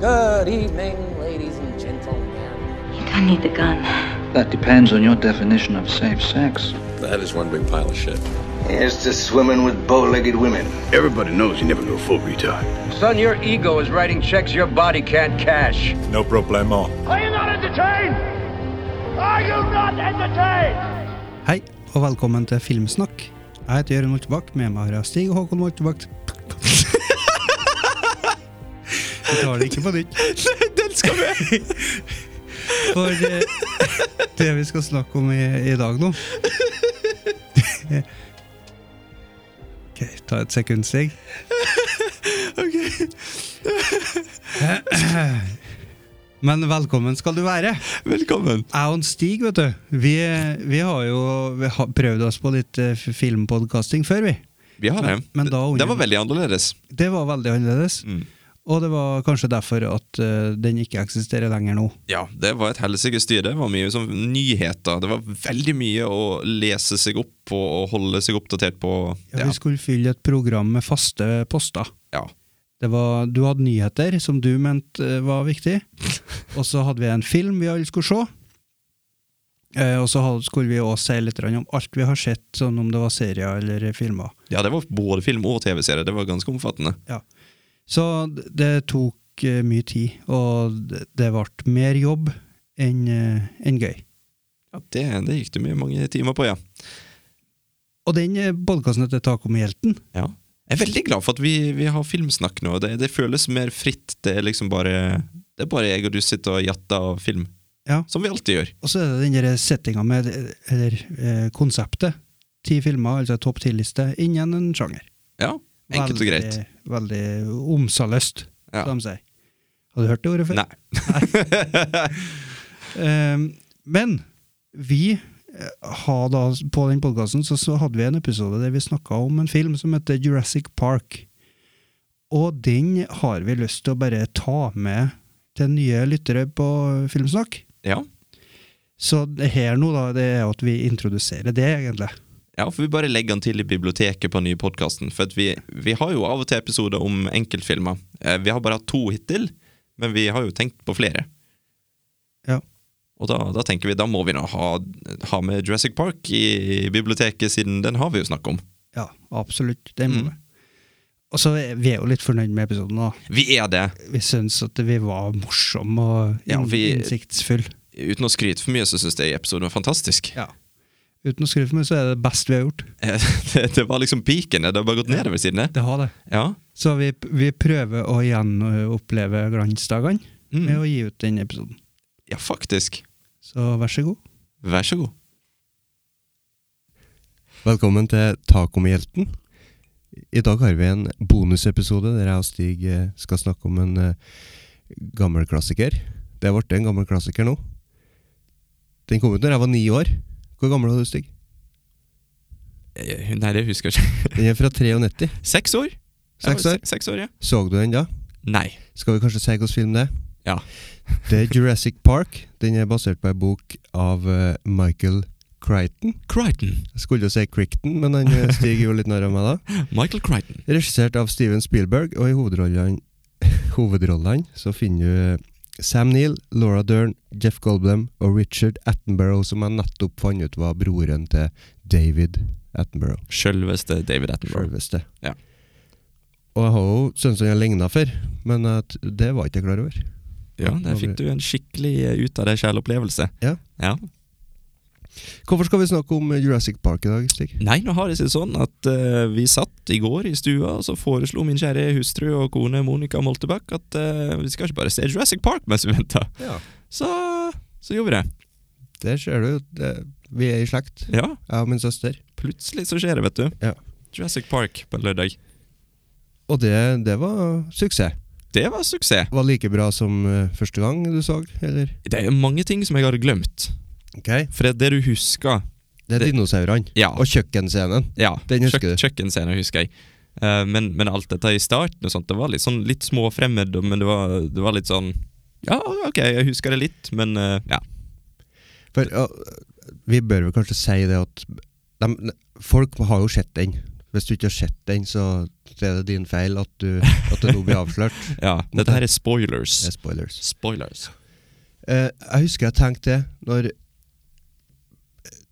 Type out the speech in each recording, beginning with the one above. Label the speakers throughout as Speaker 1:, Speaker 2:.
Speaker 1: Good evening, ladies and gentlemen.
Speaker 2: You don't need the gun.
Speaker 3: That depends on your definition of safe sex.
Speaker 4: That is one big pile of shit.
Speaker 5: Here's to swimming with bow-legged women.
Speaker 6: Everybody knows you never go full retard.
Speaker 7: Son, your ego is writing checks your body can't cash.
Speaker 8: No problemo.
Speaker 9: Are you not entertained? Are you not entertained?
Speaker 10: Hei, og velkommen til Filmsnakk. Jeg heter Jørund Moltebakk, med meg har jeg Stig Håkon Moltebakk. Vi tar det ikke på nytt.
Speaker 11: Den skal vi!
Speaker 10: For eh, det vi skal snakke om i, i dag nå Ok, ta et sekund, Stig.
Speaker 11: Ok,
Speaker 10: Men velkommen skal du være.
Speaker 11: Velkommen.
Speaker 10: Jeg og en Stig, vet du, vi, vi har jo vi har prøvd oss på litt eh, filmpodkasting før, vi.
Speaker 11: Vi har det.
Speaker 10: Men- men da under-
Speaker 11: det var veldig annerledes.
Speaker 10: Det var veldig annerledes.
Speaker 11: Mm.
Speaker 10: Og det var kanskje derfor at eh, den ikke eksisterer lenger nå.
Speaker 11: Ja, det var et helsikes styr. Det var mye sånn nyheter. Det var veldig mye å lese seg opp på og holde seg oppdatert på.
Speaker 10: Ja,
Speaker 11: Ja.
Speaker 10: Vi skulle fylle et program med faste poster.
Speaker 11: ja.
Speaker 10: Det var, du hadde nyheter som du mente eh, var viktig, og så hadde vi en film vi alle skulle se. Eh, og så hadde- skulle vi òg si litt grann om alt vi har sett, sånn om det var serier eller filmer.
Speaker 11: ja, det var både film og TV-serie. Det var ganske omfattende.
Speaker 10: Så d- det tok eh, mye tid, og d- det ble mer jobb enn eh, enn gøy.
Speaker 11: Ja, det, det gikk det mye mange timer på, ja.
Speaker 10: Og den podkasten heter Tak om hjelten.
Speaker 11: ja. Jeg er veldig glad for at vi, vi har filmsnakk nå. Det, det føles mer fritt. Det er liksom bare Det er bare jeg og du sitter og jatter av film.
Speaker 10: Ja.
Speaker 11: Som vi alltid gjør.
Speaker 10: Og så er det den der settinga med Eller eh, konseptet. Ti filmer, altså topp ti-liste, innen en sjanger.
Speaker 11: Ja, Enkelt og greit.
Speaker 10: Veldig- Veldig omsaløst,
Speaker 11: Ja.
Speaker 10: som de sier. Har du hørt det ordet før?
Speaker 11: Nei.
Speaker 10: Ehm, men vi eh, har da, på den podkasten så, så hadde vi en episode der vi snakka om en film som heter Jurassic Park. Og den har vi lyst til å bare ta med til nye lyttere på Filmsnakk.
Speaker 11: Ja.
Speaker 10: Så det her nå, da, det er at vi introduserer det, egentlig.
Speaker 11: Ja, for vi bare legger den til i biblioteket på den nye podkasten. For at vi, vi har jo av og til episoder om enkeltfilmer. Eh, Vi har bare hatt to hittil, men vi har jo tenkt på flere.
Speaker 10: Ja.
Speaker 11: Og da, da tenker vi da må vi nå ha, ha med Jurassic Park i biblioteket, siden den har vi jo snakk om.
Speaker 10: Ja, absolutt. Det må
Speaker 11: Mm.
Speaker 10: vi. Og så er vi er jo litt fornøyd med episoden. da.
Speaker 11: Vi er det!
Speaker 10: Vi syns at vi var morsomme og
Speaker 11: Ja,
Speaker 10: in
Speaker 11: vi-
Speaker 10: innsiktsfulle.
Speaker 11: Uten å skryte for mye, så syns jeg episoden var fantastisk.
Speaker 10: Ja. Uten å skryte for mye, så er det det beste vi har gjort.
Speaker 11: Eh, Det, det var liksom piken. Det har bare gått nedover siden det.
Speaker 10: Det har det.
Speaker 11: Ja.
Speaker 10: Så vi, vi prøver å gjenoppleve glansdagene
Speaker 11: Mm.
Speaker 10: med å gi ut den episoden.
Speaker 11: ja, faktisk.
Speaker 10: Så vær så god.
Speaker 11: Vær så god.
Speaker 12: Velkommen til Tak om hjelten. I dag har vi en bonusepisode der jeg og Stig eh, skal snakke om en eh, gammel klassiker. Det har blitt en gammel klassiker nå. Den kom ut når jeg var ni år. Hvor gammel var du, Stig?
Speaker 11: Eh, Nei, det husker jeg ikke.
Speaker 12: Den er fra 93.
Speaker 11: Seks år?
Speaker 12: Seks
Speaker 11: Ja,
Speaker 12: år.
Speaker 11: se- Seks år, ja.
Speaker 12: Så du den da?
Speaker 11: Nei.
Speaker 12: Skal vi kanskje si hvilken film det er?
Speaker 11: Ja.
Speaker 12: Det er Jurassic Park. Den er basert på ei bok av eh, Michael Crichton.
Speaker 11: Crichton.
Speaker 12: Jeg skulle jo si Crichton, men han eh, Stig gjorde litt narr av meg da.
Speaker 11: Michael Crichton.
Speaker 12: Regissert av Steven Spielberg, og i hovedrollene, hovedrollene så finner du eh, Sam Neill, Laura Dern, Jeff Goldblum og Richard Attenborough, som jeg nettopp fant ut var broren til David Attenborough.
Speaker 11: Sjølveste David Attenborough.
Speaker 12: Selveste.
Speaker 11: Ja.
Speaker 12: Og jeg har jo syntes han har ligna før, men at det var ikke jeg klar over.
Speaker 11: Ja, Der fikk du en skikkelig eh, ut av deg sjel-opplevelse.
Speaker 12: Ja. Hvorfor skal vi snakke om Jurassic Park i dag, Stig?
Speaker 11: Nei, nå har det seg sånn at eh, vi satt i går i stua, og så foreslo min kjære hustru og kone Monica Moltebakk at eh, vi skal ikke bare se Jurassic Park mens vi venter.
Speaker 12: Ja.
Speaker 11: Så, så gjorde vi det.
Speaker 12: Der ser du, jo, det- vi er i slekt,
Speaker 11: Ja,
Speaker 12: jeg og min søster.
Speaker 11: plutselig så skjer det, vet du.
Speaker 12: Ja.
Speaker 11: Jurassic Park på en lørdag.
Speaker 12: Og det, det var suksess.
Speaker 11: Det var suksess.
Speaker 12: Var like bra som eh, første gang du så, eller?
Speaker 11: Det er mange ting som jeg har glemt.
Speaker 12: Ok.
Speaker 11: For det er det du husker
Speaker 12: Det er
Speaker 11: Det-
Speaker 12: dinosaurene.
Speaker 11: Ja.
Speaker 12: Og kjøkkenscenen.
Speaker 11: Ja,
Speaker 12: Den husker du.
Speaker 11: Kjøkkenscenen husker jeg. Eh, men, men alt dette i starten og sånt, det var litt, sånn, litt småfremmed, men det var, det var litt sånn Ja, ok, jeg husker det litt, men eh, ja.
Speaker 12: For ja, Vi bør vel kanskje si det at dem- folk har jo sett den. Hvis du ikke har sett den, så er det din feil at, du, at det nå blir avslørt.
Speaker 11: Ja, dette her er spoilers.
Speaker 12: Det er spoilers.
Speaker 11: Spoilers.
Speaker 12: Eh, jeg husker jeg tenkte det når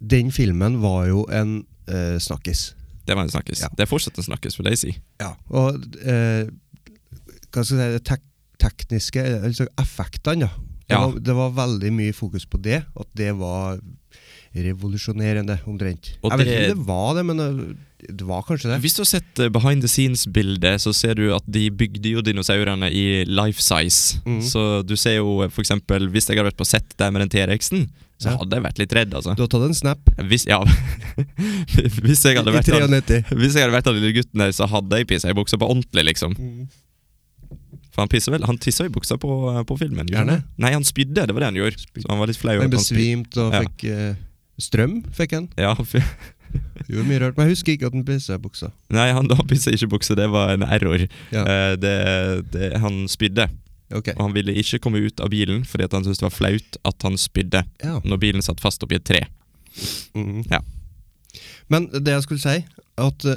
Speaker 12: Den filmen var jo en eh, snakkis.
Speaker 11: Det var en snakkes.
Speaker 12: Ja.
Speaker 11: Det er fortsatt en snakkes, vil jeg si.
Speaker 12: Og eh, hva skal jeg si, det tek tekniske altså effektene, da. Det,
Speaker 11: Ja.
Speaker 12: var, det var veldig mye fokus på det. At det var revolusjonerende, omtrent.
Speaker 11: Og
Speaker 12: jeg vet
Speaker 11: det-
Speaker 12: ikke om det var det, men eh, det var kanskje det.
Speaker 11: Hvis du har sett eh, behind the scenes-bildet, så ser du at de bygde jo dinosaurene i life size.
Speaker 12: Mhm.
Speaker 11: Så du ser jo eh, for eksempel, hvis jeg hadde vært på sett der med den T-rexen, så
Speaker 12: Ja.
Speaker 11: hadde jeg vært litt redd, altså.
Speaker 12: Du har tatt en snap
Speaker 11: Hvis, ja. hvis jeg hadde
Speaker 12: i
Speaker 11: vært han,
Speaker 12: 93.
Speaker 11: hvis jeg hadde vært han lille gutten der, så hadde jeg pissa i buksa på ordentlig, liksom. For han pisser vel Han tissa i buksa på, eh, på filmen. gjorde han
Speaker 12: Gjerne.
Speaker 11: det? Nei, han spydde, det var det han gjorde. Så han var litt flau. over
Speaker 12: Han
Speaker 11: at han spydde.
Speaker 12: besvimte og
Speaker 11: Ja.
Speaker 12: fikk eh, strøm. fikk han.
Speaker 11: Ja, fy-
Speaker 12: Gjorde mye rart, men jeg husker ikke at han pissa i buksa.
Speaker 11: Nei, han da pissa ikke i buksa, det var en error.
Speaker 12: Ja.
Speaker 11: Eh, det, det, han spydde,
Speaker 12: Ok.
Speaker 11: og han ville ikke komme ut av bilen fordi at han syntes det var flaut at han spydde
Speaker 12: Ja.
Speaker 11: når bilen satt fast oppi et tre.
Speaker 12: Mhm.
Speaker 11: Ja.
Speaker 12: Men det jeg skulle si, at eh,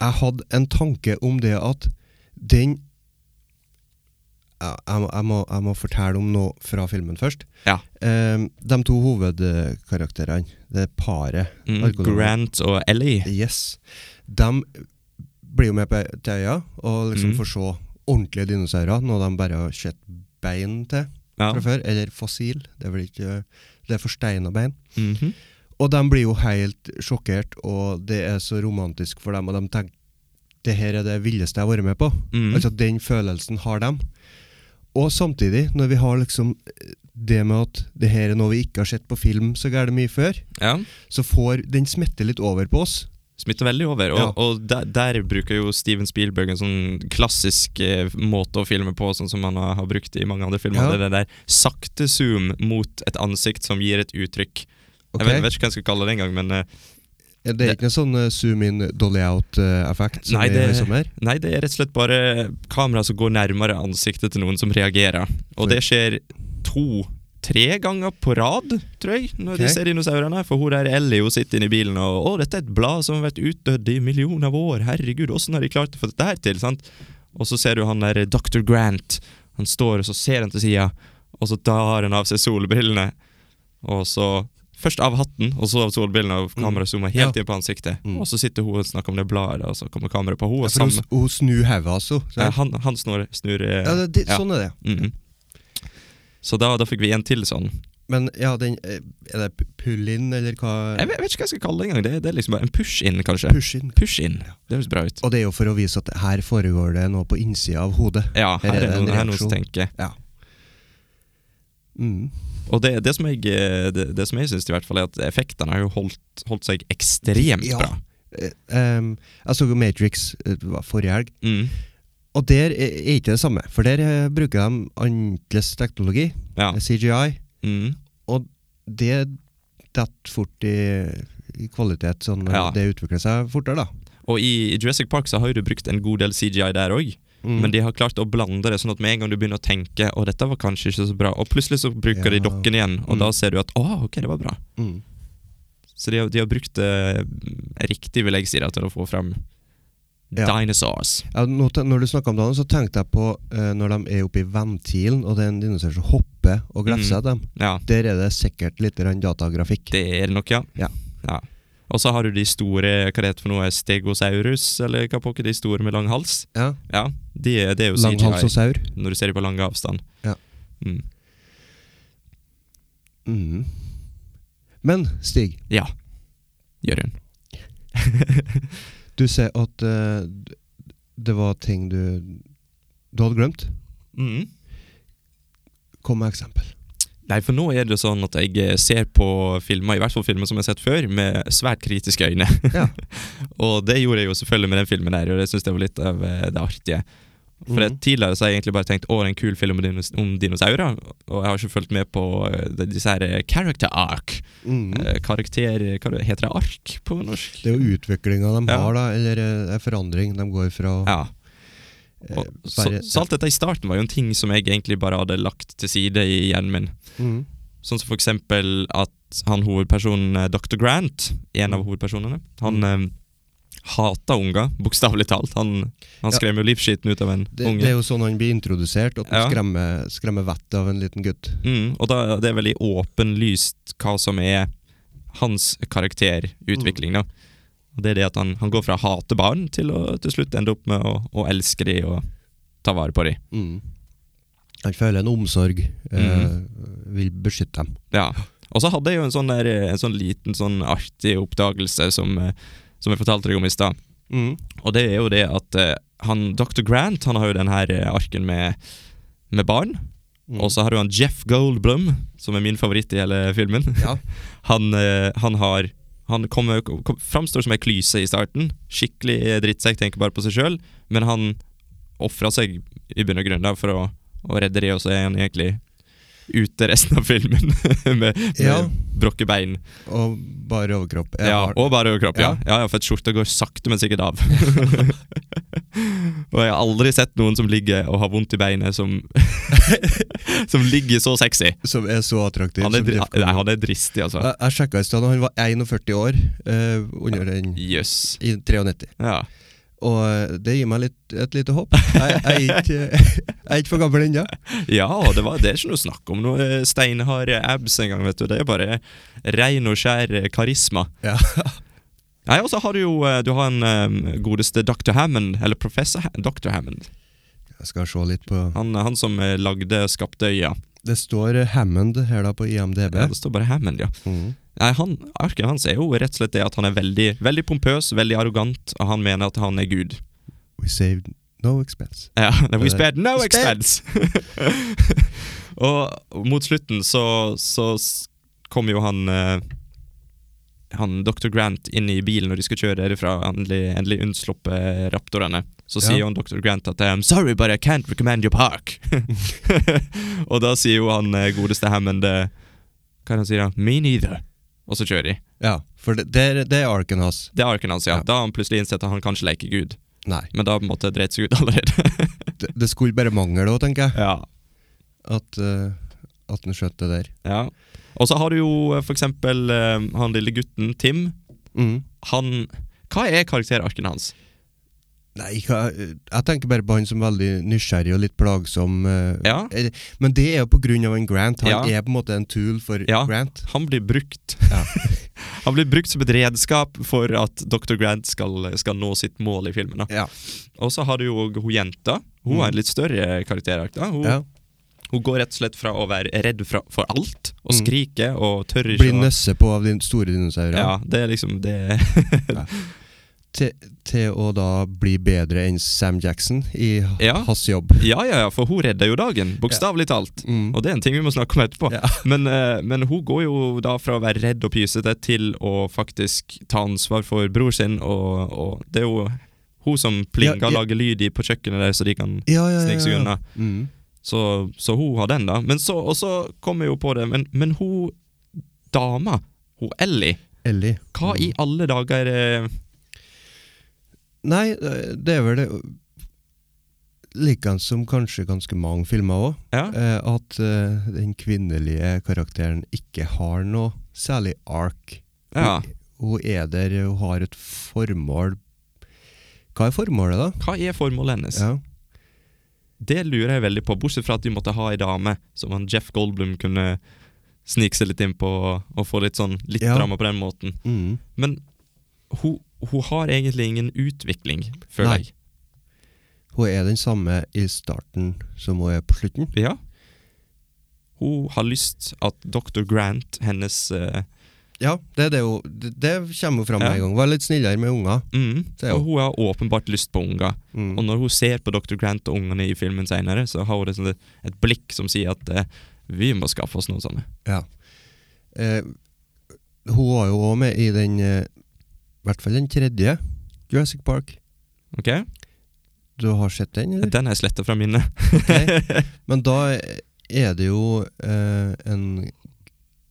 Speaker 12: jeg hadde en tanke om det at den Ja, jeg, må- jeg, må, jeg må fortelle om noe fra filmen først.
Speaker 11: Ja.
Speaker 12: Eh, de to hovedkarakterene, det paret
Speaker 11: Mm,
Speaker 12: alkoholikere.
Speaker 11: Grant og Ellie.
Speaker 12: Yes. De blir jo med på til øya og liksom
Speaker 11: Mhm.
Speaker 12: får se ordentlige dinosaurer, noe de bare har sett bein til
Speaker 11: Ja.
Speaker 12: fra før. Eller fossil. Det er vel ikke Det er forsteina bein.
Speaker 11: Mhm.
Speaker 12: Og de blir jo helt sjokkert, og det er så romantisk for dem. Og de tenker det her er det villeste jeg har vært med på.
Speaker 11: Mhm.
Speaker 12: Altså Den følelsen har de. Og samtidig, når vi har liksom det med at det her er noe vi ikke har sett på film så gærent mye før,
Speaker 11: ja.
Speaker 12: så får den smitte litt over på oss.
Speaker 11: Smitter veldig over. Og,
Speaker 12: Ja.
Speaker 11: og der, der bruker jo Steven Spielberg en sånn klassisk eh, måte å filme på, sånn som han har, har brukt i mange andre filmer.
Speaker 12: Ja.
Speaker 11: Det er den der sakte zoom mot et ansikt som gir et uttrykk.
Speaker 12: Ok?
Speaker 11: Jeg vet, vet ikke hva jeg skal kalle det engang, men eh,
Speaker 12: Det er ikke noen sånn eh, zoom in, dolly out-effekt som
Speaker 11: Nei,
Speaker 12: vi
Speaker 11: det-
Speaker 12: har i sommer?
Speaker 11: Nei, det er rett og slett bare kamera som går nærmere ansiktet til noen som reagerer. Og det skjer to-tre ganger på rad, tror jeg, når de
Speaker 12: Ok.
Speaker 11: ser dinosaurene. For hun der Ellie hun sitter inne i bilen og 'Å, dette er et blad som har vært utdødd i millioner av år. Herregud, åssen har de klart å få dette her til?' sant? Og så ser du han der Dr. Grant. Han står, og så ser han til sida, og så tar han av seg solbrillene. Og så Først av hatten, og så av solbrillene, og kameraet zoomer helt
Speaker 12: Mm. Ja.
Speaker 11: inn på ansiktet.
Speaker 12: Mm.
Speaker 11: Og så sitter hun og snakker om det bladet, og så kommer kameraet på henne.
Speaker 12: Ja, for
Speaker 11: og
Speaker 12: Altså, hun,
Speaker 11: sammen-
Speaker 12: hun snur hodet, altså. Så-
Speaker 11: Eh, han han snur, snur eh,
Speaker 12: ja, det, det,
Speaker 11: ja.
Speaker 12: Sånn er det.
Speaker 11: Mhm. Så da, da fikk vi en til sånn.
Speaker 12: Men ja, den eh, Er det pull-in, eller hva?
Speaker 11: Jeg vet, vet ikke hva jeg skal kalle det engang. Det, det er liksom bare en push-in, kanskje.
Speaker 12: Push-in.
Speaker 11: Push-in. Det høres bra ut.
Speaker 12: Og det er jo for å vise at her foregår det noe på innsida av hodet.
Speaker 11: Ja, her, er,
Speaker 12: det en
Speaker 11: noen, her er
Speaker 12: reaksjon.
Speaker 11: noen som tenker.
Speaker 12: Ja. Mm.
Speaker 11: Og det, det som jeg, eh, det, det som jeg syns, i hvert fall, er at effektene har jo holdt, holdt seg ekstremt
Speaker 12: Ja.
Speaker 11: bra.
Speaker 12: Eh, em, jeg så jo Matrix eh, det var forrige helg,
Speaker 11: Mm.
Speaker 12: og der er er ikke det samme. For der eh, bruker de annerledes teknologi,
Speaker 11: Ja.
Speaker 12: eh, CGI.
Speaker 11: Mm.
Speaker 12: Og det detter fort i, i kvalitet, sånn eh,
Speaker 11: Ja.
Speaker 12: det utvikler seg fortere, da.
Speaker 11: Og i i Jurassic Park så har jo du brukt en god del CGI der òg.
Speaker 12: Mm.
Speaker 11: Men de har klart å blande det, sånn at med en gang du begynner å tenke Å, dette var kanskje ikke så bra, og plutselig så bruker de
Speaker 12: Ja.
Speaker 11: dokken igjen, og
Speaker 12: Mm.
Speaker 11: da ser du at Å, ok, det var bra.
Speaker 12: Mm.
Speaker 11: Så de har, de har brukt det riktig, vil jeg si, da, til å få frem
Speaker 12: Ja.
Speaker 11: dinosaurs.
Speaker 12: Ja, nå ten- når du snakka om det, så tenkte jeg på eh, når de er oppe i ventilen, og det er en dinosaur som hopper og glefser dem.
Speaker 11: Ja,
Speaker 12: Der er det sikkert litt grann datagrafikk.
Speaker 11: Mhm. det er det nok, ja.
Speaker 12: Ja.
Speaker 11: Og så har du de store, hva det heter for noe, stegosaurus, eller hva pokker, de store med lang hals.
Speaker 12: Ja.
Speaker 11: Ja, de, er- det er jo CGI,
Speaker 12: Langhalsosaur.
Speaker 11: når du ser dem på lang avstand.
Speaker 12: Ja.
Speaker 11: Mm.
Speaker 12: Mm. Men Stig,
Speaker 11: Ja. Jørund.
Speaker 12: du sier at eh, d- det var ting du Du hadde glemt.
Speaker 11: Mm.
Speaker 12: Kom med eksempel.
Speaker 11: Nei, for nå er det sånn at jeg ser på filmer, i hvert fall filmer som jeg har sett før, med svært kritiske øyne.
Speaker 12: Ja.
Speaker 11: Og det gjorde jeg jo selvfølgelig med den filmen der, og det syns jeg var litt av eh, det artige. For
Speaker 12: Mhm.
Speaker 11: jeg- Tidligere så har jeg egentlig bare tenkt å, det er en kul film om, dinos om dinosaurer, og jeg har ikke fulgt med på eh, de- disse her eh, character arc.
Speaker 12: Mm.
Speaker 11: Eh, Karakter Hva det- heter det? Ark på norsk?
Speaker 12: Det er jo utviklinga de
Speaker 11: Ja.
Speaker 12: har, da, eller eh, en forandring de går fra
Speaker 11: Ja.
Speaker 12: eh,
Speaker 11: Og, så,
Speaker 12: bare-
Speaker 11: så alt dette i starten var jo en ting som jeg egentlig bare hadde lagt til side i hjernen min.
Speaker 12: Mm.
Speaker 11: Sånn som for
Speaker 12: Mm.
Speaker 11: eksempel at han hovedpersonen eh, Dr. Grant, en av hovedpersonene, han, eh, hata unger, bokstavelig talt. Han, han
Speaker 12: Ja.
Speaker 11: skremmer jo livskiten ut av en
Speaker 12: Det,
Speaker 11: unge.
Speaker 12: det er jo sånn han blir introdusert, at han
Speaker 11: Ja.
Speaker 12: skremmer, skremmer vettet av en liten gutt.
Speaker 11: Mm, og da det er veldig åpenlyst hva som er hans karakterutvikling, da. Og det er det at han, han går fra å hate barn til å til slutt ende opp med å, å elske de og ta vare på de.
Speaker 12: Mm. Han føler en omsorg, eh,
Speaker 11: Mhm.
Speaker 12: vil beskytte dem.
Speaker 11: Ja. Og så hadde jeg jo en sånn, der, en sånn liten, sånn artig oppdagelse som, eh, som jeg fortalte deg om i stad. Og det er jo det at eh, han, Dr. Grant han har jo den her eh, arken med, med barn.
Speaker 12: Mm.
Speaker 11: Og så har du han Jeff Goldblum, som er min favoritt i hele filmen.
Speaker 12: Ja.
Speaker 11: han, eh, han har han kommer, kom, framstår som ei klyse i starten. Skikkelig eh, drittsekk, tenker bare på seg sjøl. Men han ofra seg i bunn og grunn da, for å, å redde de, og så er han egentlig ute resten av filmen med, med
Speaker 12: Ja.
Speaker 11: brokke bein.
Speaker 12: Og bare overkropp. Jeg
Speaker 11: Ja,
Speaker 12: har-
Speaker 11: og bare overkropp, ja.
Speaker 12: Ja.
Speaker 11: Ja, ja, for at skjorta går sakte, men sikkert av. og jeg har aldri sett noen som ligger og har vondt i beinet, som, som ligger så sexy.
Speaker 12: Som er så attraktiv.
Speaker 11: Han er,
Speaker 12: som
Speaker 11: dri-
Speaker 12: Jeff
Speaker 11: nei,
Speaker 12: Goldblum.
Speaker 11: han er dristig, altså.
Speaker 12: Jeg, jeg sjekka i stad, og han var 41 år eh, under den
Speaker 11: Jøss. Yes.
Speaker 12: i 93.
Speaker 11: Ja.
Speaker 12: Og eh, det gir meg litt, et lite håp. Jeg, jeg, er ikke, jeg er ikke for gammel ennå.
Speaker 11: ja, det, var, det er ikke noe snakk om noe eh, steinharde abs engang, vet du. Det er bare rein og skjær eh, karisma.
Speaker 12: Ja.
Speaker 11: Nei, og så har du jo eh, Du har en eh, godeste Dr. Hammond, eller professor ha Dr. Hammond.
Speaker 12: Jeg skal se litt på
Speaker 11: Han, han som eh, lagde Skapte øya.
Speaker 12: Det står eh, Hammond her da på IMDb.
Speaker 11: Ja, det står bare Hammond, ja.
Speaker 12: Mhm.
Speaker 11: Nei, han, Arken hans er jo rett og slett det at han er veldig, veldig pompøs, veldig arrogant, og han mener at han er Gud.
Speaker 12: We saved no expense.
Speaker 11: Ja, Eh, We spared no
Speaker 12: Spared.
Speaker 11: expense! og mot slutten så, så s- kommer jo han eh, Han Dr. Grant inn i bilen når de skal kjøre derifra, endelig, endelig unnsluppe raptorene. Så
Speaker 12: Ja.
Speaker 11: sier han Dr. Grant at I'm sorry, but I can't recommend your park. og da sier jo han eh, godeste Hammond eh, Hva er det han sier da? Me neither. Og så kjører de.
Speaker 12: Ja, for det, det, er, det er arken hans.
Speaker 11: Det er arken hans, ja.
Speaker 12: Ja.
Speaker 11: Da har han plutselig innsett at han kanskje leker Gud.
Speaker 12: Nei.
Speaker 11: Men da måtte jeg dreit seg ut allerede.
Speaker 12: Det, det skulle bare mangle òg, tenker jeg.
Speaker 11: ja.
Speaker 12: At, eh, at han skjøt det der.
Speaker 11: ja. Og så har du jo eh, for eksempel eh, han lille gutten Tim.
Speaker 12: Mhm.
Speaker 11: Han Hva er karakterarken hans?
Speaker 12: Nei, hva, jeg tenker bare på han som veldig nysgjerrig og litt plagsom. eh,
Speaker 11: Ja.
Speaker 12: eh, Men det er jo på grunn av en Grant. Han
Speaker 11: Ja.
Speaker 12: er på en måte en tool for
Speaker 11: Ja.
Speaker 12: Grant.
Speaker 11: Han blir brukt.
Speaker 12: Ja.
Speaker 11: Han blir brukt som et redskap for at Dr. Grant skal, skal nå sitt mål i filmen.
Speaker 12: Ja.
Speaker 11: da.
Speaker 12: Mm.
Speaker 11: Og så har du jo hun jenta. Hun har en litt større karakterark. da. Hun,
Speaker 12: Ja.
Speaker 11: hun går rett og slett fra å være redd fra, for alt, og
Speaker 12: Mm.
Speaker 11: skrike og tør ikke
Speaker 12: Blir
Speaker 11: å-
Speaker 12: nøsse på av de store dinosaurene.
Speaker 11: Ja, det er liksom det
Speaker 12: Til, til å da bli bedre enn Sam Jackson i
Speaker 11: Ja.
Speaker 12: hans jobb.
Speaker 11: Ja, ja, ja, for hun redder jo dagen, bokstavelig talt.
Speaker 12: Mm.
Speaker 11: Og det er en ting vi må snakke om etterpå.
Speaker 12: Ja.
Speaker 11: Men, eh, men hun går jo da fra å være redd og pysete til å faktisk ta ansvar for bror sin, og, og det er jo hun som plinga
Speaker 12: Ja, ja.
Speaker 11: lager lyd i på kjøkkenet der, så de kan
Speaker 12: Ja, ja, ja,
Speaker 11: snike seg
Speaker 12: ja.
Speaker 11: unna.
Speaker 12: Mm.
Speaker 11: Så, så hun har den, da. Men så, og så kommer jeg jo på det, men, men hun dama, hun Ellie,
Speaker 12: Ellie. Mm.
Speaker 11: hva i alle dager eh,
Speaker 12: Nei, eh, det er vel det Likeens som kanskje ganske mange filmer òg,
Speaker 11: Ja,
Speaker 12: eh, at eh, den kvinnelige karakteren ikke har noe særlig ark.
Speaker 11: ja.
Speaker 12: Hun er der, hun har et formål Hva er formålet, da?
Speaker 11: Hva er formålet hennes?
Speaker 12: Ja.
Speaker 11: Det lurer jeg veldig på, bortsett fra at de måtte ha ei dame som han Jeff Goldblum kunne snike seg litt inn på og få litt sånn litt
Speaker 12: Ja.
Speaker 11: drama på den måten.
Speaker 12: Mm.
Speaker 11: Men hun, hun har egentlig ingen utvikling, føler
Speaker 12: Nei.
Speaker 11: jeg.
Speaker 12: Hun er den samme i starten som hun er på slutten.
Speaker 11: Ja. Hun har lyst at Dr. Grant, hennes eh,
Speaker 12: Ja, det, er det, hun, det, det kommer hun fram med
Speaker 11: Ja.
Speaker 12: en gang. Vær litt snillere med unger.
Speaker 11: mm,
Speaker 12: Det er
Speaker 11: Og
Speaker 12: hun.
Speaker 11: hun har åpenbart lyst på unger.
Speaker 12: Mm.
Speaker 11: Og når hun ser på Dr. Grant og ungene i filmen seinere, så har hun det sånn et, et blikk som sier at eh, vi må skaffe oss noen sånne.
Speaker 12: Ja. Eh, hun var jo òg med i den eh, I hvert fall den tredje Jurassic Park.
Speaker 11: Ok?
Speaker 12: Du har sett den, eller?
Speaker 11: Den har jeg sletta fra minnet.
Speaker 12: Ok. Men da er det jo eh, en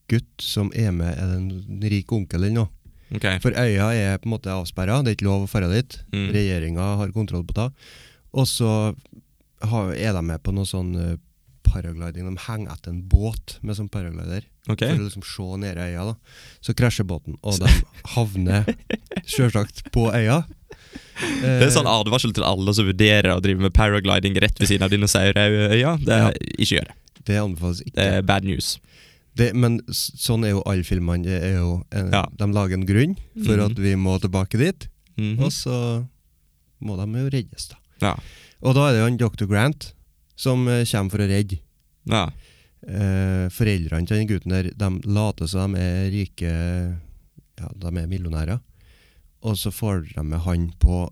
Speaker 12: gutt som er med er det en rik onkel eller noe.
Speaker 11: Ok.
Speaker 12: For øya er på en måte avsperra, det er ikke lov å dra dit.
Speaker 11: Mm.
Speaker 12: Regjeringa har kontroll på det. Og så har, er de med på noe sånn eh, paragliding. De henger etter en båt med sånn paraglider
Speaker 11: Ok.
Speaker 12: for å liksom se ned i øya. da. Så krasjer båten, og de havner sjølsagt på øya. Eh,
Speaker 11: Det er sånn advarsel til alle som vurderer å drive med paragliding rett ved siden av dinosaurøya. Det er, Ikke gjør det.
Speaker 12: det anbefales ikke.
Speaker 11: Det er bad news.
Speaker 12: Det, men s- sånn er jo alle filmene. Det er jo, eh,
Speaker 11: Ja.
Speaker 12: De lager en grunn for
Speaker 11: Mhm.
Speaker 12: at vi må tilbake dit,
Speaker 11: Mhm.
Speaker 12: og så må de jo reddes, da.
Speaker 11: Ja.
Speaker 12: Og da er det jo en Dr. Grant som eh, kommer for å redde.
Speaker 11: ja.
Speaker 12: Eh, foreldrene til den gutten der, de later som de er rike Ja, de er millionærer. Og så får de med han på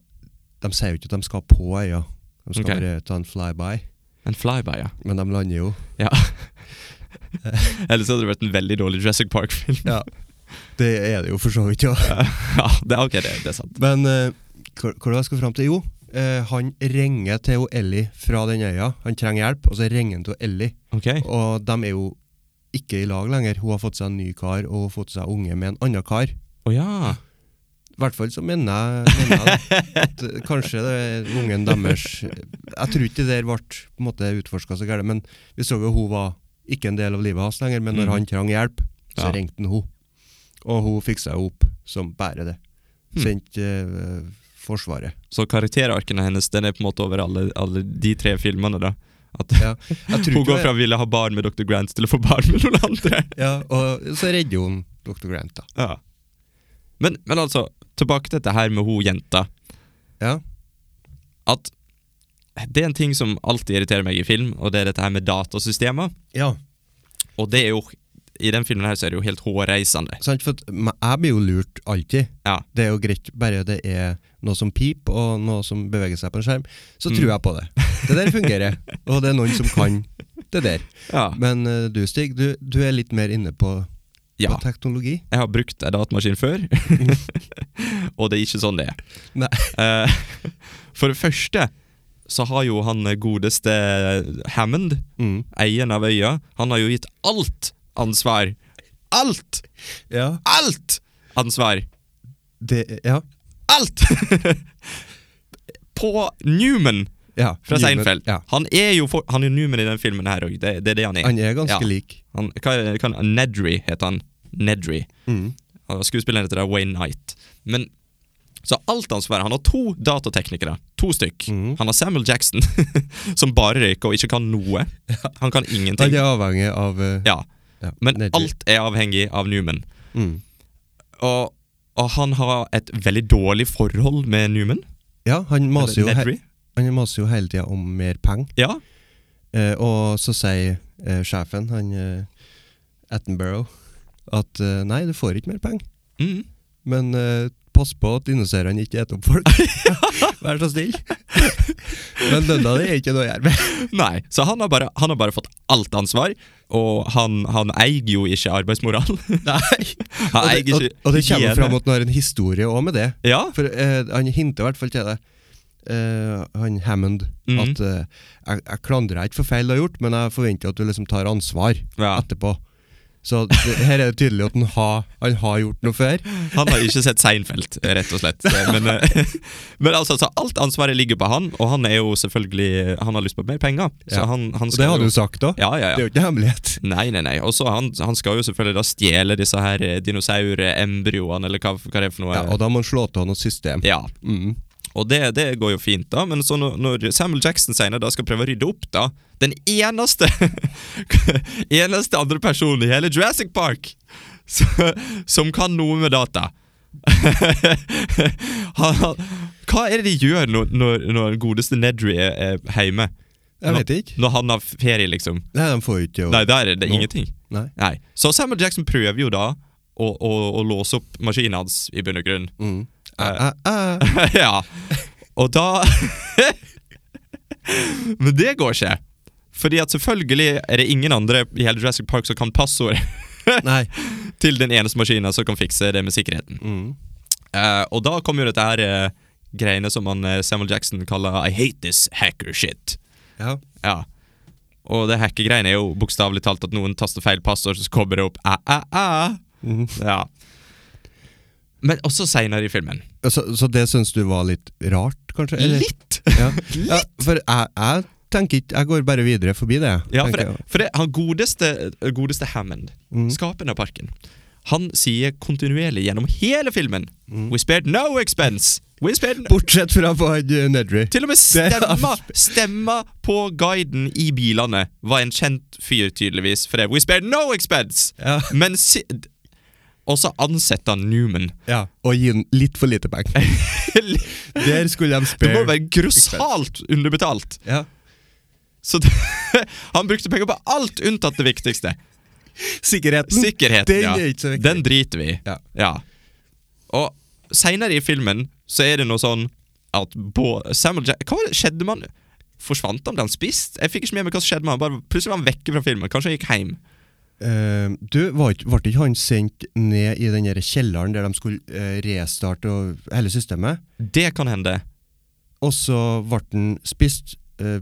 Speaker 12: De sier jo ikke at de skal på øya, de skal
Speaker 11: Ok.
Speaker 12: bare ta en flyby,
Speaker 11: En flyby, ja.
Speaker 12: men de lander jo.
Speaker 11: ja. Ellers hadde det vært en veldig dårlig Jurassic Park-film.
Speaker 12: Ja. Det er det jo for så vidt, ja.
Speaker 11: ja, det, ok, det, det er sant.
Speaker 12: Men eh, hva hva jeg skal fram til? Jo, eh, han ringer til jo Ellie fra den øya. Han trenger hjelp, og så ringer han til Ellie.
Speaker 11: Ok.
Speaker 12: Og de er jo ikke i lag lenger. Hun har fått seg en ny kar, og hun har fått seg unge med en annen kar.
Speaker 11: Å ja.
Speaker 12: I hvert fall så mener jeg, mener jeg det. at eh, kanskje det er ungen deres Jeg tror ikke det der ble på en måte utforska så gærent, men vi så jo hun var ikke en del av livet hans lenger, men når
Speaker 11: Mhm.
Speaker 12: han trang hjelp, så
Speaker 11: Ja.
Speaker 12: ringte han hun. Og hun fiksa jo opp som bare det.
Speaker 11: Hmm.
Speaker 12: Sendte eh, Forsvaret.
Speaker 11: Så karakterarkene hennes den er på en måte over alle, alle de tre filmene, da. At
Speaker 12: Ja. Jeg tror
Speaker 11: hun
Speaker 12: ikke
Speaker 11: går fra å ville ha barn med Dr. Grant til å få barn med noen andre.
Speaker 12: Ja, og så redder hun Dr. Grant, da.
Speaker 11: Ja. Men, men altså, tilbake til dette her med hun jenta.
Speaker 12: Ja.
Speaker 11: At det er en ting som alltid irriterer meg i film, og det er dette her med datasystemer.
Speaker 12: ja.
Speaker 11: Og det er jo I den filmen her så er det jo helt hårreisende.
Speaker 12: Sant, for at, men jeg blir jo lurt alltid.
Speaker 11: Ja.
Speaker 12: Det er jo greit, bare det er noe som piper, og noe som beveger seg på en skjerm, så
Speaker 11: Mm.
Speaker 12: tror jeg på det. Det der fungerer, og det er noen som kan det der.
Speaker 11: Ja.
Speaker 12: Men eh, du, Stig, du, du er litt mer inne på,
Speaker 11: ja.
Speaker 12: på teknologi.
Speaker 11: Jeg har brukt en datamaskin før, og det er ikke sånn det er.
Speaker 12: Nei.
Speaker 11: Eh, for det første så har jo han godeste Hammond,
Speaker 12: Mm.
Speaker 11: eieren av øya, han har jo gitt alt ansvar. Alt!
Speaker 12: Ja.
Speaker 11: Alt! Ansvar.
Speaker 12: Det, ja.
Speaker 11: Alt! På Newman
Speaker 12: ja.
Speaker 11: fra
Speaker 12: Newman,
Speaker 11: Seinfeld.
Speaker 12: Ja.
Speaker 11: Han er jo for, han er Newman i den filmen her òg. Det, det er det han er.
Speaker 12: Han er ganske
Speaker 11: Ja.
Speaker 12: lik.
Speaker 11: Han, hva, er- kan, Nedry heter han. Nedry.
Speaker 12: Mm.
Speaker 11: Og Skuespilleren heter da Wayne Knight. Men så alt han svarer Han har to datateknikere. To stykk.
Speaker 12: Mhm.
Speaker 11: Han har Samuel Jackson, som bare røyker og ikke kan noe. Han kan
Speaker 12: Han
Speaker 11: ingenting.
Speaker 12: er avhengig av eh,
Speaker 11: Ja,
Speaker 12: ja,
Speaker 11: Men
Speaker 12: Nedry.
Speaker 11: alt er avhengig av Newman.
Speaker 12: mm.
Speaker 11: Og, og han har et veldig dårlig forhold med Newman.
Speaker 12: Ja, han maser jo,
Speaker 11: Eller
Speaker 12: he
Speaker 11: Nedry.
Speaker 12: han maser jo hele tida om mer penger.
Speaker 11: Ja.
Speaker 12: Eh, og så sier eh, sjefen, han eh, Attenborough, at eh, nei, du får ikke mer penger.
Speaker 11: Mhm.
Speaker 12: Men eh, pass på at dinosaurene ikke eter opp folk. Vær så snill. Men lønna di er ikke noe å gjøre med.
Speaker 11: Nei, så han har bare, han har bare fått alt ansvar, og han, han eier jo ikke arbeidsmoral. Nei. Han eier
Speaker 12: Og det, og, og
Speaker 11: ikke Ah.
Speaker 12: det kommer
Speaker 11: hygiene.
Speaker 12: jo fram at han har en historie òg med det.
Speaker 11: Ja,
Speaker 12: For eh, han hinter i hvert fall til det. Eh, han Hammond.
Speaker 11: Mhm.
Speaker 12: At eh, jeg, jeg klandrer deg ikke for feil du har gjort, men jeg forventer at du liksom tar ansvar
Speaker 11: Ja.
Speaker 12: etterpå. Så det, her er det tydelig at han har, han har gjort noe før.
Speaker 11: han har ikke sett Seinfeld, rett og slett. Men, eh, men altså, så alt ansvaret ligger på han, og han er jo selvfølgelig Han har lyst på mer penger.
Speaker 12: Ja.
Speaker 11: Så han, han
Speaker 12: Og det
Speaker 11: skal
Speaker 12: har du jo sagt òg.
Speaker 11: Ja, ja, ja.
Speaker 12: Det er jo ikke hemmelighet.
Speaker 11: Nei, nei, nei. Og så han, han skal jo selvfølgelig da stjele disse her eh, dinosaurembryoene, eller hva, hva det er for noe.
Speaker 12: Ja, og da må han slå til noe system.
Speaker 11: ja.
Speaker 12: Mm.
Speaker 11: Og det, det går jo fint, da, men så når, når Samuel Jackson senere da skal prøve å rydde opp, da Den eneste Eneste andre personen i hele Jurassic Park som, som kan noe med data. han, han, hva er det de gjør når, når, når godeste Nedry er, er hjemme?
Speaker 12: Jeg vet ikke.
Speaker 11: Når han har ferie, liksom.
Speaker 12: Nei, de får jo ikke
Speaker 11: Nei, der er det
Speaker 12: Nå.
Speaker 11: ingenting.
Speaker 12: Nei.
Speaker 11: Nei. Så Samuel Jackson prøver jo da å, å, å låse opp maskinen hans, i bunn og grunn. Eh.
Speaker 12: Mm. ah, Æ, æ, æ.
Speaker 11: ja. Og da Men det går ikke. Fordi at selvfølgelig er det ingen andre i hele Jurassic Park som kan passordet
Speaker 12: Nei.
Speaker 11: til den eneste maskinen som kan fikse det med sikkerheten.
Speaker 12: Mm.
Speaker 11: Eh, og da kommer jo dette her eh, greiene som han, eh, Samuel Jackson kaller I hate this hacker shit.
Speaker 12: Ja.
Speaker 11: Ja. Og det hackergreiene er jo bokstavelig talt at noen taster feil passord, så kommer det opp æ, æ, æ.
Speaker 12: Mhm.
Speaker 11: Ja. Men også seinere i filmen.
Speaker 12: Så, så det syns du var litt rart, kanskje? eller?
Speaker 11: Litt!
Speaker 12: Ja. ja for jeg, jeg tenker ikke Jeg går bare videre forbi det. jeg,
Speaker 11: Ja, for,
Speaker 12: tenker
Speaker 11: det,
Speaker 12: jeg.
Speaker 11: for det, han godeste, godeste Hammond,
Speaker 12: Mm.
Speaker 11: skaperen av parken, han sier kontinuerlig gjennom hele filmen
Speaker 12: Mhm.
Speaker 11: We spared no expense! We spared no
Speaker 12: Bortsett fra på han, eh, Nedry.
Speaker 11: Til og med
Speaker 12: Det er
Speaker 11: stemma, stemma på guiden i bilene var en kjent fyr, tydeligvis. For det We spared no expense!
Speaker 12: Ja.
Speaker 11: Men si Og så ansetter han Newman.
Speaker 12: Ja, og gi den litt for lite penger. Der skulle de
Speaker 11: Det
Speaker 12: spare.
Speaker 11: må være grossalt underbetalt.
Speaker 12: ja.
Speaker 11: Så det, han brukte penger på alt unntatt det viktigste.
Speaker 12: Sikkerheten.
Speaker 11: Sikkerheten,
Speaker 12: den
Speaker 11: ja.
Speaker 12: er ikke så viktig.
Speaker 11: Den driter vi i.
Speaker 12: Ja.
Speaker 11: Og seinere i filmen så er det noe sånn at Bo, Samuel Jack Hva var det? skjedde med han? Forsvant han? Ble han spist? Jeg fikk ikke med meg hva som skjedde med han. Bare, plutselig var han vekke fra filmen. Kanskje han gikk hjem.
Speaker 12: Eh, du, var ikke- Ble ikke han sendt ned i den der kjelleren der de skulle eh, restarte og, hele systemet?
Speaker 11: Det kan hende.
Speaker 12: Og så ble han spist eh,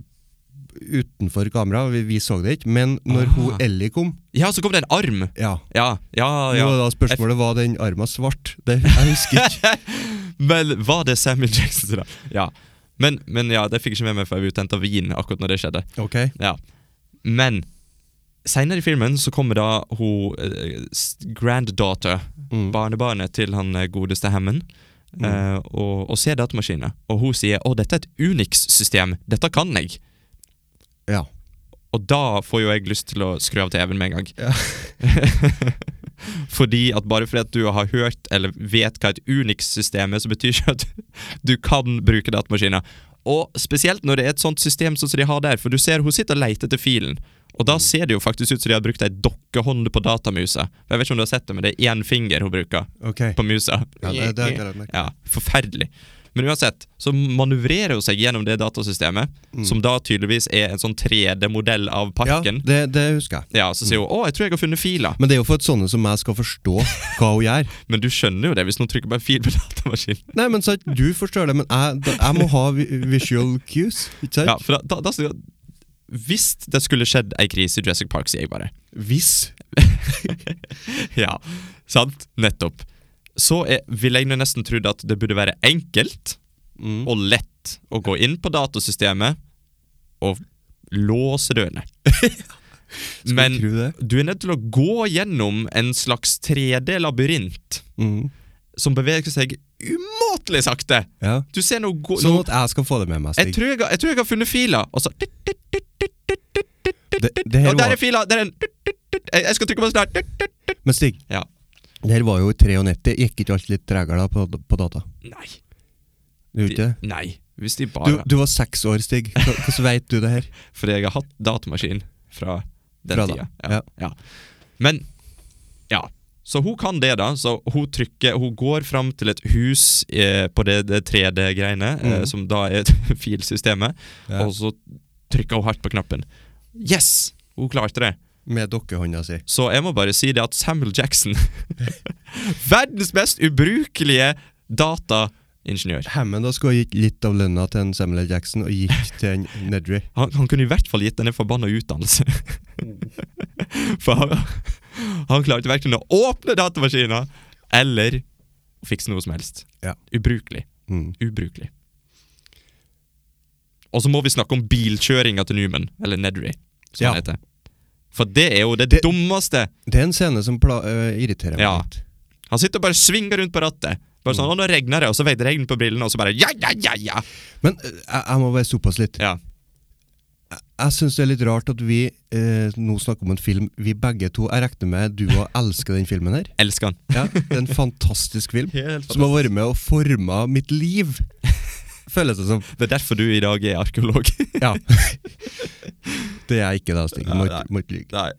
Speaker 12: utenfor kamera, og vi, vi så det ikke. Men når
Speaker 11: Ah.
Speaker 12: hun Ellie kom
Speaker 11: Ja, så kom det en arm.
Speaker 12: Ja.
Speaker 11: Ja, ja, ja.
Speaker 12: Nå er da spørsmålet var den arma svart. Det, jeg husker ikke.
Speaker 11: Men var det Samuel Jackson sin arm? Ja. Men, men ja, det fikk jeg ikke med meg, for jeg var ute og henta vin akkurat når det skjedde.
Speaker 12: ok.
Speaker 11: Ja. Men seinere i filmen så kommer da hun eh, s- granddaughter, barnebarnet til han eh, godeste Hammond, eh, og, og ser datamaskinen. Og hun sier 'Å, dette er et Unix-system. Dette kan jeg'.
Speaker 12: Ja.
Speaker 11: Og da får jo jeg lyst til å skru av TV-en med en gang.
Speaker 12: Ja.
Speaker 11: fordi at Bare fordi at du har hørt eller vet hva et Unix-system er, så betyr ikke at du kan bruke datamaskiner. Og spesielt når det er et sånt system sånn som de har der, for du ser hun sitter og leter etter filen. Og
Speaker 12: Mm.
Speaker 11: da ser det jo faktisk ut som de har brukt ei dokkehånd på datamusa. Jeg vet ikke om du har sett det, men det er én finger hun bruker
Speaker 12: Ok.
Speaker 11: på musa.
Speaker 12: Ja, det, det har ikke jeg lagt merke til.
Speaker 11: Ja, forferdelig. Men uansett, så manøvrerer hun seg gjennom det datasystemet, som da tydeligvis er en sånn 3D-modell av parken.
Speaker 12: Ja, det, det husker jeg.
Speaker 11: Ja, Så sier hun 'Å, jeg tror jeg har funnet fila',
Speaker 12: Men det er jo for at sånne som meg skal forstå hva hun gjør.
Speaker 11: men du skjønner jo det hvis noen trykker på en fil på datamaskinen.
Speaker 12: Nei, men sant, Du forstår det, men jeg, da- jeg må ha vi- visual cues. Ikke sant?
Speaker 11: Ja, for da, da, da sier hun, Hvis det skulle skjedd ei krise i Jurassic Park, sier jeg bare.
Speaker 12: Hvis
Speaker 11: ja, sant? Nettopp. Så er, ville jeg nå nesten trodd at det burde være enkelt og lett å gå inn på datasystemet og låse dørene. Men
Speaker 12: tro det?
Speaker 11: du er nødt til å gå gjennom en slags 3D-labyrint
Speaker 12: Mhm.
Speaker 11: som beveger seg umåtelig sakte.
Speaker 12: Ja.
Speaker 11: Du ser noe gå...
Speaker 12: Sånn
Speaker 11: noe-
Speaker 12: at jeg skal få det med meg.
Speaker 11: jeg
Speaker 12: Stig.
Speaker 11: tror jeg, har- jeg tror jeg har funnet fila, og så
Speaker 12: Det, det her
Speaker 11: Og der er
Speaker 12: var,
Speaker 11: fila! Der er en Jeg jeg skal trykke på den snart.
Speaker 12: men Stig,
Speaker 11: Ja.
Speaker 12: det her var jo i 93. Gikk ikke alt litt tregere da på, på data?
Speaker 11: Nei.
Speaker 12: Du,
Speaker 11: De-
Speaker 12: ikke? det?
Speaker 11: Nei. Hvis de bare
Speaker 12: du, du var seks år, Stig. Hva- Hvordan veit du det her?
Speaker 11: Fordi jeg har hatt datamaskin fra den
Speaker 12: Fra da,
Speaker 11: tida. Ja, ja. Men Ja. Så hun kan det, da. Så hun trykker Hun går fram til et hus eh, på det, det 3D-greiene, eh, som da er filsystemet,
Speaker 12: Mhm. Ja.
Speaker 11: og så trykker hun hardt på knappen. Yes! Hun klarte det.
Speaker 12: Med dokkehånda si.
Speaker 11: Så jeg må bare si det at Samuel Jackson Verdens mest ubrukelige dataingeniør.
Speaker 12: Hammond da skulle ha gitt litt av lønna til en Samuel L. Jackson og gikk til en Nedry.
Speaker 11: Han, han kunne i hvert fall gitt denne forbanna utdannelse. For han, han klarte verken å åpne datamaskina eller å fikse noe som helst.
Speaker 12: Ja.
Speaker 11: Ubrukelig.
Speaker 12: Mm.
Speaker 11: Ubrukelig. Og så må vi snakke om bilkjøringa til Newman, eller Nedry, som
Speaker 12: Ja.
Speaker 11: han heter. For det er jo det,
Speaker 12: Det-
Speaker 11: dummeste!
Speaker 12: Det er en scene som pla øh, irriterer meg
Speaker 11: Ja.
Speaker 12: litt.
Speaker 11: Han sitter og bare svinger rundt på rattet. Bare sånn, «Å, Nå regner det, og så veier det regn på brillene, og så bare ja, ja, ja, ja!
Speaker 12: Men øh, jeg, jeg må bare stoppe oss litt.
Speaker 11: ja.
Speaker 12: Jeg syns det er litt rart at vi eh, nå snakker om en film vi begge to Jeg regner med du òg elsker den filmen her.
Speaker 11: Elsker han.
Speaker 12: Ja, Det er en fantastisk film
Speaker 11: Helt
Speaker 12: som har vært med og forma mitt liv. Føles det som.
Speaker 11: Det er derfor du i dag er arkeolog.
Speaker 12: Ja. Det er jeg ikke, da, Stig. Må ikke- må ikke lyve.
Speaker 11: Nei.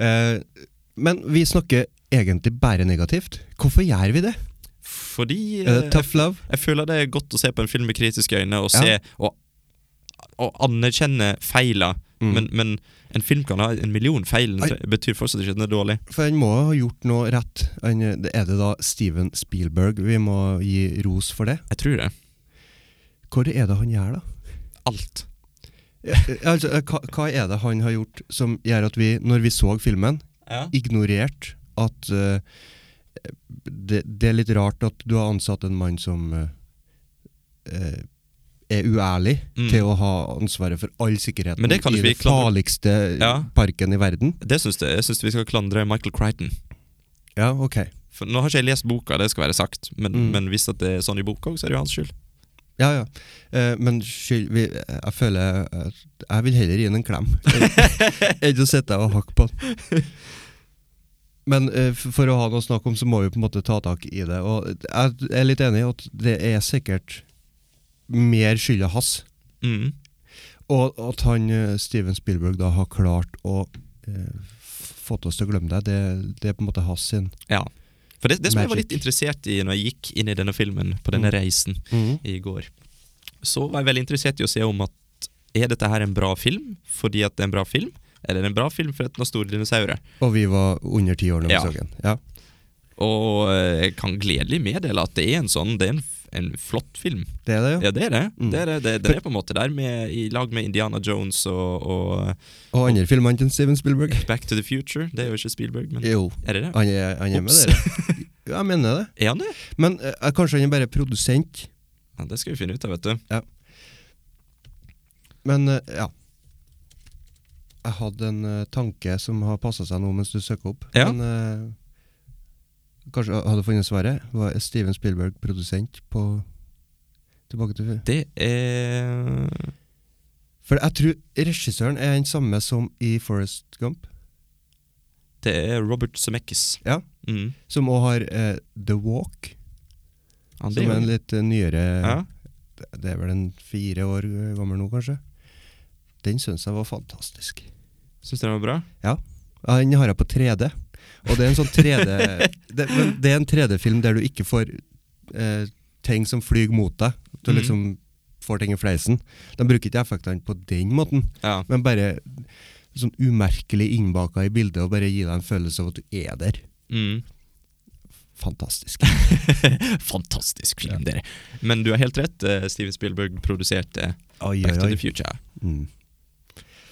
Speaker 12: Eh, men vi snakker egentlig bare negativt. Hvorfor gjør vi det?
Speaker 11: Fordi
Speaker 12: Er det
Speaker 11: eh,
Speaker 12: tough love?
Speaker 11: Jeg føler det er godt å se på en film med kritiske øyne og
Speaker 12: Ja.
Speaker 11: se og, og anerkjenne feila. Men, men en film kan ha en million feil.
Speaker 12: Ai.
Speaker 11: Det betyr fortsatt ikke at den er dårlig.
Speaker 12: For han må ha gjort noe rett. Han, eh, er det da Steven Spielberg vi må gi ros for det?
Speaker 11: Jeg tror det.
Speaker 12: Hva er det han gjør, da?
Speaker 11: Alt.
Speaker 12: Ja, altså, eh, hva, hva er det han har gjort som gjør at vi, når vi så filmen, ignorerte at eh, det, det er litt rart at du har ansatt en mann som eh, eh, er uærlig
Speaker 11: Mm.
Speaker 12: til å ha ansvaret for all sikkerheten
Speaker 11: Men det kan
Speaker 12: i
Speaker 11: ikke vi
Speaker 12: den
Speaker 11: klandre-
Speaker 12: farligste
Speaker 11: Ja.
Speaker 12: parken i verden.
Speaker 11: Det syns jeg. Jeg syns vi skal klandre Michael Crichton.
Speaker 12: Ja, ok.
Speaker 11: For nå har ikke jeg lest boka, det skal være sagt, men,
Speaker 12: Mm.
Speaker 11: men hvis at det er sånn i boka også, så er det jo hans skyld.
Speaker 12: Ja, ja. Eh, men skyld, vi, jeg føler at Jeg vil heller gi den en klem enn å sitte og hakke på den. Men eh, f- for å ha noe å snakke om, så må vi på en måte ta tak i det. Og eh, jeg er litt enig i at det er sikkert mer skylda hans.
Speaker 11: Mm.
Speaker 12: Og at han eh, Steven Spielberg da har klart å eh, få oss til å glemme deg, det, det er på en måte hans sin.
Speaker 11: Ja. For det, det som jeg var
Speaker 12: Magic. Mm.
Speaker 11: litt interessert i når jeg gikk inn i denne filmen, på denne reisen i går, så var jeg veldig interessert i å se om at er dette her en bra film fordi at det er en bra film, eller er det en bra film fordi at den har store dinosaurer?
Speaker 12: Og vi var under ti år da vi
Speaker 11: Ja.
Speaker 12: så den. Ja.
Speaker 11: Og eh, jeg kan gledelig meddele at det er en sånn, det er en, f- en flott film.
Speaker 12: Det er det, jo.
Speaker 11: Ja, det er det.
Speaker 12: Mm.
Speaker 11: det, er det. det den er på en måte der med, i lag med Indiana Jones og, og
Speaker 12: Og andre filmene til Steven Spielberg.
Speaker 11: eh, Back to the Future. Det er jo ikke Spielberg, men
Speaker 12: Jo,
Speaker 11: er det det?
Speaker 12: han er, han er med
Speaker 11: Ops.
Speaker 12: dere. Ja, Jeg mener det.
Speaker 11: Er han det?
Speaker 12: Men eh, kanskje han er bare produsent.
Speaker 11: Ja, det skal vi finne ut av, vet du.
Speaker 12: Men eh, ja. Jeg hadde en eh, tanke som har passa seg nå mens du søker opp.
Speaker 11: Ja.
Speaker 12: Men eh, kanskje jeg hadde funnet svaret. Var Steven Spielberg produsent på Tilbake til
Speaker 11: Det er
Speaker 12: For jeg tror regissøren er den samme som i Forest Gump,
Speaker 11: Det er Robert Zemeckis.
Speaker 12: Ja.
Speaker 11: Mm.
Speaker 12: som òg har eh, The Walk,
Speaker 11: Han, det
Speaker 12: som
Speaker 11: er
Speaker 12: er en
Speaker 11: jo-
Speaker 12: litt eh, nyere
Speaker 11: ja.
Speaker 12: Det er vel en fire år eh, gammel nå, kanskje. Den syns jeg var fantastisk.
Speaker 11: Syns du den var bra?
Speaker 12: Ja, Den har jeg på 3D. Og det er en sånn 3D det, men det er en 3D-film der du ikke får eh, ting som flyr mot deg. Du
Speaker 11: Mhm.
Speaker 12: liksom får ting i fleisen. De bruker ikke effektene på den måten,
Speaker 11: Ja.
Speaker 12: men bare sånn umerkelig innbaka i bildet og bare gi deg en følelse av at du er der.
Speaker 11: Mm.
Speaker 12: Fantastisk.
Speaker 11: Fantastisk film, dere. Men du har helt rett. eh, Steven Spielberg produserte
Speaker 12: Oi,
Speaker 11: Back
Speaker 12: oi,
Speaker 11: to
Speaker 12: oi.
Speaker 11: the Future.
Speaker 12: Mm.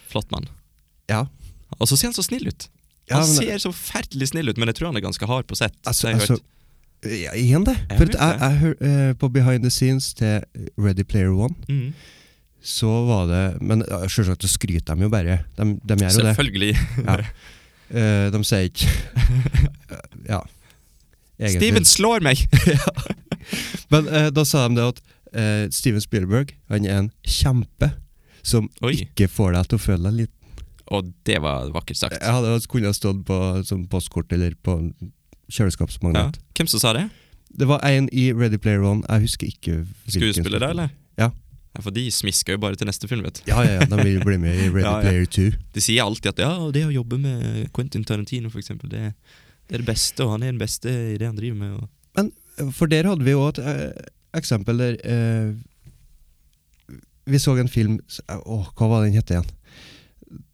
Speaker 11: Flott mann.
Speaker 12: Ja.
Speaker 11: Og så ser han så snill ut.
Speaker 12: Ja,
Speaker 11: Han
Speaker 12: men-
Speaker 11: ser så forferdelig snill ut, men jeg tror han er ganske hard på sett.
Speaker 12: Altså,
Speaker 11: det har jeg
Speaker 12: altså,
Speaker 11: hørt.
Speaker 12: ja, igjen det.
Speaker 11: Jeg
Speaker 12: For
Speaker 11: vet
Speaker 12: at jeg,
Speaker 11: det.
Speaker 12: jeg hør, eh, på Behind the Scenes til Ready Player One,
Speaker 11: Mm.
Speaker 12: så var det Men ja, selvsagt, så skryter de jo bare. De, de gjør jo det.
Speaker 11: Selvfølgelig.
Speaker 12: Eh, de sier ikke Ja. egentlig.
Speaker 11: Steven slår meg!
Speaker 12: Men eh, da sa de det at eh, Steven Spielberg han er en kjempe som
Speaker 11: Oi.
Speaker 12: ikke får deg til å føle deg litt
Speaker 11: Og det var vakkert sagt.
Speaker 12: Jeg hadde kunne ha stått på som postkort eller på en
Speaker 11: Ja.
Speaker 12: kjøleskapsmagnet.
Speaker 11: Hvem som sa det?
Speaker 12: Det var en i Ready Player One, jeg husker ikke hvilken
Speaker 11: Skuespiller der, eller?
Speaker 12: Ja.
Speaker 11: Ja, For de smisker jo bare til neste film, vet du.
Speaker 12: Ja, ja, ja, de vil bli med i Ready
Speaker 11: Ja, ja.
Speaker 12: Player 2.
Speaker 11: De sier alltid at ja, det å jobbe med Quentin Tarantino, for eksempel, det, det er det beste, og han er den beste i det han driver med. Og...
Speaker 12: For der hadde vi jo et eh, eksempel der eh, Vi så en film s- Åh, hva var den hette igjen?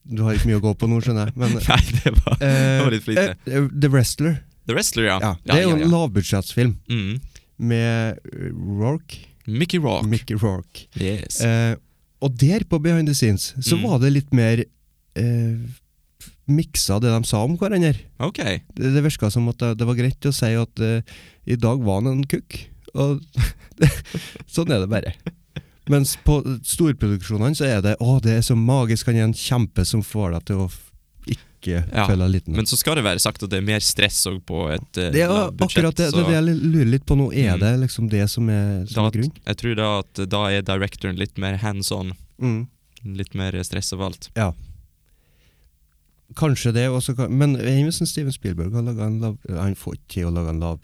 Speaker 12: Du har ikke mye å gå på nå, skjønner jeg. Men,
Speaker 11: Nei, det var, det
Speaker 12: eh,
Speaker 11: var litt flytende.
Speaker 12: eh, eh, The Wrestler.
Speaker 11: The Wrestler, ja.
Speaker 12: Ja, det er jo en lavbudsjettsfilm
Speaker 11: Mm.
Speaker 12: med eh, Rourke.
Speaker 11: Mickey Rock.
Speaker 12: Mickey Rourke.
Speaker 11: yes.
Speaker 12: Eh, og der på Behind the Scenes så
Speaker 11: Mm.
Speaker 12: var det litt mer eh, miksa det de sa om hverandre.
Speaker 11: ok.
Speaker 12: Det, det virka som at det, det var greit å si at eh, i dag var han en kukk. Og sånn er det bare. Mens på storproduksjonene så er det å, det er så magisk, han er en kjempe som får deg til å f- ikke
Speaker 11: Ja,
Speaker 12: føle deg liten.
Speaker 11: Men så skal det være sagt at det er mer stress òg på et eh,
Speaker 12: det er
Speaker 11: lavt budsjett,
Speaker 12: akkurat det, det er det jeg lurer litt på nå. Er
Speaker 11: Mm.
Speaker 12: det liksom det som er, som
Speaker 11: da,
Speaker 12: er grunnen?
Speaker 11: jeg tror da at da er directoren litt mer hands on,
Speaker 12: Mm.
Speaker 11: litt mer stress over alt.
Speaker 12: Kanskje det, også, kan- men jeg synes Steven Spielberg har laget en lav, han får ikke til å lage en lav,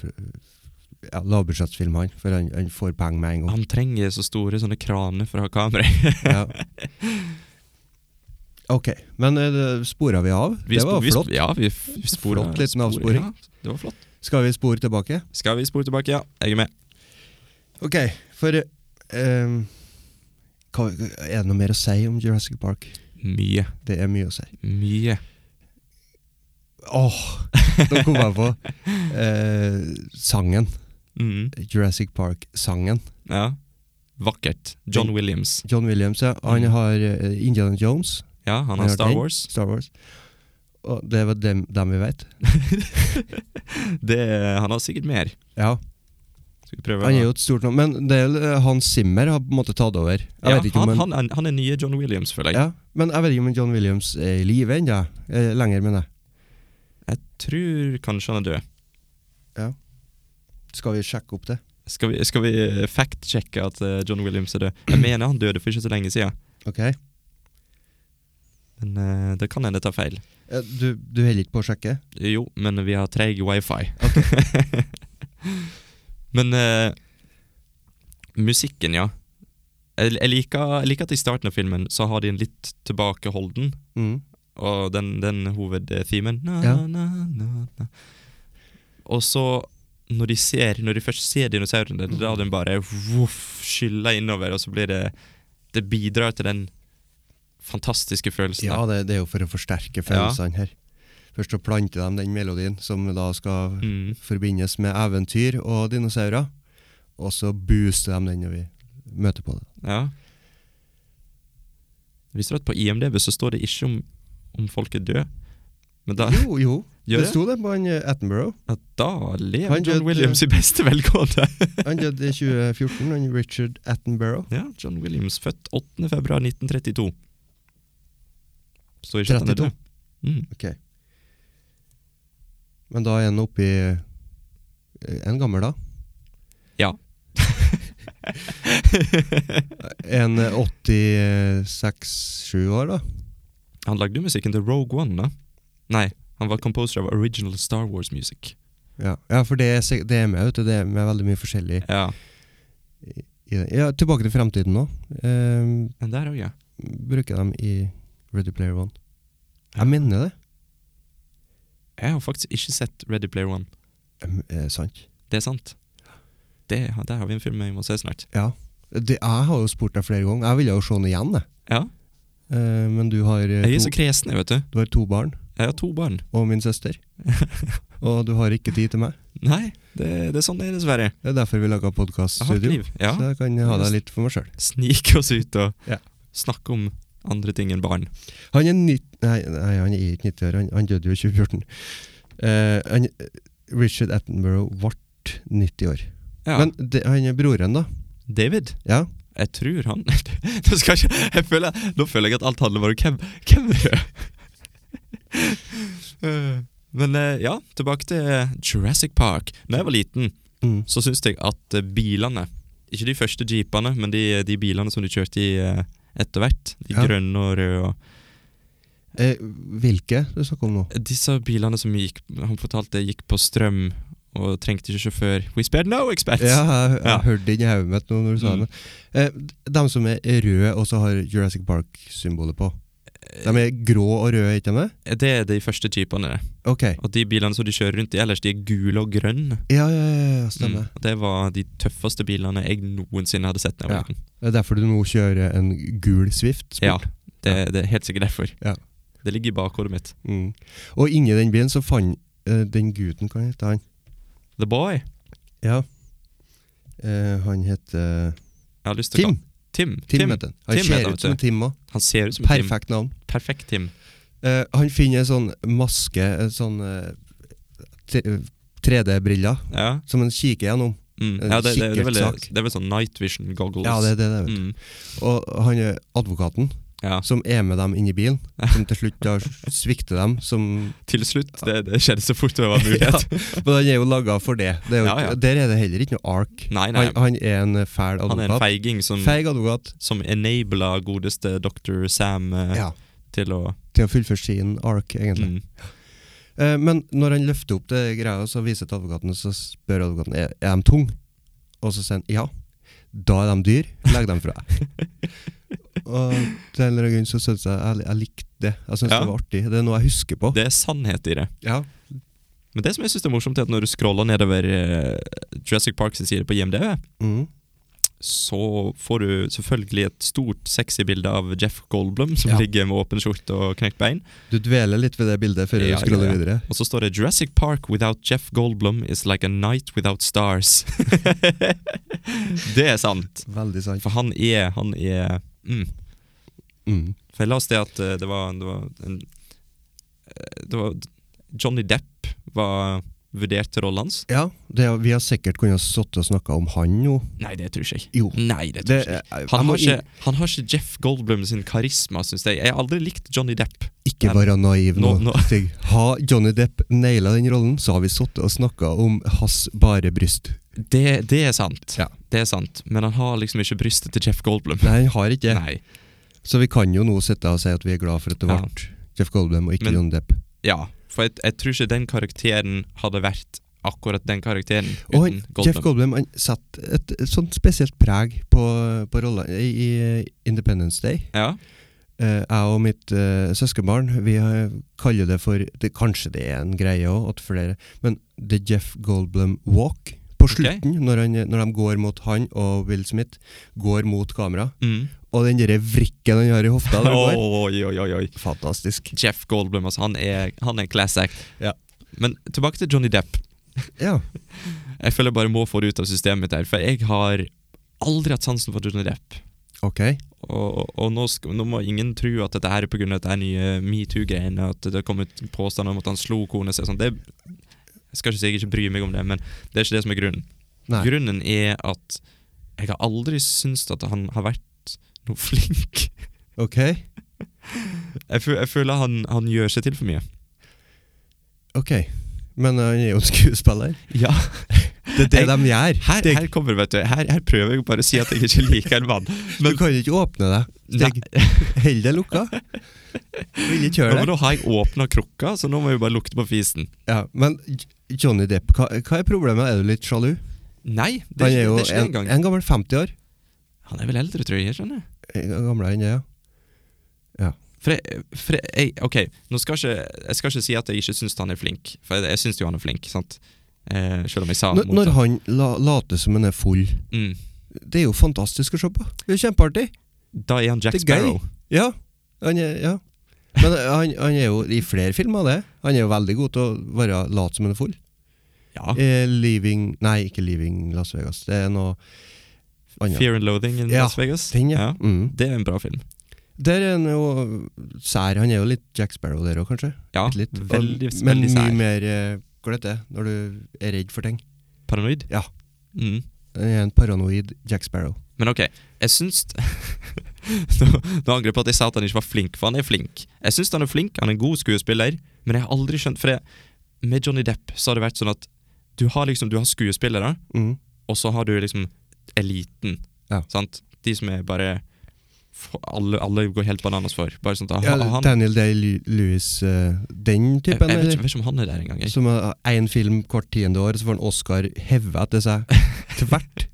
Speaker 12: ja, lavbudsjettsfilm, han, for han, han får penger med en gang.
Speaker 11: Han trenger så store sånne kraner for å ha kamera.
Speaker 12: Ja. Ok, men eh, spora vi av?
Speaker 11: Vi
Speaker 12: det
Speaker 11: spo-
Speaker 12: var
Speaker 11: vi sp-
Speaker 12: flott.
Speaker 11: Ja, vi, f- vi spora-
Speaker 12: Flott liten
Speaker 11: spor-
Speaker 12: avsporing.
Speaker 11: Ja, det var flott.
Speaker 12: Skal vi spore tilbake?
Speaker 11: Skal vi spore tilbake? Ja, jeg er med.
Speaker 12: Ok, for eh, ehm, hva, Er det noe mer å si om Jurassic Park?
Speaker 11: Mye.
Speaker 12: Det er mye å si.
Speaker 11: Mye.
Speaker 12: Åh, nå kom jeg på eh, sangen.
Speaker 11: Mm.
Speaker 12: Jurassic Park-sangen.
Speaker 11: Ja. Vakkert. John Williams.
Speaker 12: John Williams, ja. Han
Speaker 11: Mm.
Speaker 12: har eh, Indiana Jones.
Speaker 11: Ja, han
Speaker 12: Han
Speaker 11: har
Speaker 12: har
Speaker 11: Star
Speaker 12: den.
Speaker 11: Wars.
Speaker 12: Star Wars. Og det var dem, dem vi vet.
Speaker 11: Det, han har sikkert mer.
Speaker 12: Ja.
Speaker 11: Skal vi prøve
Speaker 12: Han er jo et stort navn, men det er, eh, Hans Zimmer har på en måte tatt over. Jeg
Speaker 11: ja,
Speaker 12: vet ikke
Speaker 11: han,
Speaker 12: om
Speaker 11: han, er- han er nye John Williams, føler jeg.
Speaker 12: ja, men jeg vet ikke om John Williams er i live ennå. Eh, Lenger, mener jeg.
Speaker 11: Jeg tror kanskje han er død.
Speaker 12: Skal vi sjekke opp det?
Speaker 11: Skal vi, skal vi eh, fact-sjekke at eh, John Williams er død? Jeg mener han døde for ikke så lenge siden.
Speaker 12: Ok. Eh,
Speaker 11: Men eh, det kan hende jeg tar feil.
Speaker 12: Eh, Du, du holder ikke på å sjekke?
Speaker 11: Jo, men vi har treig wifi. men eh, musikken, ja. Jeg, jeg, liker, jeg liker at i starten av filmen så har de en litt tilbakeholden,
Speaker 12: Mm.
Speaker 11: og den, den hovedthemen na,
Speaker 12: Ja.
Speaker 11: na, na, na. Og så, når de, ser, når de først ser dinosaurene, det er da den bare voff, skyller innover, og så blir det Det bidrar til den fantastiske følelsen.
Speaker 12: Ja,
Speaker 11: da.
Speaker 12: det, det er jo for å forsterke følelsene her. Først så planter de den melodien, som da skal
Speaker 11: Mm.
Speaker 12: forbindes med eventyr og dinosaurer. Og så booster de den når vi møter på det.
Speaker 11: Ja. Visste du at på IMDb så står det ikke om, om folk er døde? Men da,
Speaker 12: Jo, jo.
Speaker 11: Ah. Gjør
Speaker 12: det
Speaker 11: det?
Speaker 12: sto det på han eh, Attenborough.
Speaker 11: ja, da lever
Speaker 12: Han
Speaker 11: John
Speaker 12: døde-
Speaker 11: Williams i beste velgående.
Speaker 12: Han døde i 2014, han Richard Attenborough.
Speaker 11: ja, John Williams, født 8. februar 1932. Står ikke at han er
Speaker 12: 32.
Speaker 11: død. Mm.
Speaker 12: Ok. Men da er han oppi eh, En gammel, da?
Speaker 11: Ja.
Speaker 12: En 86-7 år, da?
Speaker 11: Han lagde jo musikken til Rogue One, da. Nei, han var composer av original Star Wars music.
Speaker 12: Ja, ja for det er, sik- det er med, vet du. Det er med veldig mye forskjellig
Speaker 11: Ja,
Speaker 12: i det. Ja, tilbake til fremtiden nå. Ehm,
Speaker 11: men der òg, ja.
Speaker 12: bruker dem i Ready Player One. Jeg mener det.
Speaker 11: Jeg har faktisk ikke sett Ready Player One.
Speaker 12: Em, Er det sant?
Speaker 11: Det er sant. Det, der har vi en film jeg må se snart.
Speaker 12: Ja. Det, jeg har jo spurt deg flere ganger. Jeg ville jo se den igjen, jeg.
Speaker 11: Ja,
Speaker 12: Eh, men du har, eh,
Speaker 11: Jeg er så
Speaker 12: to,
Speaker 11: kresen, jeg, vet du.
Speaker 12: du har to barn,
Speaker 11: Jeg har to barn.
Speaker 12: og min søster. og du har ikke tid til meg.
Speaker 11: Nei, det, det er sånn det er dessverre.
Speaker 12: Det er derfor vi laga
Speaker 11: Jeg har et
Speaker 12: podkaststudio.
Speaker 11: liv, ja.
Speaker 12: Så jeg kan ha deg litt for meg sjøl.
Speaker 11: Snike oss ut og
Speaker 12: Ja.
Speaker 11: snakke om andre ting enn barn.
Speaker 12: Han er 90 nei, nei, han er ikke 90 år. Han, han døde jo i 2014. Eh, han, Richard Attenborough ble 90 år.
Speaker 11: Ja,
Speaker 12: Men det, han er broren, da.
Speaker 11: David,
Speaker 12: Ja.
Speaker 11: jeg tror han Nå skal jeg ikke jeg føler, Nå føler jeg at alt handler bare om hvem, hvem er det? Eh, Men eh, ja, tilbake til eh, Jurassic Park. Da jeg var liten,
Speaker 12: Mm.
Speaker 11: så syntes jeg at eh, bilene Ikke de første jeepene, men de, de bilene som de kjørte i eh, etter hvert. De
Speaker 12: Ja.
Speaker 11: grønne og røde og
Speaker 12: Eh, hvilke du snakker om nå?
Speaker 11: Disse bilene som gikk, han fortalte gikk på strøm og trengte ikke sjåfør. We spared no expense!
Speaker 12: Ja, jeg, jeg
Speaker 11: Ja.
Speaker 12: hørte det inni hodet mitt nå når du sa
Speaker 11: Mm.
Speaker 12: det. Eh, de som er røde og så har Jurassic Park-symbolet på. De er grå og røde, ikke de?
Speaker 11: Eh, Det er de første jeepene. det.
Speaker 12: Ok.
Speaker 11: Og de bilene som de kjører rundt i ellers, de er gule og grønne.
Speaker 12: Ja, ja, ja, ja stemmer.
Speaker 11: Mm. Det var de tøffeste bilene jeg noensinne hadde sett. Når jeg var
Speaker 12: Ja.
Speaker 11: liten.
Speaker 12: Det er derfor du nå kjører en gul Swift.
Speaker 11: ja det, det er helt sikkert derfor.
Speaker 12: Ja.
Speaker 11: Det ligger i bakhodet mitt.
Speaker 12: Mm. Og inni den bilen så fant eh, den gutten, hva heter han?
Speaker 11: The Boy.
Speaker 12: Ja. Eh, han heter
Speaker 11: Jeg har lyst til
Speaker 12: Tim.
Speaker 11: Å kalle- Tim.
Speaker 12: Tim,
Speaker 11: Tim.
Speaker 12: heter han. Han
Speaker 11: Tim heter
Speaker 12: ser
Speaker 11: han,
Speaker 12: ut som
Speaker 11: vet
Speaker 12: en Tim òg.
Speaker 11: Han ser ut som en Tim.
Speaker 12: Perfekt navn.
Speaker 11: Perfekt Tim.
Speaker 12: Eh, han finner en sånn maske, en sånn eh, t- 3D-briller,
Speaker 11: Ja,
Speaker 12: som han kikker gjennom.
Speaker 11: mm.
Speaker 12: En
Speaker 11: ja det, det, det, er vel,
Speaker 12: kikkertsak.
Speaker 11: det er vel sånn night vision goggles.
Speaker 12: Ja, det er det. det vet du.
Speaker 11: Mm.
Speaker 12: Og han er advokaten
Speaker 11: Ja.
Speaker 12: som er med dem inn i bilen, som til slutt da svikter dem. Som,
Speaker 11: Til slutt. Det, det skjedde så fort det var mulighet.
Speaker 12: men han er jo laga for det. det er jo,
Speaker 11: Ja, ja.
Speaker 12: Der er det heller ikke noe ark.
Speaker 11: Nei, nei.
Speaker 12: Han, han er en fæl advokat.
Speaker 11: Han er en feiging som,
Speaker 12: Feig advokat.
Speaker 11: som enabla godeste Dr. Sam eh,
Speaker 12: Ja.
Speaker 11: til å
Speaker 12: Til å fullføre sin ark, egentlig.
Speaker 11: mm,
Speaker 12: Eh, men når han løfter opp det greia, så viser til advokaten, så spør advokaten er, er de tung? Og så sier han ja. Da er de dyr. Legg dem fra deg. Og til en eller annen grunn så synes jeg jeg, jeg likte det. Jeg synes
Speaker 11: Ja.
Speaker 12: det var artig. Det er noe jeg husker på.
Speaker 11: Det er sannhet i det.
Speaker 12: Ja.
Speaker 11: Men det som jeg synes er morsomt, er at når du scroller nedover eh, Jurassic Park sin side på IMDv,
Speaker 12: Mm.
Speaker 11: så får du selvfølgelig et stort sexy bilde av Jeff Goldblum, som
Speaker 12: Ja.
Speaker 11: ligger med åpen skjorte og knekt bein.
Speaker 12: Du dveler litt ved det bildet før
Speaker 11: Ja,
Speaker 12: du scroller
Speaker 11: ja, ja.
Speaker 12: videre.
Speaker 11: Og så står det 'Jurassic Park without Jeff Goldblum is like a night without stars'. det er sant.
Speaker 12: Veldig sant.
Speaker 11: For han er Han er mm,
Speaker 12: Mm.
Speaker 11: For jeg leste at eh, det var, det var, en, eh, det var Johnny Depp var vurdert til rollen hans?
Speaker 12: Ja, det, vi har sikkert kunnet sitte og snakke om han nå.
Speaker 11: Nei, det tror ikke jeg.
Speaker 12: Jo.
Speaker 11: Nei, det tror
Speaker 12: Det-
Speaker 11: ikke jeg.
Speaker 12: jeg- jeg
Speaker 11: Han
Speaker 12: må
Speaker 11: har ikke,
Speaker 12: inn-
Speaker 11: han har ikke Jeff Goldblum sin karisma, syns jeg. Jeg har aldri likt Johnny Depp.
Speaker 12: Ikke
Speaker 11: Nei.
Speaker 12: være naiv nå.
Speaker 11: Nå- nå.
Speaker 12: Stig. Har Johnny Depp naila den rollen, så har vi sittet og snakka om hans bare bryst.
Speaker 11: Det, det er sant.
Speaker 12: Ja.
Speaker 11: Det er sant. Men han har liksom ikke brystet til Jeff Goldblum.
Speaker 12: Nei, han har ikke det.
Speaker 11: Nei.
Speaker 12: Så vi kan jo nå sitte og si at vi er glad for at det ble
Speaker 11: Ja.
Speaker 12: Jeff Goldblum og ikke
Speaker 11: Men-
Speaker 12: Johnny Depp.
Speaker 11: Ja, for jeg, jeg tror ikke den karakteren hadde vært akkurat den karakteren
Speaker 12: Og
Speaker 11: uten
Speaker 12: han, Jeff
Speaker 11: Goldblum.
Speaker 12: Goldblum han satte et, et sånt spesielt preg på, på rolla i, i Independence Day.
Speaker 11: Ja,
Speaker 12: Eh, jeg og mitt eh, søskenbarn vi har- kaller det for det, Kanskje det er en greie òg, at flere Men The Jeff Goldblum Walk på
Speaker 11: Ok.
Speaker 12: slutten, når, han, når de går mot han og Will Smith, går mot kamera,
Speaker 11: mm.
Speaker 12: og den derre vrikken han har i hofta når han går
Speaker 11: Oi, oi, oi, oi.
Speaker 12: Fantastisk.
Speaker 11: Jeff Goldblum, altså, han er, han er en class act.
Speaker 12: Ja.
Speaker 11: Men tilbake til Johnny Depp.
Speaker 12: Ja.
Speaker 11: Jeg føler jeg bare må få det ut av systemet mitt her, for jeg har aldri hatt sansen for Johnny Depp.
Speaker 12: Ok.
Speaker 11: Og, og nå, sk- nå må ingen tro at dette her er pga. dette her nye metoo-greiene, at det har kommet påstander om at han slo kona si og sånn. Det- Jeg skal ikke si jeg ikke bryr meg om det, men det er ikke det som er grunnen.
Speaker 12: Nei.
Speaker 11: Grunnen er at jeg har aldri syntes at han har vært noe flink.
Speaker 12: Ok.
Speaker 11: Jeg, fø- jeg føler han, han gjør seg til for mye.
Speaker 12: Ok. Men han er jo en skuespiller.
Speaker 11: Ja,
Speaker 12: Det er det
Speaker 11: Jeg-
Speaker 12: de gjør.
Speaker 11: Her,
Speaker 12: Stig.
Speaker 11: her kommer det, vet du. Her, her prøver jeg bare å si at jeg ikke liker en mann.
Speaker 12: Du kan ikke åpne deg. Stig. Hold deg lukka. Vil ikke
Speaker 11: Ja,
Speaker 12: høre
Speaker 11: men
Speaker 12: det.
Speaker 11: nå har jeg åpna krukka, så nå må jeg bare lukte på fisen.
Speaker 12: Ja, men J- Johnny Depp, hva, hva er problemet? Er du litt sjalu?
Speaker 11: Nei, det
Speaker 12: Han
Speaker 11: er,
Speaker 12: er
Speaker 11: ikke-
Speaker 12: jo
Speaker 11: det er ikke det
Speaker 12: en,
Speaker 11: engang.
Speaker 12: en gammel 50 år.
Speaker 11: Han er vel eldre, tror jeg. skjønner jeg.
Speaker 12: En gang Gamlere enn det, ja.
Speaker 11: For, jeg, for jeg, jeg, ok, nå skal ikke, jeg skal ikke si at jeg ikke syns han er flink, for jeg, jeg syns jo han er flink, sant? Eh, selv om jeg sa
Speaker 12: Når,
Speaker 11: motsatt.
Speaker 12: når han la, later som han er full,
Speaker 11: mm,
Speaker 12: det er jo fantastisk å se på. Det er kjempeartig.
Speaker 11: Da er han Jack
Speaker 12: Det er gøy.
Speaker 11: Sparrow.
Speaker 12: Ja. Han er, ja. Men eh, han, han er jo i flere filmer, det. Han er jo veldig god til å være lat som han er full.
Speaker 11: Ja.
Speaker 12: Eh, leaving Nei, ikke Leaving Las Vegas. Det er noe annet.
Speaker 11: Fear and Loathing in
Speaker 12: Ja,
Speaker 11: Las Vegas.
Speaker 12: Den, ja. Mm.
Speaker 11: Det er en bra film.
Speaker 12: Der er han jo sær. Han er jo litt Jack Sparrow der òg, kanskje.
Speaker 11: Ja,
Speaker 12: Bitte litt. Og-
Speaker 11: veldig,
Speaker 12: men
Speaker 11: veldig
Speaker 12: mye
Speaker 11: sær.
Speaker 12: mer eh, gløtte når du er redd for ting.
Speaker 11: Paranoid?
Speaker 12: Ja.
Speaker 11: Mm.
Speaker 12: Han er en paranoid Jack Sparrow.
Speaker 11: Men ok, jeg syns Nå nå angrer jeg på at jeg sa at han ikke var flink, for han er flink. Jeg syns han er flink, han er en god skuespiller, men jeg har aldri skjønt For jeg, med Johnny Depp så har det vært sånn at du har liksom Du har skuespillere,
Speaker 12: Mm.
Speaker 11: og så har du liksom eliten.
Speaker 12: Ja.
Speaker 11: Sant? De som er bare for- alle, alle går helt bananas for. Bare sånn at
Speaker 12: Ja,
Speaker 11: han, han jeg,
Speaker 12: Daniel Day-Lewis, eh, den
Speaker 11: jeg,
Speaker 12: typen,
Speaker 11: vet ikke, jeg
Speaker 12: eller?
Speaker 11: vet ikke om han er der engang. jeg.
Speaker 12: Som har én film hvert tiende år, så får han Oscar hevet etter seg til hvert.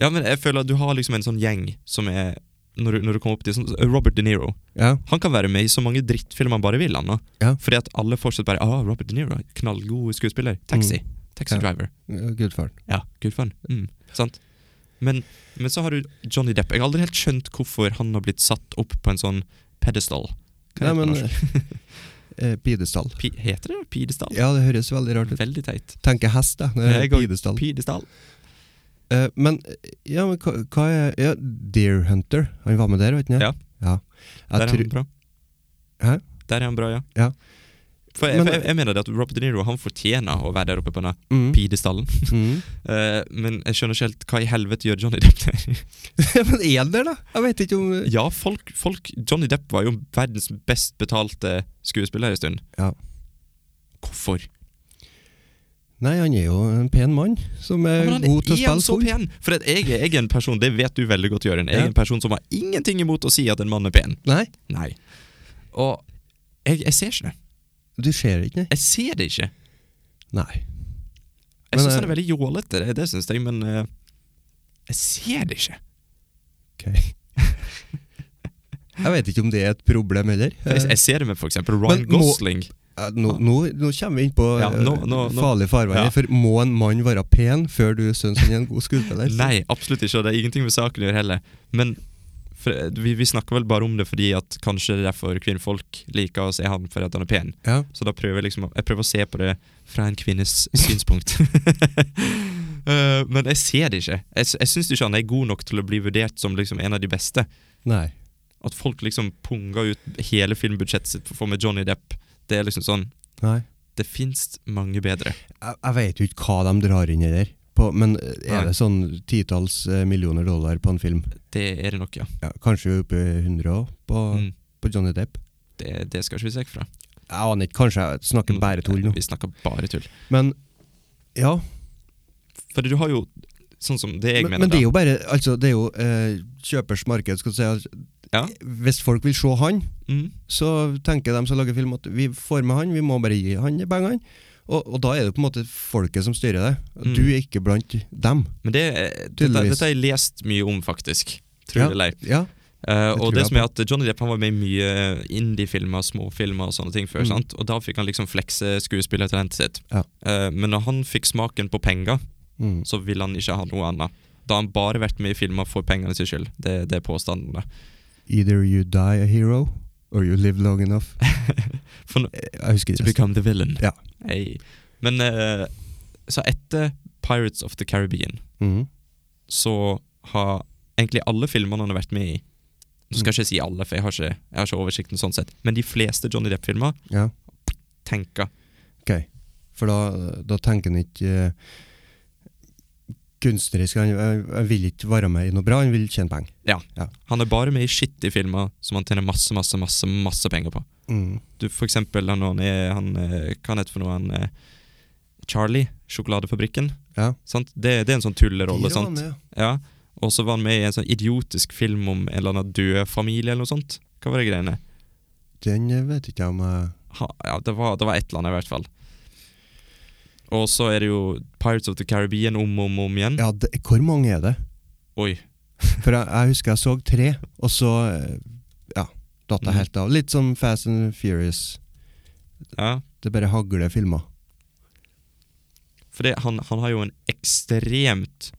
Speaker 11: Ja, men jeg føler at du har liksom en sånn gjeng som er Når du, når du kommer opp til sånn Robert De Niro.
Speaker 12: Ja.
Speaker 11: Han kan være med i så mange drittfilmer han bare vil. Han, nå.
Speaker 12: Ja.
Speaker 11: Fordi at alle fortsatt bare ah, Robert De Niro, knallgod skuespiller. Taxi. Taxi
Speaker 12: Mm. Ja.
Speaker 11: driver.
Speaker 12: Gudfaren.
Speaker 11: Ja, good fun. Mm. Sant? Men, men så har du Johnny Depp. Jeg har aldri helt skjønt hvorfor han har blitt satt opp på en sånn pedestal.
Speaker 12: Nei,
Speaker 11: Hva heter det på
Speaker 12: men
Speaker 11: norsk?
Speaker 12: eh, Pidestall.
Speaker 11: Pi heter det pidestall?
Speaker 12: Ja, det høres veldig rart ut.
Speaker 11: Veldig teit.
Speaker 12: Tenker hest, da. når jeg
Speaker 11: Jeg går-
Speaker 12: hører Pidestall.
Speaker 11: Pidestall.
Speaker 12: Eh, men ja, men hva, hva er ja, Deer Hunter? Han var med der, vet du?
Speaker 11: Ja.
Speaker 12: ja.
Speaker 11: Der
Speaker 12: Jeg
Speaker 11: er
Speaker 12: tror,
Speaker 11: han bra.
Speaker 12: Hæ?
Speaker 11: Der er han bra, ja.
Speaker 12: Ja.
Speaker 11: For, jeg,
Speaker 12: Men-
Speaker 11: for jeg, jeg mener det at Robert De Niro han fortjener å være der oppe på denne
Speaker 12: Mm.
Speaker 11: pidestallen.
Speaker 12: Mm.
Speaker 11: Eh, men jeg skjønner ikke helt hva i helvete gjør Johnny Depp der?
Speaker 12: men er han der, da? Jeg vet ikke om eh,
Speaker 11: Ja, folk, folk Johnny Depp var jo verdens best betalte skuespiller en stund.
Speaker 12: Ja.
Speaker 11: Hvorfor?
Speaker 12: Nei, han er jo en pen mann som er
Speaker 11: men han
Speaker 12: Eh, god til å
Speaker 11: er
Speaker 12: spille
Speaker 11: så
Speaker 12: full.
Speaker 11: pen! For at jeg, er- jeg er en person, det vet du veldig godt, Jørund. Jeg
Speaker 12: Ja.
Speaker 11: er en person som har ingenting imot å si at en mann er pen.
Speaker 12: Nei,
Speaker 11: Nei. Og jeg, jeg ser ikke det.
Speaker 12: du ser ikke, nei.
Speaker 11: Jeg ser det ikke.
Speaker 12: Nei. Men,
Speaker 11: Jeg syns
Speaker 12: eh,
Speaker 11: han er veldig jålete, det, det syns jeg, men eh, jeg ser det ikke.
Speaker 12: Ok. jeg vet ikke om det er et problem heller.
Speaker 11: Jeg,
Speaker 12: Eh,
Speaker 11: jeg ser det med for eksempel Ryan
Speaker 12: Men må-
Speaker 11: Gosling.
Speaker 12: eh, nå, nå, nå kommer vi inn på
Speaker 11: Ja,
Speaker 12: eh,
Speaker 11: nå- nå- nå-
Speaker 12: farlig farvann.
Speaker 11: Ja.
Speaker 12: For må en mann være pen før du syns han er en god skuespiller?
Speaker 11: Nei, absolutt ikke. Og det er ingenting med saken å gjøre heller. Men for, eh, vi, vi snakker vel bare om det fordi at kanskje det er derfor kvinnfolk liker å se han fordi at han er pen.
Speaker 12: Ja.
Speaker 11: Så da prøver jeg liksom å- Jeg prøver å se på det fra en kvinnes synspunkt. Eh, men jeg ser det ikke. Jeg, s- jeg syns ikke han er god nok til å bli vurdert som liksom en av de beste.
Speaker 12: Nei.
Speaker 11: At folk liksom punger ut hele filmbudsjettet sitt for å få med Johnny Depp, det er liksom sånn
Speaker 12: Nei.
Speaker 11: Det fins mange bedre.
Speaker 12: Jeg, jeg vet jo ikke hva de drar inn i der, på, men eh,
Speaker 11: Nei.
Speaker 12: er det sånn titalls eh, millioner dollar på en film?
Speaker 11: Det er det nok, ja.
Speaker 12: Ja, kanskje oppe i 100 òg, på,
Speaker 11: Mm.
Speaker 12: på Johnny Depp?
Speaker 11: Det, det skal ikke vi se vekk fra.
Speaker 12: Jeg aner ikke, kanskje jeg
Speaker 11: Mm.
Speaker 12: snakker bare tull nå.
Speaker 11: Vi snakker bare tull.
Speaker 12: Men ja,
Speaker 11: For du har jo sånn som det jeg
Speaker 12: men,
Speaker 11: mener
Speaker 12: men det er jo bare altså, Det er jo eh, kjøpers marked, skal du si. Altså,
Speaker 11: da. Ja.
Speaker 12: Hvis folk vil se han,
Speaker 11: Mm.
Speaker 12: så tenker de som lager film at vi får med han, vi må bare gi han de pengene. Og, og da er det på en måte folket som styrer det.
Speaker 11: Mm.
Speaker 12: Du er ikke blant dem.
Speaker 11: Men det, eh, dette,
Speaker 12: Tydeligvis.
Speaker 11: dette har jeg lest mye om, faktisk. Tror det eller ei.
Speaker 12: Ja.
Speaker 11: Eh, og
Speaker 12: tror
Speaker 11: det
Speaker 12: jeg
Speaker 11: som er at Johnny Depp han var med i mye eh, indie-filmer, småfilmer og sånne ting før.
Speaker 12: Mm.
Speaker 11: sant? Og da fikk han liksom flekse skuespillertalentet sitt.
Speaker 12: Ja.
Speaker 11: Eh, men når han fikk smaken på penger,
Speaker 12: Mm.
Speaker 11: så ville han ikke ha noe annet. Da har han bare vært med i filmer for pengene sin skyld. Det, det er påstanden. da.
Speaker 12: Either you die a hero, or you live long enough.
Speaker 11: For nå-
Speaker 12: Jeg husker
Speaker 11: to
Speaker 12: ikke resten.
Speaker 11: become the villain.
Speaker 12: Ja.
Speaker 11: Ei. Men eh, så etter Pirates of the Caribbean
Speaker 12: Mm.
Speaker 11: så har egentlig alle filmene han har vært med i Nå skal jeg ikke si alle, for jeg har ikke, jeg har ikke oversikten sånn sett, men de fleste Johnny Depp-filmer
Speaker 12: Ja,
Speaker 11: tenker
Speaker 12: ok. For da, da tenker han ikke eh, kunstnerisk. Han, han han vil ikke være med i noe bra, han vil tjene penger.
Speaker 11: Ja.
Speaker 12: Ja.
Speaker 11: Han er bare med i skittige filmer som han tjener masse, masse, masse masse penger på.
Speaker 12: Mm.
Speaker 11: Du, for eksempel han, han er han, eh, Hva han heter for noe? Han, eh, Charlie, Sjokoladefabrikken.
Speaker 12: Ja.
Speaker 11: Sant? Det, det er en sånn
Speaker 12: De
Speaker 11: tullerolle.
Speaker 12: var
Speaker 11: sant?
Speaker 12: med, ja.
Speaker 11: Ja. Og så var han med i en sånn idiotisk film om en eller annen død familie eller noe sånt. Hva var det greiene?
Speaker 12: Den eh, vet ikke jeg om jeg
Speaker 11: Ha, ja, det var, det var et eller annet i hvert fall. Og så er det jo Pirates of the Caribbean om og om, og om igjen.
Speaker 12: Ja, det, hvor mange er det?
Speaker 11: Oi.
Speaker 12: For jeg, jeg husker jeg så tre, og så eh, Ja, datt jeg
Speaker 11: Mhm.
Speaker 12: helt av. Litt som Fast and Furious.
Speaker 11: Ja.
Speaker 12: Det bare hagler filmer.
Speaker 11: For det, han, han har jo en ekstremt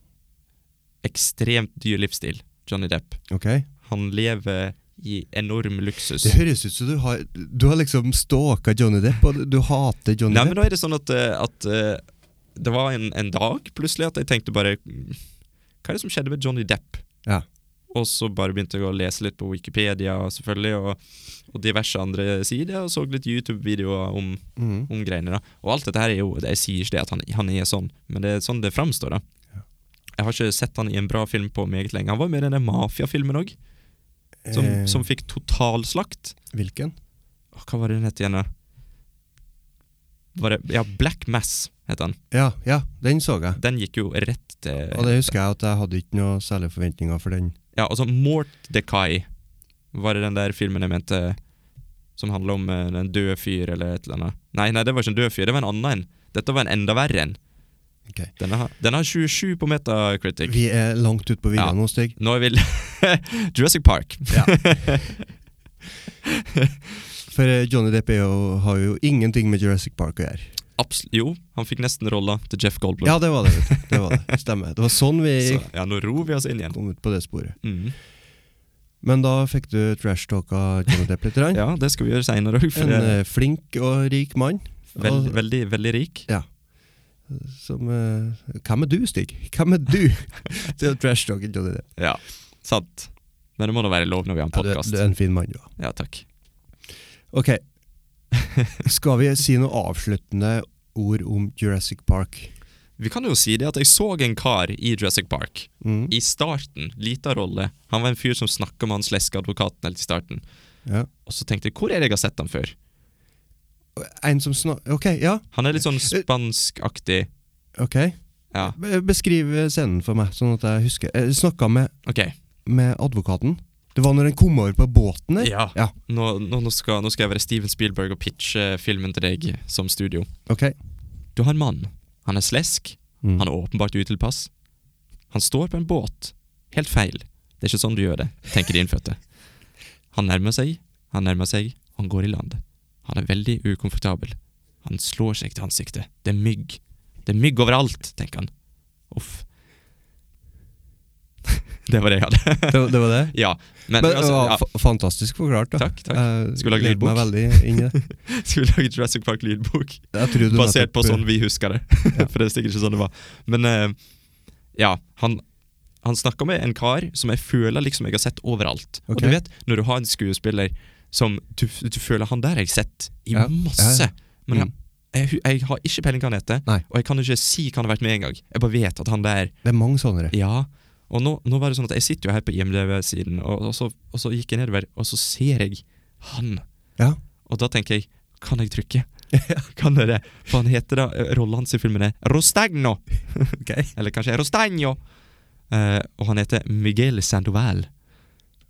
Speaker 11: Ekstremt dyr livsstil, Johnny Depp.
Speaker 12: Ok?
Speaker 11: Han lever i enorm luksus.
Speaker 12: Det høres ut som du har Du har liksom stalka Johnny Depp, og du- du hater Johnny
Speaker 11: Nei, men
Speaker 12: Depp.
Speaker 11: da er det sånn at, eh, at eh, det var en, en dag plutselig at jeg tenkte bare mm, Hva er det som skjedde med Johnny Depp?
Speaker 12: Ja.
Speaker 11: Og så bare begynte jeg å lese litt på Wikipedia selvfølgelig, og, og diverse andre sider, og så litt YouTube-videoer om,
Speaker 12: Mhm.
Speaker 11: om greiene. da. Og alt dette her er jo det- Jeg sier ikke det at han, han er sånn, men det er sånn det framstår. da. Jeg har ikke sett han i en bra film på meget lenge. Han var med i den der mafiafilmen òg, som,
Speaker 12: Eh,
Speaker 11: som fikk totalslakt.
Speaker 12: Hvilken?
Speaker 11: Åh, Hva var det den het igjen? da? Var det, ja, Black Mass het den.
Speaker 12: Ja, ja, den så jeg.
Speaker 11: Den gikk jo rett til
Speaker 12: Og det husker jeg at jeg hadde ikke noe særlige forventninger for den.
Speaker 11: Ja, altså Mordecai var det den der filmen jeg mente som handler om eh, en død fyr eller et eller annet. Nei, nei, det var ikke en død fyr, det var en annen en. Dette var en enda verre en.
Speaker 12: Ok.
Speaker 11: Den har, den har 27 på Metacritic.
Speaker 12: Vi er langt ute på vidda
Speaker 11: Ja.
Speaker 12: nå, Stig.
Speaker 11: Nå er vi Jurassic Park.
Speaker 12: For eh, Johnny Depp er jo, har jo ingenting med Jurassic Park å gjøre.
Speaker 11: Abs jo, han fikk nesten rolla til Jeff Goldblom.
Speaker 12: Ja, det var det. vet du. Det var det. Stemmer. Det var sånn vi
Speaker 11: Så, ja, nå ror vi oss inn igjen.
Speaker 12: kom ut på det sporet.
Speaker 11: Mm.
Speaker 12: Men da fikk du trash-talka Johnny Depp litt.
Speaker 11: Ja, det skal vi gjøre seinere òg, for
Speaker 12: En
Speaker 11: det er
Speaker 12: eh, flink og rik mann.
Speaker 11: veld,
Speaker 12: og-
Speaker 11: veldig, veldig rik.
Speaker 12: Som, eh, hvem er du, Stig? Hvem er du? Til å trash-talke Johnny Depp.
Speaker 11: Ja, sant. Men det må da være lov når vi har en
Speaker 12: Ja, du,
Speaker 11: podkast.
Speaker 12: du er en fin mann, du. ja.
Speaker 11: Ja, takk.
Speaker 12: Ok. Skal vi si noe avsluttende ord om Jurassic Park?
Speaker 11: Vi kan jo si det at jeg så en kar i Jurassic Park.
Speaker 12: Mm.
Speaker 11: I starten, lita rolle. Han var en fyr som snakka med han sleske advokaten helt i starten.
Speaker 12: Ja.
Speaker 11: Og så tenkte jeg, hvor er det jeg har sett han før?
Speaker 12: En som snak... Ok, ja.
Speaker 11: Han er litt sånn spanskaktig.
Speaker 12: ok.
Speaker 11: Ja,
Speaker 12: Be- Beskriv eh, scenen for meg, sånn at jeg husker. Jeg snakka med,
Speaker 11: ok.
Speaker 12: med advokaten. Det var når han kom over på båten der?
Speaker 11: Ja.
Speaker 12: ja.
Speaker 11: Nå, nå, nå, skal, nå skal jeg være Steven Spielberg og pitche filmen til deg som studio.
Speaker 12: Ok.
Speaker 11: Du har en mann. Han er slesk.
Speaker 12: Mm.
Speaker 11: Han er åpenbart utilpass. Han står på en båt. Helt feil. Det er ikke sånn du gjør det, tenker de innfødte. Han nærmer seg, han nærmer seg, og han går i land. Han er veldig ukomfortabel. Han slår seg til ansiktet. Det er mygg. Det er mygg overalt, tenker han. Uff. det var det jeg hadde.
Speaker 12: Det, det var det?
Speaker 11: ja, men,
Speaker 12: Men, det
Speaker 11: altså,
Speaker 12: var
Speaker 11: ja.
Speaker 12: fa- Fantastisk forklart. da
Speaker 11: Takk, takk.
Speaker 12: Jeg
Speaker 11: Skulle lage
Speaker 12: gleder meg
Speaker 11: lydbok.
Speaker 12: veldig inn i det.
Speaker 11: Skal vi lage Jurassic Park-lydbok?
Speaker 12: Jeg tror du
Speaker 11: Basert på
Speaker 12: nettopp-
Speaker 11: sånn vi husker det. For det er sikkert ikke sånn det var. Men eh, ja, han, han snakka med en kar som jeg føler liksom jeg har sett overalt. Og
Speaker 12: Ok.
Speaker 11: du vet, når du har en skuespiller som du, du føler han der har jeg sett i
Speaker 12: Ja, ja,
Speaker 11: masse,
Speaker 12: ja.
Speaker 11: men
Speaker 12: Mm.
Speaker 11: jeg, jeg, hu- jeg har ikke peiling hva han heter,
Speaker 12: Nei.
Speaker 11: og jeg kan ikke si hva han har vært med en gang. Jeg bare vet at han der
Speaker 12: Det er mange sånne.
Speaker 11: Ja. Og nå, nå var det sånn at jeg sitter jo her på IMDv-siden, og, og, så- og så gikk jeg nedover, og så ser jeg han.
Speaker 12: Ja.
Speaker 11: Og da tenker jeg kan jeg trykke? kan jeg det? For han heter da Eh, Rollen hans i filmen er Rostagno! Eller kanskje Rostagno! Eh, og han heter Miguel Sandoval.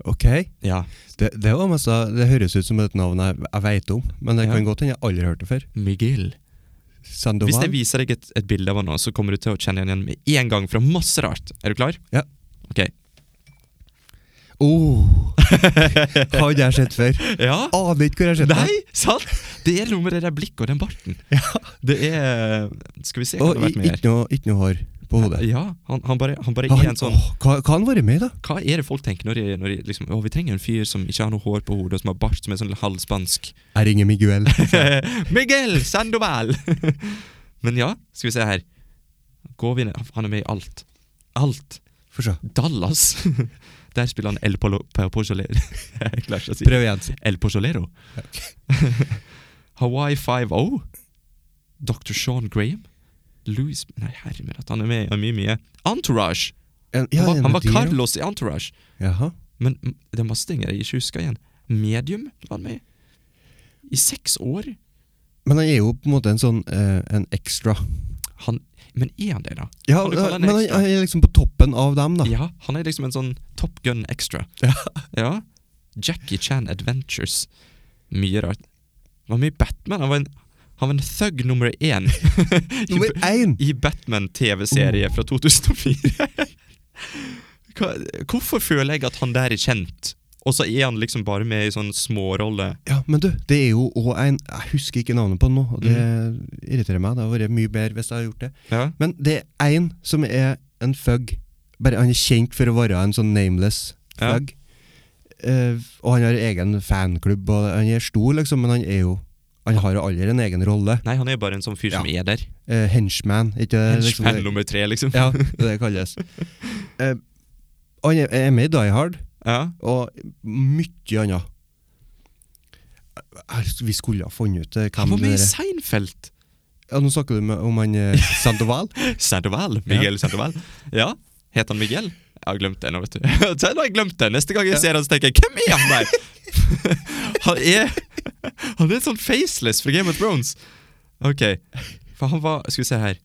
Speaker 12: Ok.
Speaker 11: Ja,
Speaker 12: Det, det, var mest, da- det høres ut som et navn jeg, jeg veit om, men det
Speaker 11: Ja.
Speaker 12: kan godt hende jeg aldri har hørt det før.
Speaker 11: Miguel.
Speaker 12: Sandoval.
Speaker 11: Hvis jeg viser deg et, et bilde av han nå, så kommer du til å kjenne han igjen med en gang fra masse rart. Er du klar?
Speaker 12: Ja.
Speaker 11: Ok.
Speaker 12: Oh. Har ikke jeg sett før.
Speaker 11: Ja?
Speaker 12: Aner ikke hvor jeg har sett
Speaker 11: Nei,
Speaker 12: det.
Speaker 11: sant? Det er noe med det der blikket og den barten. Det er Skal vi se hva
Speaker 12: Og
Speaker 11: han har
Speaker 12: i-
Speaker 11: vært med i
Speaker 12: ikke noe, ikke noe hår på hodet.
Speaker 11: her. Ja, han, han bare, han bare
Speaker 12: Har
Speaker 11: er
Speaker 12: han,
Speaker 11: en sånn
Speaker 12: åh, hva, hva har han vært med i, da?
Speaker 11: Hva er det folk tenker når de, når de liksom Å, vi trenger en fyr som ikke har noe hår på hodet, og som har bart som er sånn halvspansk.
Speaker 12: Jeg ringer Miguel.
Speaker 11: Miguel Sandoval! Men ja, skal vi se her. Går vi ned Han er med i alt. Alt.
Speaker 12: Få se.
Speaker 11: Dallas. Der spiller han El Polo- Pojolero. Jeg klarer ikke å si det.
Speaker 12: Prøv igjen.
Speaker 11: El Pojolero. Hawaii 5-0. Dr. Sean Graham. Louis Nei, herre min, at han er med i mye, mye. Entourage!
Speaker 12: En-
Speaker 11: Han,
Speaker 12: ja,
Speaker 11: var-
Speaker 12: en
Speaker 11: han
Speaker 12: av
Speaker 11: var
Speaker 12: de, ja.
Speaker 11: Carlos i Entourage.
Speaker 12: Jaha.
Speaker 11: Men mm, det er masse ting jeg ikke husker igjen. Medium var han med i. I seks år.
Speaker 12: Men han er jo på en måte en sånn eh, en ekstra.
Speaker 11: Han, men er han det, da?
Speaker 12: Ja,
Speaker 11: Kan du kalle han
Speaker 12: men han,
Speaker 11: ekstra?
Speaker 12: han er liksom på toppen av dem, da.
Speaker 11: Ja, han er liksom en sånn Top Gun extra.
Speaker 12: Ja.
Speaker 11: Ja. Jackie Chan Adventures. Mye rart. Han var mye Batman. Han var en, han var en thug nummer én I
Speaker 12: Nummer
Speaker 11: ba-
Speaker 12: én!
Speaker 11: i
Speaker 12: Oh.
Speaker 11: Batman-TV-serie fra 2004. Hva, hvorfor føler jeg at han der er kjent, og så er han liksom bare med i sånn smårolle?
Speaker 12: Ja, men du, det er jo òg en Jeg husker ikke navnet på den nå, og det
Speaker 11: Mm.
Speaker 12: irriterer meg. Det hadde vært mye bedre hvis jeg hadde gjort det.
Speaker 11: Ja.
Speaker 12: Men det er én som er en thug. Bare Han er kjent for å være en sånn nameless
Speaker 11: Ja.
Speaker 12: thug. Eh, og han har egen fanklubb, og han er stor, liksom, men han er jo Han har jo aldri en egen rolle.
Speaker 11: Nei, han er bare en sånn fyr som er der.
Speaker 12: Eh, henchman, ikke det? liksom
Speaker 11: Henchman
Speaker 12: det-
Speaker 11: nummer tre, liksom.
Speaker 12: Ja, det er det kalles. Eh, han er, er med i Die Hard,
Speaker 11: Ja.
Speaker 12: og mye annet. Jeg- Vi skulle ha funnet ut eh, hvem
Speaker 11: Han var med i
Speaker 12: det er.
Speaker 11: Seinfeld!
Speaker 12: Ja, nå snakker du med, om han eh, Sandoval.
Speaker 11: Sandoval. Miguel Sandoval. Ja, heter han Miguel? Jeg har glemt det nå, vet du. Se, nå har jeg glemt det. Neste gang jeg ser han, så tenker jeg 'Hvem er han der?' han er Han er sånn faceless fra Game of Thrones. Ok, for han var Skal vi se her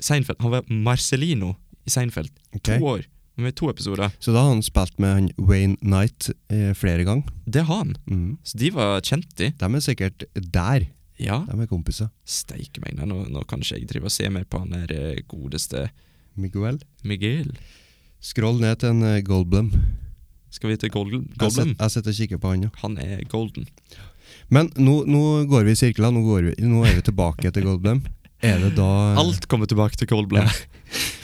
Speaker 11: Seinfeld. Han var Marcelino i Seinfeld.
Speaker 12: Ok.
Speaker 11: To år. Med to episoder.
Speaker 12: Så da har han spilt med han Wayne Knight eh, flere ganger.
Speaker 11: Det har han.
Speaker 12: Mhm.
Speaker 11: Så de var kjent, de.
Speaker 12: De er sikkert der.
Speaker 11: Ja.
Speaker 12: De er kompiser.
Speaker 11: Steike meg, nei, nå, nå kan ikke jeg drive og se mer på han der eh, godeste
Speaker 12: Miguel.
Speaker 11: Miguel.
Speaker 12: Scroll ned til en eh, Goldblum.
Speaker 11: Skal vi til Golden?
Speaker 12: Jeg sit-
Speaker 11: Golden?
Speaker 12: Jeg sitter og kikker på han, ja.
Speaker 11: Han er golden.
Speaker 12: Men nå, nå går vi i sirkler. Nå, går vi, nå er vi tilbake til Goldblum. Er det da eh,
Speaker 11: Alt kommer tilbake til Goldblum.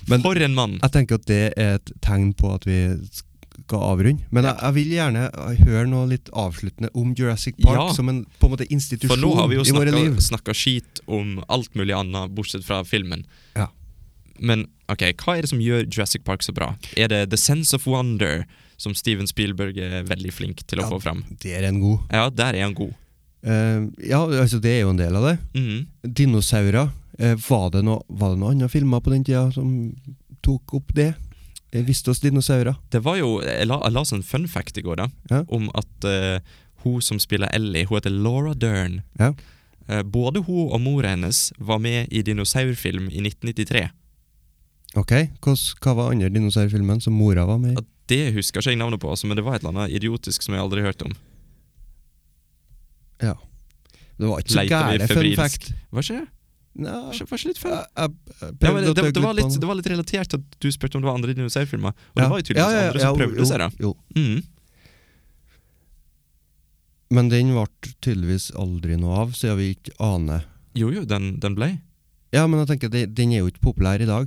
Speaker 12: Men-
Speaker 11: Eh. For en mann!
Speaker 12: Jeg tenker at det er et tegn på at vi skal avrunde. Men jeg, jeg vil gjerne eh, høre noe litt avsluttende om Jurassic Park
Speaker 11: Ja.
Speaker 12: som en på en måte
Speaker 11: For
Speaker 12: institusjon
Speaker 11: nå har vi jo
Speaker 12: i våre
Speaker 11: snakka-
Speaker 12: liv.
Speaker 11: snakka skit om alt mulig annet, bortsett fra filmen.
Speaker 12: Ja.
Speaker 11: Men ok, hva er det som gjør Jurassic Park så bra? Er det The Sense of Wonder, som Steven Spielberg er veldig flink til å
Speaker 12: Ja.
Speaker 11: få fram?
Speaker 12: Der er en god.
Speaker 11: Ja, der er han god.
Speaker 12: Eh, ja, altså det er jo en del av det.
Speaker 11: Mhm.
Speaker 12: Dinosaurer. eh, var det noe- var det noen andre filmer på den tida som tok opp det? Eh, Visste oss dinosaurer?
Speaker 11: Det var jo Jeg la, jeg la oss en fun fact i går, da,
Speaker 12: Ja.
Speaker 11: om at eh, hun som spiller Ellie, hun heter Laura Dern.
Speaker 12: Ja.
Speaker 11: Eh, både hun og mora hennes var med i dinosaurfilm i 1993.
Speaker 12: Ok, Hvordan, Hva var andre dinosaurfilmen som mora var med i?
Speaker 11: Ja, det husker ikke jeg navnet på, altså, men det var et eller annet idiotisk som jeg aldri hørte om.
Speaker 12: Ja. Det var ikke så
Speaker 11: Leita vi
Speaker 12: gære fun
Speaker 11: febrilsk.
Speaker 12: fact.
Speaker 11: Var ikke det?
Speaker 12: Nei,
Speaker 11: Var ikke- var ikke litt fun?
Speaker 12: jeg- jeg- jeg
Speaker 11: Ja,
Speaker 12: prøvde
Speaker 11: men
Speaker 12: å
Speaker 11: det, det,
Speaker 12: tøgge
Speaker 11: det, var
Speaker 12: litt på
Speaker 11: litt,
Speaker 12: den.
Speaker 11: det var litt relatert til at du spurte om det var andre dinosaurfilmer. Og det var jo
Speaker 12: Ja,
Speaker 11: tydeligvis
Speaker 12: ja, ja,
Speaker 11: andre som
Speaker 12: jo,
Speaker 11: prøvde seg, da.
Speaker 12: Jo, jo.
Speaker 11: Mhm.
Speaker 12: Men den ble tydeligvis aldri noe av, siden vi ikke aner
Speaker 11: Jo jo, den, den ble.
Speaker 12: Ja, men jeg tenker, det- den er jo ikke populær i dag.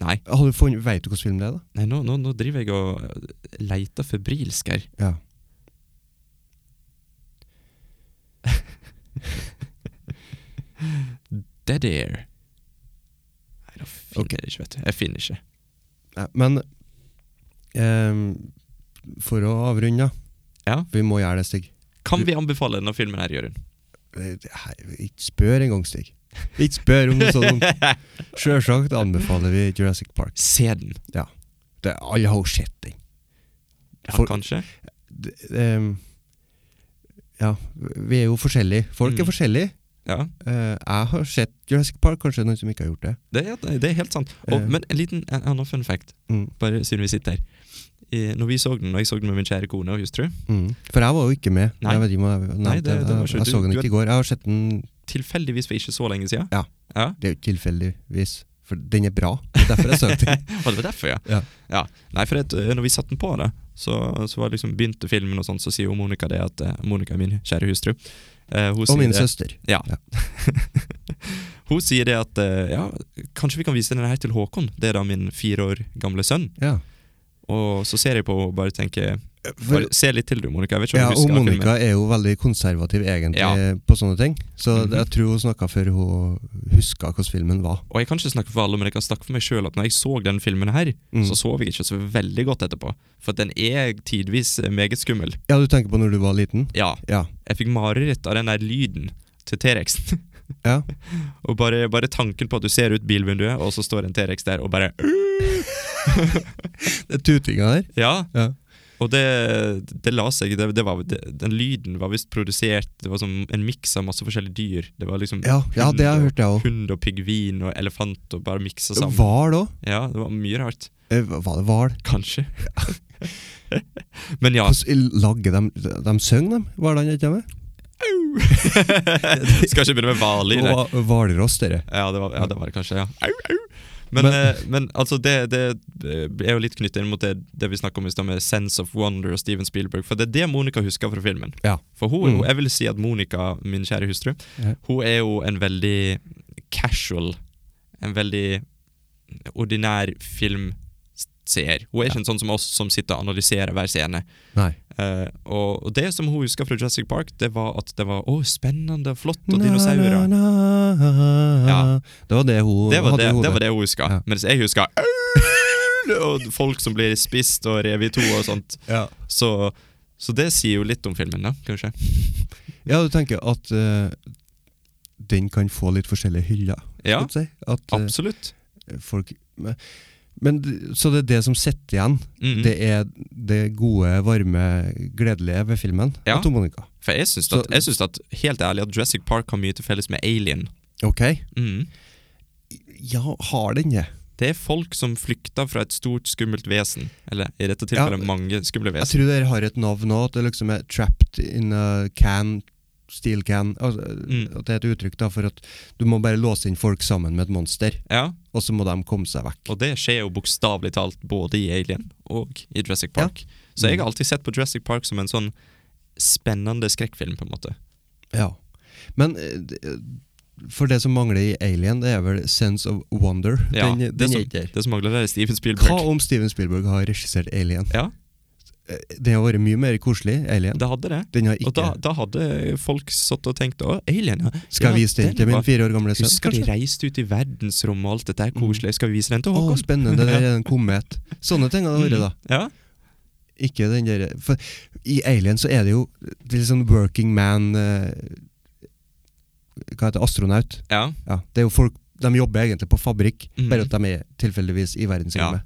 Speaker 11: Nei,
Speaker 12: Har du funnet, Vet du hvilken film det er, da?
Speaker 11: Nei nå, nå, nå driver jeg og leter febrilsk her.
Speaker 12: Ja.
Speaker 11: Dead Air. Nei, da finner jeg ikke, vet du. Jeg finner ikke.
Speaker 12: Nei, men ehm, for å avrunde, da.
Speaker 11: Ja.
Speaker 12: Vi må gjøre det, Stig.
Speaker 11: Kan vi anbefale denne filmen her, Jørund?
Speaker 12: det- det her- Ikke spør engang, Stig. Ikke spør om noe sånt. Sjølsagt anbefaler vi Jurassic Park.
Speaker 11: Se den.
Speaker 12: Ja. Det, alle har jo sett den.
Speaker 11: Ja,
Speaker 12: For-
Speaker 11: kanskje.
Speaker 12: Det- ehm, ja, vi er jo forskjellige. Folk er
Speaker 11: Mm.
Speaker 12: forskjellige.
Speaker 11: Ja,
Speaker 12: Eh, jeg har sett Jurassic Park, kanskje noen som ikke har gjort det.
Speaker 11: det, er- det er helt sant. Og,
Speaker 12: Eh.
Speaker 11: men en liten en annen fun fact,
Speaker 12: Mm.
Speaker 11: bare siden vi sitter her. I, når vi så den, og jeg så den med min kjære kone og hustru,
Speaker 12: Mm. For jeg var jo ikke med.
Speaker 11: Nei.
Speaker 12: Jeg, vet ikke om jeg,
Speaker 11: Nei, det- det
Speaker 12: jeg,
Speaker 11: var ikke-
Speaker 12: jeg
Speaker 11: du-
Speaker 12: så den
Speaker 11: du
Speaker 12: ikke
Speaker 11: er-
Speaker 12: i går. Jeg har sett den
Speaker 11: tilfeldigvis for ikke så lenge siden
Speaker 12: Ja.
Speaker 11: ja.
Speaker 12: Det er jo ikke tilfeldigvis, for den er bra. Det er derfor jeg søkte den.
Speaker 11: Og det var derfor, ja.
Speaker 12: Ja.
Speaker 11: Nei, for at, eh, når vi satte den på, da, så, så var det liksom begynte filmen, og sånn, så sier jo Monica det at eh, Monica er min kjære hustru. Eh, hun
Speaker 12: Og
Speaker 11: sier
Speaker 12: min
Speaker 11: det-
Speaker 12: søster.
Speaker 11: Ja.
Speaker 12: Ja.
Speaker 11: hun sier det at eh, ja, kanskje vi kan vise denne her til Håkon. Det er da min fire år gamle sønn.
Speaker 12: Ja.
Speaker 11: Og så ser jeg på henne og bare tenker
Speaker 12: For,
Speaker 11: bare, Se litt til, du, Monica. Jeg vet ikke om
Speaker 12: ja,
Speaker 11: du
Speaker 12: og
Speaker 11: husker den filmen.
Speaker 12: Monica er jo veldig konservativ egentlig
Speaker 11: Ja.
Speaker 12: på sånne ting, så
Speaker 11: Mhm.
Speaker 12: jeg tror hun snakka før hun huska hvordan filmen var.
Speaker 11: Og jeg kan ikke snakke for alle, men jeg kan snakke for meg sjøl at når jeg så den filmen her,
Speaker 12: Mm.
Speaker 11: så sov jeg ikke så veldig godt etterpå. For den er tidvis eh, meget skummel.
Speaker 12: Ja, du tenker på når du var liten?
Speaker 11: Ja.
Speaker 12: Ja.
Speaker 11: Jeg fikk mareritt av den der lyden til T-rexen.
Speaker 12: ja.
Speaker 11: Og bare, bare tanken på at du ser ut bilvinduet, og så står en T-rex der og bare «Øh!»
Speaker 12: Det er tutinga der.
Speaker 11: Ja.
Speaker 12: Ja.
Speaker 11: Og det, det la seg. Det, det var, det, den lyden var visst produsert Det var som en miks av masse forskjellige dyr. Det var liksom
Speaker 12: Ja, ja, det har jeg
Speaker 11: hund og-
Speaker 12: hørt, jeg òg.
Speaker 11: Hund og piggvin og elefant og bare miksa sammen.
Speaker 12: Hval Eh, òg?
Speaker 11: Ja, det var mye rart.
Speaker 12: Var det hval?
Speaker 11: Kanskje. Men ja.
Speaker 12: Hvordan lager de De synger, de? Hvalene, ikke sant?
Speaker 11: Skal ikke begynne med hvallyder.
Speaker 12: Og hvalross, dere.
Speaker 11: Ja, det var, ja, det var det kanskje, ja. Au, au. Men, men, eh, men altså, det, det eh, er jo litt knyttet inn mot det, det vi snakka om i stad, med Sense of Wonder og Steven Spielberg. For det er det Monica husker fra filmen.
Speaker 12: Ja.
Speaker 11: For hun,
Speaker 12: Mm.
Speaker 11: hun- jeg vil si at Monica, min kjære hustru,
Speaker 12: Ja.
Speaker 11: hun er jo en veldig casual, en veldig ordinær filmseer. Hun er ikke en sånn som oss som sitter og analyserer hver scene.
Speaker 12: Nei.
Speaker 11: Eh, og og det som hun husker fra Jurassic Park, det var at det var å, spennende og flott, og
Speaker 12: Na,
Speaker 11: dinosaurer.
Speaker 12: na, na.
Speaker 11: Ja.
Speaker 12: Det var det hun
Speaker 11: Det var
Speaker 12: hadde
Speaker 11: det,
Speaker 12: i hodet.
Speaker 11: det, var det hun huska.
Speaker 12: Ja.
Speaker 11: Mens jeg huska og folk som blir spist og revet i to og sånt.
Speaker 12: Ja.
Speaker 11: Så, så det sier jo litt om filmen, da, kanskje.
Speaker 12: ja, du tenker at eh, den kan få litt forskjellige hyller.
Speaker 11: Ja,
Speaker 12: skal jeg si. At, eh,
Speaker 11: absolutt.
Speaker 12: folk men, men, d- Så det er det som sitter igjen.
Speaker 11: Mhm.
Speaker 12: Det er det gode, varme, gledelige ved filmen.
Speaker 11: Ja.
Speaker 12: Og Tom Monica.
Speaker 11: For jeg syns
Speaker 12: Så-
Speaker 11: at, jeg syns at helt ærlig at Jurassic Park har mye til felles med Alien.
Speaker 12: Ok.
Speaker 11: Mhm.
Speaker 12: Ja, har den det?
Speaker 11: Det er folk som flykter fra et stort, skummelt vesen. Eller i dette tilfellet
Speaker 12: Ja.
Speaker 11: mange skumle
Speaker 12: Jeg
Speaker 11: vesen.
Speaker 12: tror det har et navn òg, at det liksom er 'trapped in a can'. Steel can. Altså,
Speaker 11: Mm.
Speaker 12: At det er et uttrykk da for at du må bare låse inn folk sammen med et monster,
Speaker 11: Ja,
Speaker 12: og så må de komme seg vekk.
Speaker 11: Og det skjer jo bokstavelig talt både i Alien og i Jurassic Park. Så jeg har alltid sett på Jurassic Park som en sånn spennende skrekkfilm, på en måte.
Speaker 12: Ja. Men eh, d- eh, for det som mangler i Alien, det er vel 'sense of wonder'.
Speaker 11: Ja,
Speaker 12: den
Speaker 11: det,
Speaker 12: den er
Speaker 11: som,
Speaker 12: ikke der.
Speaker 11: det som mangler, er Steven Spielberg.
Speaker 12: Hva om Steven Spielberg har regissert Alien?
Speaker 11: Ja,
Speaker 12: Eh, Det har vært mye mer koselig, Alien.
Speaker 11: det hadde det.
Speaker 12: Den har
Speaker 11: Og
Speaker 12: ikke
Speaker 11: da, da hadde folk satt og tenkt Å, Alien, ja.
Speaker 12: Skal
Speaker 11: ja,
Speaker 12: jeg vise den til min
Speaker 11: var-
Speaker 12: fire år gamle sønn?
Speaker 11: Husker de
Speaker 12: kanskje? Mm.
Speaker 11: reiste ut i verdensrommet og alt dette er koselig? Skal vi vise den til
Speaker 12: Å,
Speaker 11: Håkon? Mm.
Speaker 12: spennende, der er en komet. Sånne ting hadde vært, da.
Speaker 11: ja.
Speaker 12: Ikke den der For i Alien så er det jo det er litt sånn working man eh, Hva heter det? Astronaut.
Speaker 11: ja.
Speaker 12: Ja, det er jo folk De jobber egentlig på fabrikk,
Speaker 11: Mhm.
Speaker 12: bare at de er tilfeldigvis i verdensrommet.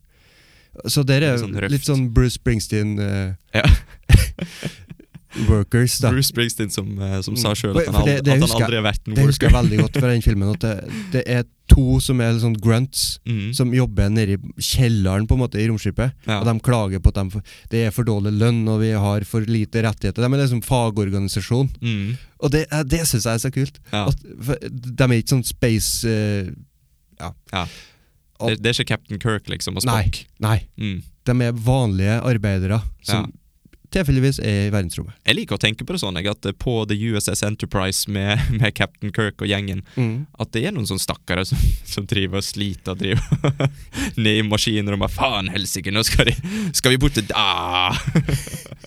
Speaker 12: Så der er
Speaker 11: Litt sånn røft.
Speaker 12: litt sånn Bruce Springsteen eh,
Speaker 11: Ja.
Speaker 12: workers, da.
Speaker 11: Bruce Springsteen som, eh, som sa sjøl
Speaker 12: For-
Speaker 11: at han,
Speaker 12: for det-
Speaker 11: aldri-
Speaker 12: det
Speaker 11: at han
Speaker 12: husker jeg-
Speaker 11: aldri har vært en
Speaker 12: Det husker
Speaker 11: worker.
Speaker 12: jeg veldig godt fra den filmen. At det, det er to som er litt sånn grunts,
Speaker 11: Mhm.
Speaker 12: som jobber nede i kjelleren på en måte i romskipet.
Speaker 11: Ja.
Speaker 12: Og de klager på at de, får- det er for dårlig lønn og vi har for lite rettigheter. De er liksom fagorganisasjon.
Speaker 11: Mhm.
Speaker 12: Og det, er- det syns jeg er så kult.
Speaker 11: Ja.
Speaker 12: At, for, de er ikke sånn space eh,
Speaker 11: Ja. Det, det er ikke Captain Kirk, liksom, og
Speaker 12: Nei.
Speaker 11: Spock.
Speaker 12: Nei.
Speaker 11: Mhm.
Speaker 12: De er vanlige arbeidere som tilfeldigvis er i verdensrommet.
Speaker 11: Jeg liker å tenke på det sånn, jeg, at eh, på The USS Enterprise med, med Captain Kirk og gjengen, at det er noen sånne stakkare som, som driver og sliter og driver ned i maskiner og bare faen helsike, nå skal, de, skal vi bort til da.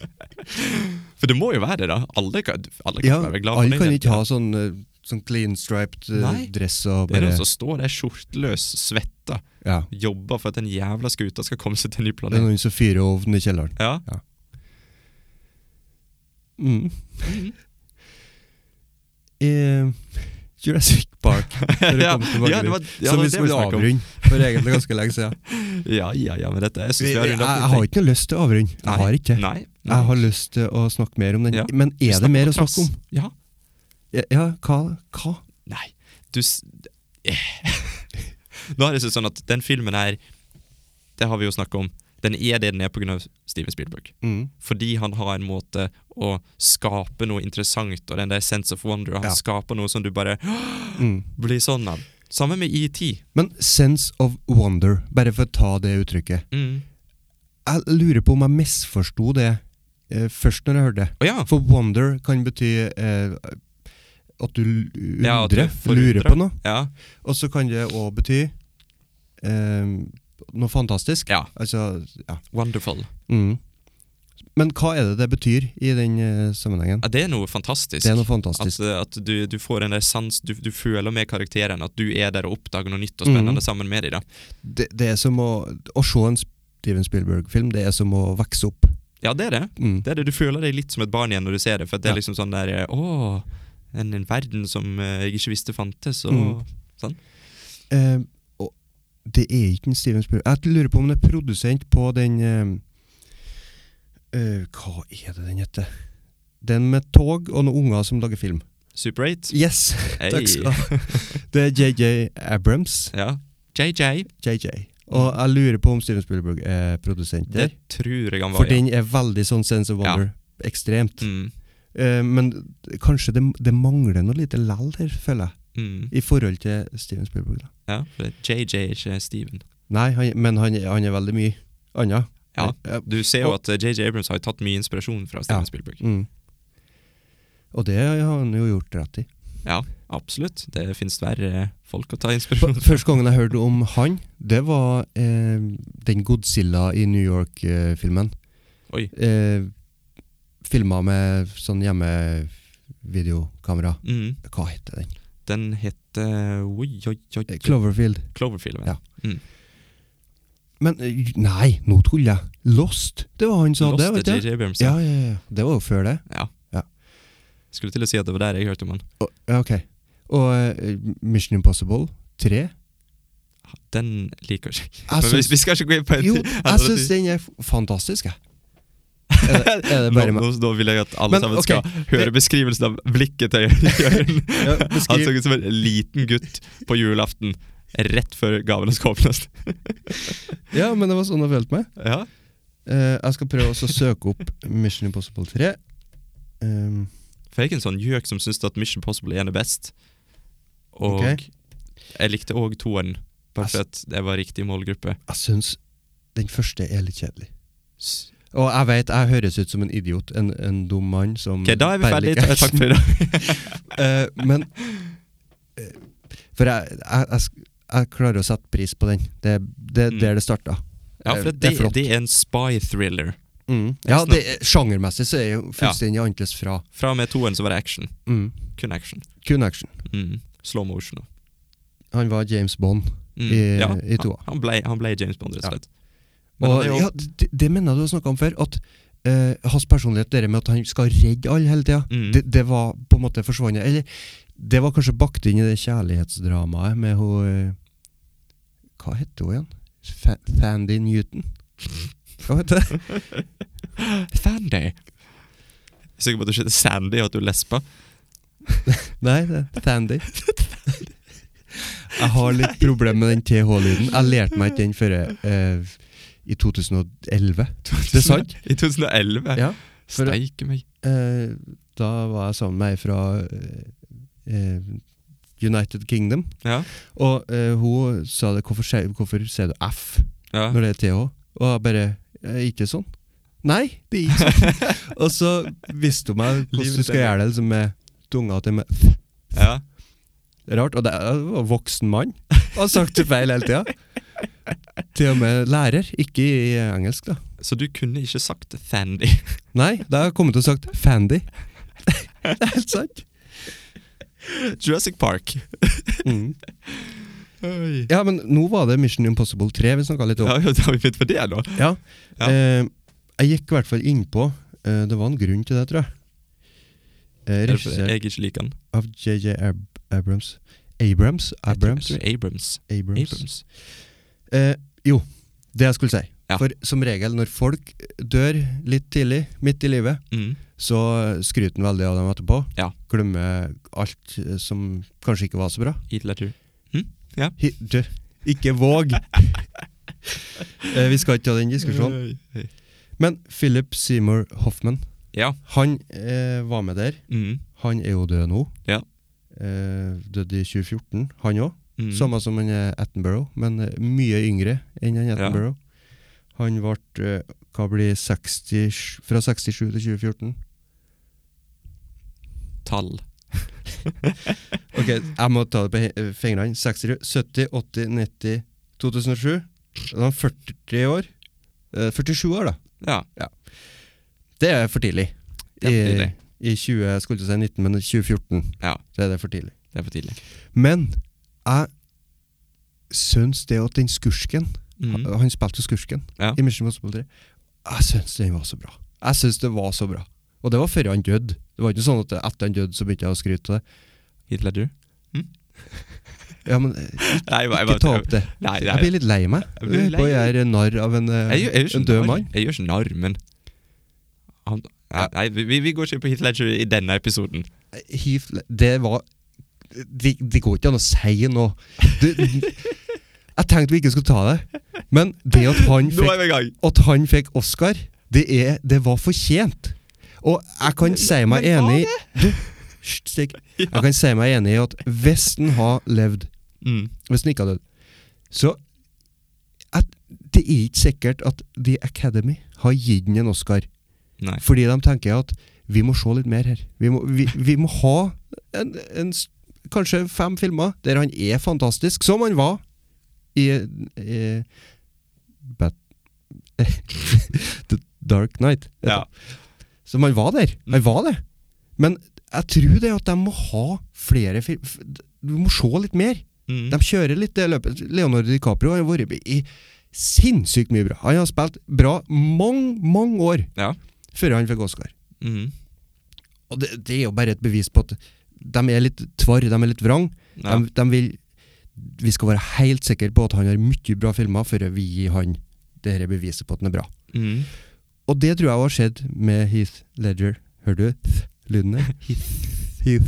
Speaker 11: For det må jo være det, da. Alle kan, alle kan
Speaker 12: Ja,
Speaker 11: være glad for
Speaker 12: alle
Speaker 11: det.
Speaker 12: kan ikke ha sånn, eh, sånn clean striped eh,
Speaker 11: Nei.
Speaker 12: dress og
Speaker 11: Det er
Speaker 12: bare
Speaker 11: noen som står der skjorteløs, svetter,
Speaker 12: ja.
Speaker 11: jobber for at den jævla skuta skal komme seg til en ny
Speaker 12: Det er
Speaker 11: planet.
Speaker 12: noen som fyrer ovnen i kjelleren.
Speaker 11: Ja,
Speaker 12: Mm. I, Jurassic Park. når det
Speaker 11: Ja,
Speaker 12: kom til mange
Speaker 11: ja, det var-
Speaker 12: liv.
Speaker 11: ja, det
Speaker 12: som
Speaker 11: var
Speaker 12: vi
Speaker 11: det vi
Speaker 12: skulle
Speaker 11: snakket om.
Speaker 12: avrunde for egentlig ganske lenge siden.
Speaker 11: Ja, ja, ja, men dette Jeg synes
Speaker 12: Jeg,
Speaker 11: vi har
Speaker 12: jeg,
Speaker 11: rundet
Speaker 12: jeg har ikke noe lyst til å avrunde. Jeg har ikke det.
Speaker 11: Nei, nei.
Speaker 12: Jeg har lyst til å snakke mer om den.
Speaker 11: Ja.
Speaker 12: Men
Speaker 11: Vi
Speaker 12: er
Speaker 11: snakker
Speaker 12: det mer å
Speaker 11: trass.
Speaker 12: snakke om?
Speaker 11: Ja.
Speaker 12: Ja, ja hva, hva?
Speaker 11: Nei, du s- eh. Nå har jeg syntes sånn at den filmen her Det har vi jo snakket om. Den er det den er pga. Steven Spielberg.
Speaker 12: Mm.
Speaker 11: Fordi han har en måte å skape noe interessant, og den der sense of wonder. og Han
Speaker 12: Ja.
Speaker 11: skaper noe som du bare
Speaker 12: Mm.
Speaker 11: blir sånn av. Samme med ET.
Speaker 12: Men sense of wonder, bare for å ta det uttrykket.
Speaker 11: Mm.
Speaker 12: Jeg lurer på om jeg misforsto det eh, først når jeg hørte det.
Speaker 11: Å ja.
Speaker 12: For wonder kan bety eh, at du l- undrer,
Speaker 11: Ja, at du
Speaker 12: lurer
Speaker 11: forundrer.
Speaker 12: på noe.
Speaker 11: Ja.
Speaker 12: Og så kan det òg bety eh, noe fantastisk.
Speaker 11: Ja.
Speaker 12: Altså, ja.
Speaker 11: Wonderful.
Speaker 12: Mm. Men hva er det det betyr i den eh, sammenhengen?
Speaker 11: Ja, det er noe fantastisk.
Speaker 12: Det er noe fantastisk.
Speaker 11: At, at du, du får den der sans du, du føler med karakteren, at du er der og oppdager noe nytt og spennende
Speaker 12: Mhm.
Speaker 11: sammen med dem. da.
Speaker 12: Det, det er som å, å se en Steven Spielberg-film, det er som å vokse opp.
Speaker 11: Ja, det er det.
Speaker 12: Mm.
Speaker 11: Det er det, Du føler deg litt som et barn igjen når du ser det. For det er
Speaker 12: Ja.
Speaker 11: liksom sånn der eh, Å, en, en verden som eh, jeg ikke visste fantes. Og,
Speaker 12: Mm.
Speaker 11: sånn.
Speaker 12: Eh, og det er ikke en Steven Spielberg Jeg lurer på om han er produsent på den eh, eh, Hva er det den heter? Den med tog og noen unger som lager film.
Speaker 11: Super 8.
Speaker 12: Yes! Takk skal du ha. Det er JJ Abrams.
Speaker 11: Ja. JJ.
Speaker 12: JJ. Og jeg lurer på om Steven Spielberg er produsent
Speaker 11: Mm. Det
Speaker 12: der.
Speaker 11: tror jeg han var.
Speaker 12: For den er veldig sånn sense of wonder. Ekstremt.
Speaker 11: ja. Mm.
Speaker 12: Eh, men kanskje det, det mangler noe lite lell her, føler jeg.
Speaker 11: Mm.
Speaker 12: I forhold til Steven Spielberg. da
Speaker 11: ja. for det- JJ er ikke Steven.
Speaker 12: Nei, han, men han, er- han er veldig mye annet.
Speaker 11: Ja.
Speaker 12: Eh,
Speaker 11: Du ser jo
Speaker 12: Og-
Speaker 11: at eh, JJ Abrams har jo tatt mye inspirasjon fra Steven
Speaker 12: Ja.
Speaker 11: Spielberg.
Speaker 12: Mm. Og det har han jo gjort rett i.
Speaker 11: Ja, absolutt. Det fins verre folk å ta
Speaker 12: F
Speaker 11: inspirasjon fra.
Speaker 12: Første gangen jeg hørte om han, det var eh, den Godzilla i New York-filmen.
Speaker 11: Oi.
Speaker 12: Eh, Filma med sånn hjemmevideokamera.
Speaker 11: Mm.
Speaker 12: Hva heter den?
Speaker 11: Den heter oi, oi, oi,
Speaker 12: Eh, Cloverfield.
Speaker 11: Cloverfield. vel?
Speaker 12: Ja.
Speaker 11: Mm.
Speaker 12: Men eh, nei, nå tuller jeg. Lost, det var han som hadde det.
Speaker 11: Lost
Speaker 12: vet
Speaker 11: er
Speaker 12: du.
Speaker 11: JJ Abrams.
Speaker 12: Ja, ja, ja. Det var jo før det.
Speaker 11: Ja.
Speaker 12: Ja.
Speaker 11: Skulle til å si at det var der jeg hørte om han.
Speaker 12: Og, ja, ok. Og eh, Mission Impossible 3.
Speaker 11: Den liker ikke jeg.
Speaker 12: Jeg
Speaker 11: Men vi-
Speaker 12: syns,
Speaker 11: vi skal ikke gå inn på en
Speaker 12: jo,
Speaker 11: til.
Speaker 12: jeg syns den er f- fantastisk, jeg. Er det, er det
Speaker 11: Nå,
Speaker 12: bare meg?
Speaker 11: nå, nå vil jeg at alle
Speaker 12: Men,
Speaker 11: sammen
Speaker 12: ok,
Speaker 11: skal høre
Speaker 12: det-
Speaker 11: beskrivelsen av blikket til Jørgen.
Speaker 12: Ja,
Speaker 11: Han
Speaker 12: beskriv.
Speaker 11: så ut som en liten gutt på julaften rett før gavene skal åpnes.
Speaker 12: Ja, men det var sånn jeg følte meg.
Speaker 11: Ja.
Speaker 12: Eh, jeg skal prøve også å søke opp Mission Impossible 3. Um,
Speaker 11: For jeg er ikke en sånn gjøk som syns at Mission Possible 1 er best. Og
Speaker 12: Ok.
Speaker 11: jeg likte òg toeren, bare for
Speaker 12: Altså-
Speaker 11: at det var riktig målgruppe.
Speaker 12: jeg syns den første er litt kjedelig.
Speaker 11: S-
Speaker 12: Og jeg vet, jeg høres ut som en idiot. En, en dum mann som
Speaker 11: Ok, da er vi
Speaker 12: bare
Speaker 11: ferdige.
Speaker 12: liker
Speaker 11: Takk for i dag.
Speaker 12: Eh, men eh, For jeg, jeg, jeg, sk- jeg klarer å sette pris på den. Det det er
Speaker 11: Mm.
Speaker 12: der det starta.
Speaker 11: Ja, for
Speaker 12: Eh,
Speaker 11: det, det, er en spy-thriller.
Speaker 12: Mm. Ja, det, er- Sjangermessig så er jeg jo fullstendig annerledes fra
Speaker 11: Fra og med toeren så var det action.
Speaker 12: mm.
Speaker 11: Kun action.
Speaker 12: kun action.
Speaker 11: Mm. Slow motion. og-
Speaker 12: Han var James Bond
Speaker 11: Mm.
Speaker 12: i,
Speaker 11: Ja,
Speaker 12: i toa.
Speaker 11: Han, han, ble, han ble James Bond, rett og
Speaker 12: Ja.
Speaker 11: slett. Men
Speaker 12: Og
Speaker 11: han er jo-
Speaker 12: ja, det, det mener jeg du har snakka om før. At eh, hans personlighet, det der med at han skal redde alle hele tida,
Speaker 11: Mm.
Speaker 12: det, det var på en måte forsvunnet. Eller det var kanskje bakt inn i det kjærlighetsdramaet med hun eh, Hva heter hun igjen? Fa Fandy Newton? Hva heter det?
Speaker 11: Sandy. Jeg er sikker på at du ikke heter Sandy, og at du lesber.
Speaker 12: Nei, det er Tandy. Jeg har litt problemer med den TH-lyden. Jeg lærte meg ikke den før jeg, eh, i 2011. Det er sant?
Speaker 11: I 2011.
Speaker 12: Ja. for-
Speaker 11: Steike meg.
Speaker 12: Eh, da var jeg sammen med ei fra eh, eh, United Kingdom.
Speaker 11: Ja.
Speaker 12: Og eh, hun sa det hvorfor, sier- hvorfor sier du F
Speaker 11: Ja.
Speaker 12: når det er TH? Og jeg bare eh, Ikke sånn. Nei, det er ikke sånn. og så visste hun meg hvordan
Speaker 11: Livet
Speaker 12: du skal
Speaker 11: er-
Speaker 12: gjøre det liksom, med tunga til med
Speaker 11: ja.
Speaker 12: Rart. Og det er jeg var en voksen mann. Og sagt det feil hele tida. Til og med lærer. Ikke i engelsk, da.
Speaker 11: Så du kunne ikke sagt Sandy.
Speaker 12: Nei, da har jeg kommet til å sagt Fandy. det er helt sant.
Speaker 11: Jurassic Park.
Speaker 12: Mm.
Speaker 11: Oi.
Speaker 12: Ja, men nå var det Mission Impossible 3 vi snakka litt om.
Speaker 11: Ja, ja, da har vi begynt på det nå.
Speaker 12: Ja.
Speaker 11: Ja.
Speaker 12: Eh, jeg gikk i hvert fall innpå. Eh, det var en grunn til det, tror jeg. Eh,
Speaker 11: Er det fordi
Speaker 12: regissert
Speaker 11: Jeg ikke liker den.
Speaker 12: av JJ Ab Abrams Abrams?
Speaker 11: Jeg tror-
Speaker 12: Abrams?
Speaker 11: Jeg tror Abrams.
Speaker 12: Abrams.
Speaker 11: Abrams.
Speaker 12: Eh, jo, det jeg skulle si.
Speaker 11: Ja.
Speaker 12: For som regel når folk dør litt tidlig, midt i livet,
Speaker 11: Mm.
Speaker 12: så skryter han veldig av dem etterpå.
Speaker 11: Ja.
Speaker 12: Glemmer alt eh, som kanskje ikke var så bra.
Speaker 11: Hitler, tror jeg.
Speaker 12: Hi, du, ikke våg! eh, vi skal ikke ta den diskusjonen. Men Philip Seymour Hoffman,
Speaker 11: Ja.
Speaker 12: han eh, var med der.
Speaker 11: Mm.
Speaker 12: Han er jo død nå.
Speaker 11: Ja.
Speaker 12: Eh, døde i 2014, han òg.
Speaker 11: Mm.
Speaker 12: Samme som han eh, Attenborough, men eh, mye yngre enn han Attenborough. Han ble eh, hva blir 60, fra 67 til 2014.
Speaker 11: Tall.
Speaker 12: Ok, jeg må ta det på he- eh, fingrene. 60, 70, 80, 90, 2007. Da er han 40 år. Eh, 47 år, da.
Speaker 11: Ja.
Speaker 12: Det er for tidlig.
Speaker 11: Det er for tidlig.
Speaker 12: I, i 20, jeg skulle til å si 19, men 2014
Speaker 11: Ja.
Speaker 12: så er det for tidlig.
Speaker 11: Det er for tidlig.
Speaker 12: Men jeg syns det at den skurken
Speaker 11: Mm.
Speaker 12: Han spilte jo skurken
Speaker 11: Ja.
Speaker 12: i Mission Impossible 3. Jeg syns den var så bra. Jeg syns det var så bra. Og det var før han døde. Det var ikke sånn at etter han døde, så begynte jeg å skryte av det.
Speaker 11: Hitler, du?
Speaker 12: Ja, men eh,
Speaker 11: Nei, jeg bare-
Speaker 12: ikke ta opp det.
Speaker 11: Nei, nei.
Speaker 12: Jeg blir litt lei meg.
Speaker 11: Jeg blir
Speaker 12: På å
Speaker 11: lei.
Speaker 12: gjøre narr av en, eh,
Speaker 11: Jeg, gjør- jeg gjør ikke
Speaker 12: en død
Speaker 11: narr.
Speaker 12: mann.
Speaker 11: Jeg gjør ikke narr, men han, nei, nei, vi, vi går ikke på Heath Ledger i denne episoden.
Speaker 12: Heath Le- Det var Det det går ikke an å si noe. Du, jeg tenkte vi ikke skulle ta det, men det at han
Speaker 11: Nå er
Speaker 12: fikk,
Speaker 11: vi i gang!
Speaker 12: at han fikk Oscar, det, er, det var fortjent. Og jeg kan si meg
Speaker 11: Men var
Speaker 12: enig Du, hysj, stikk. Jeg kan si meg enig i at hvis han har levd,
Speaker 11: Mm.
Speaker 12: hvis han ikke har dødd, så at, Det er ikke sikkert at The Academy har gitt han en Oscar.
Speaker 11: Nei.
Speaker 12: Fordi de tenker at vi må se litt mer her. Vi må, vi, vi må ha en, en, s- kanskje fem filmer der han er fantastisk, som han var i, i Bat The Dark Night.
Speaker 11: Ja.
Speaker 12: Som han var der. Han var det. Men jeg tror det at de må ha flere filmer. Du må se litt mer.
Speaker 11: Mm.
Speaker 12: De kjører litt det løpet. Leonardo DiCaprio har vært i sinnssykt mye bra. Han har spilt bra mange, mange år
Speaker 11: Ja.
Speaker 12: før han fikk Oscar.
Speaker 11: Mm.
Speaker 12: Og det, det er jo bare et bevis på at de er litt tvarr, de er litt vrang.
Speaker 11: Ja.
Speaker 12: De, de vil Vi skal være helt sikre på at han har mye bra filmer før vi gir han det her beviset på at han er bra.
Speaker 11: Mm.
Speaker 12: Og det tror jeg har skjedd med Heath Ledger. Hører du th- lyden der? Heath,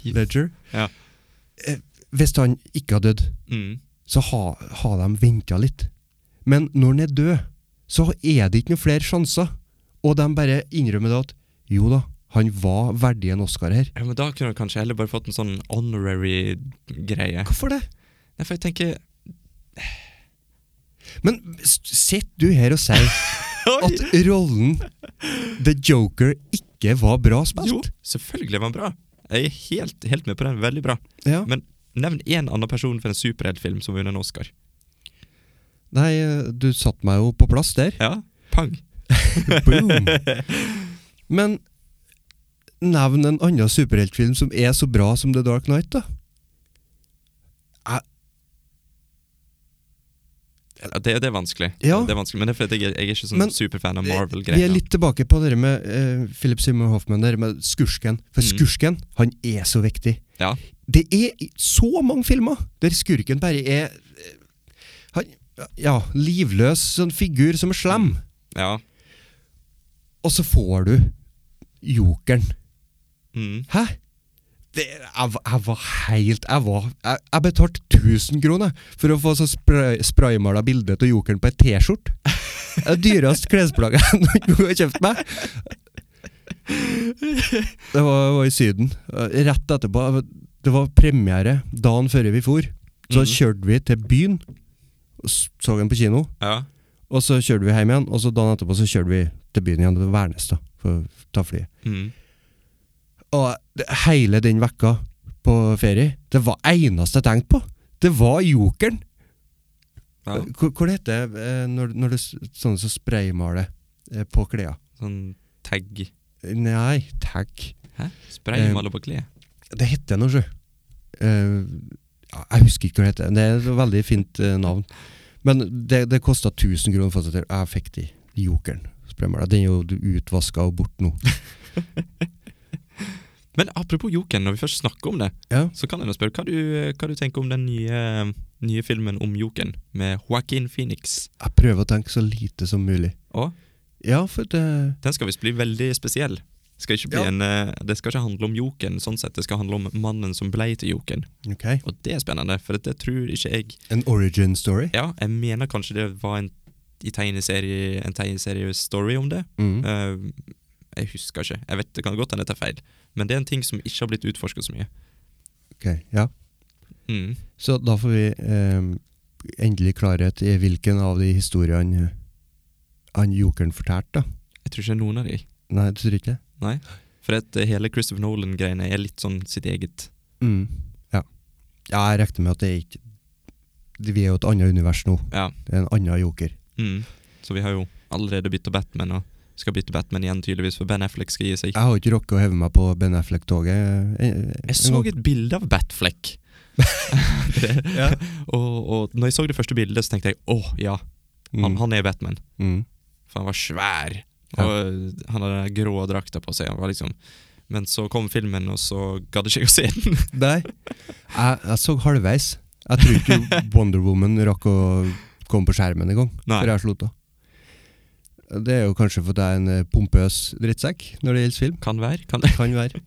Speaker 12: Heath Ledger.
Speaker 11: Ja.
Speaker 12: Eh, Hvis han ikke har dødd,
Speaker 11: Mm.
Speaker 12: så har har de venta litt. Men når han er død, så er det ikke noen flere sjanser. Og de bare innrømmer det at jo da, han var verdig en Oscar her.
Speaker 11: ja, men Da kunne du kanskje heller bare fått en sånn honorary greie.
Speaker 12: Hvorfor det?
Speaker 11: Nei, for jeg tenker
Speaker 12: Men s- sitter du her og sier at rollen The Joker ikke var bra spilt?
Speaker 11: Jo, selvfølgelig var han bra. Jeg er helt, helt med på den. Veldig bra.
Speaker 12: Ja.
Speaker 11: Men nevn én annen person for en superheltfilm som har vunnet en Oscar.
Speaker 12: Nei, du satte meg jo på plass der.
Speaker 11: Ja, pang.
Speaker 12: Boom. Men nevn en annen superheltfilm som er så bra som The Dark Knight, da.
Speaker 11: Ja, det, det er vanskelig.
Speaker 12: Ja.
Speaker 11: Det er vanskelig, Men det er fordi jeg, jeg er ikke sånn
Speaker 12: Men
Speaker 11: superfan av
Speaker 12: Vi er
Speaker 11: Marvel-greier.
Speaker 12: litt tilbake på det med eh, Philip Seymour Hoffman, det med skursken. For
Speaker 11: Mm.
Speaker 12: skursken, han er så viktig.
Speaker 11: Ja.
Speaker 12: Det er i- så mange filmer der skurken bare er eh, han, Ja, livløs sånn figur som er slem.
Speaker 11: ja.
Speaker 12: Og så får du jokeren.
Speaker 11: Mm.
Speaker 12: Hæ? Det, jeg, var- jeg var helt Jeg var Jeg, jeg betalte 1000 kroner for å få så spray, spraymala bilde av jokeren på ei T-skjorte. Det er det dyreste klesplagget jeg noen gang har kjøpt meg. Det var, var i Syden. Eh, Rett etterpå Det var premiere dagen før vi for. Så
Speaker 11: Mhm.
Speaker 12: kjørte vi til byen, og s- så den på kino,
Speaker 11: ja.
Speaker 12: og så kjørte vi hjem igjen. Og så dagen etterpå så kjørte vi til byen igjen, til Værnes, da, for å ta flyet.
Speaker 11: Mm.
Speaker 12: Og det- hele den vekka på ferie, det var eneste jeg tenkte på. Det var jokeren.
Speaker 11: ja.
Speaker 12: Hvor, hvor det heter det eh, når, når det s- sånn som spraymaler eh, på klær?
Speaker 11: Sånn tag
Speaker 12: Nei, tag.
Speaker 11: Hæ?
Speaker 12: Øh.
Speaker 11: Spraymaler på klær?
Speaker 12: Det heter noe, sjø. Eh, ja, jeg husker ikke hva det heter. Det er et veldig fint eh, navn. Men det, det kosta 1000 kroner for å få det til. Jeg fikk de. Jokeren. Spraymaler. Den er jo utvaska og borte nå.
Speaker 11: Men apropos Jokeren, når vi først snakker om det,
Speaker 12: Ja.
Speaker 11: så kan jeg nå spørre hva du, hva du tenker om den nye, nye filmen om Jokeren med Joaquin Phoenix.
Speaker 12: Jeg prøver å tenke så lite som mulig.
Speaker 11: Og
Speaker 12: Ja, for eh, det
Speaker 11: den skal visst bli veldig spesiell. Skal ikke bli
Speaker 12: Ja.
Speaker 11: en, eh, det skal ikke handle om Jokeren, sånn sett. det skal handle om mannen som blei til Jokeren.
Speaker 12: Ok.
Speaker 11: Og det er spennende, for det tror ikke jeg
Speaker 12: En origin story?
Speaker 11: Ja, jeg mener kanskje det var en i tegneserie, en tegneserie-story om det.
Speaker 12: Mm.
Speaker 11: Eh, jeg husker ikke. Jeg vet Det kan godt hende jeg tar feil, men det er en ting som ikke har blitt utforsket så mye.
Speaker 12: Ok, ja.
Speaker 11: Mm.
Speaker 12: Så da får vi ehm, endelig klarhet i hvilken av de historiene han jokeren fortalte, da.
Speaker 11: Jeg tror ikke noen av de.
Speaker 12: Nei, du tror ikke det?
Speaker 11: Nei. For at eh, hele Christopher Nolan-greiene er litt sånn sitt eget.
Speaker 12: Mm. Ja. ja. Jeg regner med at det er ikke Vi er jo et annet univers nå.
Speaker 11: Ja.
Speaker 12: Det er en annen joker.
Speaker 11: Mm. Så vi har jo allerede bytta Batman, og skal bytte Batman igjen tydeligvis, for Ben Affleck skal gi seg.
Speaker 12: Jeg har jo ikke rukket å heve meg på Ben Affleck-toget. eh, en- en
Speaker 11: Jeg så
Speaker 12: gang.
Speaker 11: et bilde av Batfleck. det, og, og når jeg så det første bildet, så tenkte jeg åh, ja, han,
Speaker 12: Mm.
Speaker 11: han er Batman.
Speaker 12: Mm.
Speaker 11: For han var svær.
Speaker 12: Ja.
Speaker 11: Og eh, han hadde den grå drakta på seg. Han var liksom men så kom filmen, og så gadd ikke jeg å se den.
Speaker 12: Nei. Jeg, jeg så halvveis. Jeg tror ikke Wonder Woman rakk å komme på skjermen engang.
Speaker 11: Nei.
Speaker 12: Før jeg slo av. Det er jo kanskje fordi jeg er en eh, pompøs drittsekk når det gjelder film.
Speaker 11: Kan være. Kan det?
Speaker 12: Kan være.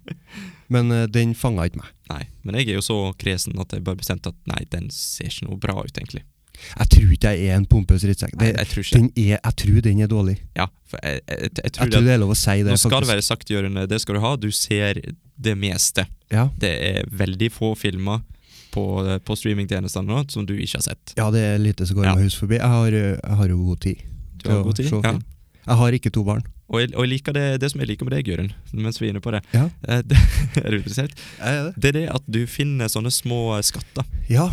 Speaker 12: Men eh, den fanga ikke meg.
Speaker 11: Nei. Men jeg er jo så kresen at jeg bare bestemte at nei, den ser ikke noe bra ut, egentlig.
Speaker 12: Jeg tror ikke jeg er en pompøs drittsekk.
Speaker 11: Nei,
Speaker 12: Det,
Speaker 11: jeg tror ikke
Speaker 12: den er, jeg tror den er dårlig.
Speaker 11: Ja, for jeg, jeg, jeg, jeg tror
Speaker 12: Jeg tror
Speaker 11: det,
Speaker 12: det er lov å si det.
Speaker 11: Nå skal det
Speaker 12: faktisk.
Speaker 11: være sagt, Jørund, det skal du ha. Du ser det meste.
Speaker 12: Ja.
Speaker 11: Det er veldig få filmer på, på streamingtjenestene nå som du ikke har sett.
Speaker 12: ja, det er lite som går
Speaker 11: Ja.
Speaker 12: meg hus forbi. Jeg har, eh, jeg har jo god tid.
Speaker 11: Du har
Speaker 12: til å
Speaker 11: god tid.
Speaker 12: se
Speaker 11: Ja.
Speaker 12: film. Jeg har ikke to barn.
Speaker 11: Og, jeg, og jeg liker det, det som jeg liker med deg, Jørund, mens vi er inne på det.
Speaker 12: Ja.
Speaker 11: Eh, det er du interessert?
Speaker 12: Jeg er det.
Speaker 11: Det er det at du finner sånne små eh, skatter.
Speaker 12: Ja.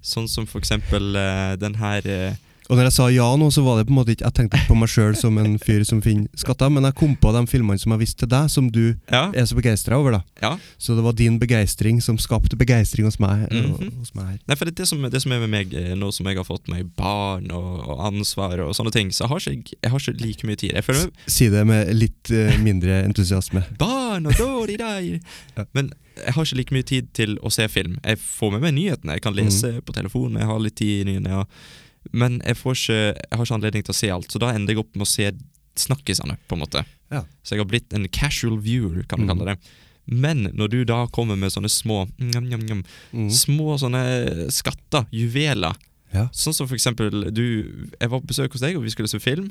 Speaker 11: Sånn som for eksempel eh, den her eh,
Speaker 12: Og når jeg sa ja nå, så var det på en måte ikke Jeg tenkte ikke på meg sjøl som en fyr som finner skatter, men jeg kom på de filmene som jeg viste til deg, som du
Speaker 11: Ja.
Speaker 12: er så begeistra over, da.
Speaker 11: ja.
Speaker 12: Så det var din begeistring som skapte begeistring hos meg.
Speaker 11: Mhm.
Speaker 12: hos meg her.
Speaker 11: Nei, for det, er det, som, det som er med meg eh, nå som jeg har fått meg barn og, og ansvar og sånne ting, så har ikke jeg, jeg har ikke like mye tid. Jeg føler meg
Speaker 12: Si det med litt eh, mindre entusiasme.
Speaker 11: barn og dårlig der.
Speaker 12: Ja.
Speaker 11: Men jeg har ikke like mye tid til å se film. Jeg får med meg nyhetene, jeg kan
Speaker 12: Mhm.
Speaker 11: lese på telefonen, jeg har litt tid i nyhetene. Og, men jeg, får ikke, jeg har ikke anledning til å se alt, så da ender jeg opp med å se snakkisene, på en måte.
Speaker 12: Ja.
Speaker 11: Så jeg har blitt en casual viewer, kan man
Speaker 12: Mm.
Speaker 11: kalle det. Men når du da kommer med sånne små njam, njam, njam,
Speaker 12: Mm.
Speaker 11: Små sånne skatter, juveler.
Speaker 12: Ja.
Speaker 11: Sånn som for eksempel du, Jeg var på besøk hos deg, og vi skulle se film.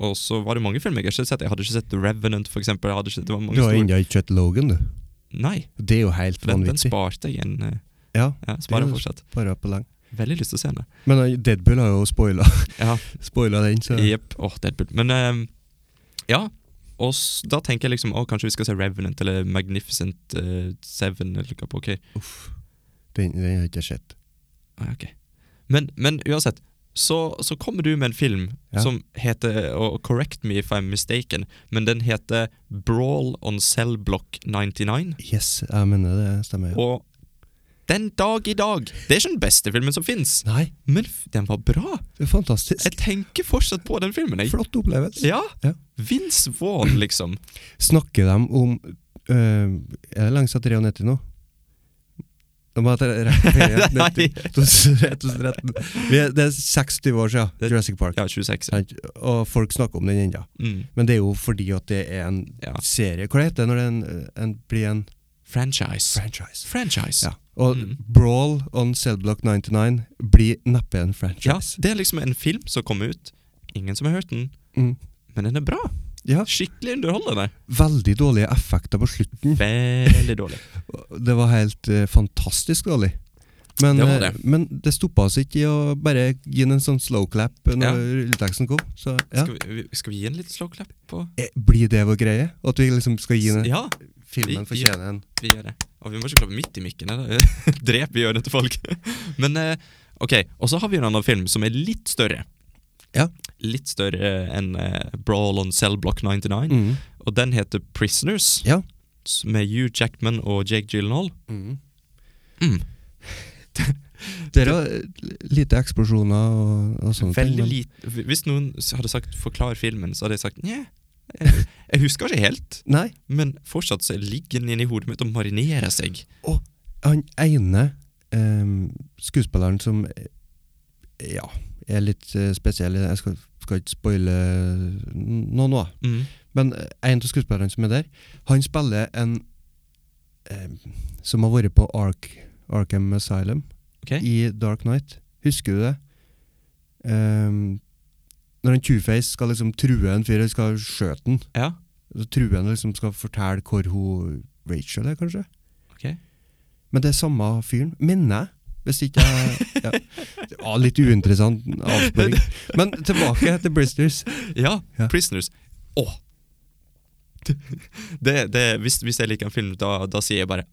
Speaker 11: Og så var det mange filmer jeg ikke hadde sett. Jeg hadde ikke sett The Revenant, for eksempel. Jeg hadde ikke, det var mange
Speaker 12: Du har
Speaker 11: store-
Speaker 12: ennå ikke sett Logan, du.
Speaker 11: Nei,
Speaker 12: Det er jo helt
Speaker 11: for den, den
Speaker 12: vanvittig.
Speaker 11: sparte jeg en eh,
Speaker 12: Ja,
Speaker 11: Ja, sparer
Speaker 12: Det er-
Speaker 11: fortsatt.
Speaker 12: bare på lenge.
Speaker 11: Veldig lyst til å se den.
Speaker 12: Men eh, Deadpool har jo spoila,
Speaker 11: Ja,
Speaker 12: spoila den, så
Speaker 11: jepp. Åh, Deadpool. Men eh, ja. Og s- da tenker jeg liksom å, kanskje vi skal se Revenant eller Magnificent eh, Seven eller hva på. ok.
Speaker 12: Uff. Den, den har jeg ikke sett.
Speaker 11: Ah, ja, ok. Men, men uansett, så, så kommer du med en film
Speaker 12: Ja.
Speaker 11: som heter og Correct me if I'm mistaken, men den heter Brawl on Cell Block 99.
Speaker 12: Yes, jeg mener det stemmer. Ja.
Speaker 11: Og den dag i dag Det er ikke den beste filmen som fins,
Speaker 12: Nei,
Speaker 11: men f- den var bra!
Speaker 12: det er fantastisk.
Speaker 11: Jeg tenker fortsatt på den filmen. Jeg.
Speaker 12: Flott opplevelse.
Speaker 11: Ja!
Speaker 12: Ja.
Speaker 11: Vince Vaughn, liksom.
Speaker 12: Snakker de om øh, Er det langsatt 93 nå? Da må jeg ta rett på fingeren.
Speaker 11: Nei.
Speaker 12: 2013, 2013. Vi er- Det er 26 år siden
Speaker 11: Det-
Speaker 12: Jurassic Park.
Speaker 11: Ja, 26.
Speaker 12: Sant? Og folk snakker om den ennå.
Speaker 11: Mm.
Speaker 12: Men det er jo fordi at det er en
Speaker 11: Ja.
Speaker 12: serie. Hva heter det når det er en, en, blir en
Speaker 11: Franchise.
Speaker 12: franchise?
Speaker 11: Franchise.
Speaker 12: Ja. Og
Speaker 11: Mm.
Speaker 12: Brawl on Cellblock 99 blir neppe en
Speaker 11: Ja,
Speaker 12: franchise.
Speaker 11: det er liksom en film som kom ut. Ingen som har hørt den,
Speaker 12: Mm.
Speaker 11: men den er bra.
Speaker 12: ja.
Speaker 11: Skikkelig underholdende.
Speaker 12: Veldig dårlige effekter på slutten.
Speaker 11: Veldig dårlig.
Speaker 12: Det var helt eh, fantastisk dårlig. Men
Speaker 11: Det var
Speaker 12: det,
Speaker 11: det.
Speaker 12: men det stoppa oss ikke i å bare gi den en sånn slow clap når
Speaker 11: Ja.
Speaker 12: rulleteksten kom. Så ja,
Speaker 11: Skal, vi, vi- skal vi gi en liten slow clap på
Speaker 12: Eh, Blir det vår greie? At vi liksom skal gi den
Speaker 11: Ja,
Speaker 12: filmen
Speaker 11: vi- vi-
Speaker 12: fortjener en
Speaker 11: vi gjør det. Og vi må ikke klappe midt i mikken. Eller? Drep vi ørene til folk. Men eh, ok, og så har vi en annen film som er litt større.
Speaker 12: Ja.
Speaker 11: Litt større enn eh, Brawl on Cell Block 99.
Speaker 12: Mm.
Speaker 11: Og den heter Prisoners,
Speaker 12: Ja.
Speaker 11: s- med Hugh Jackman og Jake Gyllenhaal.
Speaker 12: Mm.
Speaker 11: Mm.
Speaker 12: Det er eh, lite eksplosjoner og, og sånne
Speaker 11: Veldig
Speaker 12: ting. men-
Speaker 11: lite Hvis noen s- hadde sagt 'forklar filmen', så hadde jeg sagt 'njeh, Jeg, jeg husker ikke helt,
Speaker 12: Nei,
Speaker 11: men fortsatt så ligger den inne i hodet mitt og marinerer seg.
Speaker 12: han ene eh, skuespilleren som eh, Ja, er litt eh, spesiell. Jeg skal, skal ikke spoile noe nå.
Speaker 11: Mm.
Speaker 12: Men eh, en av skuespillerne som er der, han spiller en eh, som har vært på Ark, Arkham Asylum
Speaker 11: Ok.
Speaker 12: i Dark Knight. Husker du det? Ehm, når en Two-Face skal liksom true en fyr, eller skal skjøte den,
Speaker 11: Ja,
Speaker 12: så true en liksom skal fortelle hvor hun Rachel er, kanskje?
Speaker 11: ok.
Speaker 12: Men det er samme fyren, minner jeg. Hvis ikke jeg ja. Det var Litt uinteressant avsporing. Men tilbake til Bristers.
Speaker 11: Ja,
Speaker 12: Ja.
Speaker 11: Prisoners. Åh! Det, det, hvis, hvis jeg liker en film, da, da sier jeg bare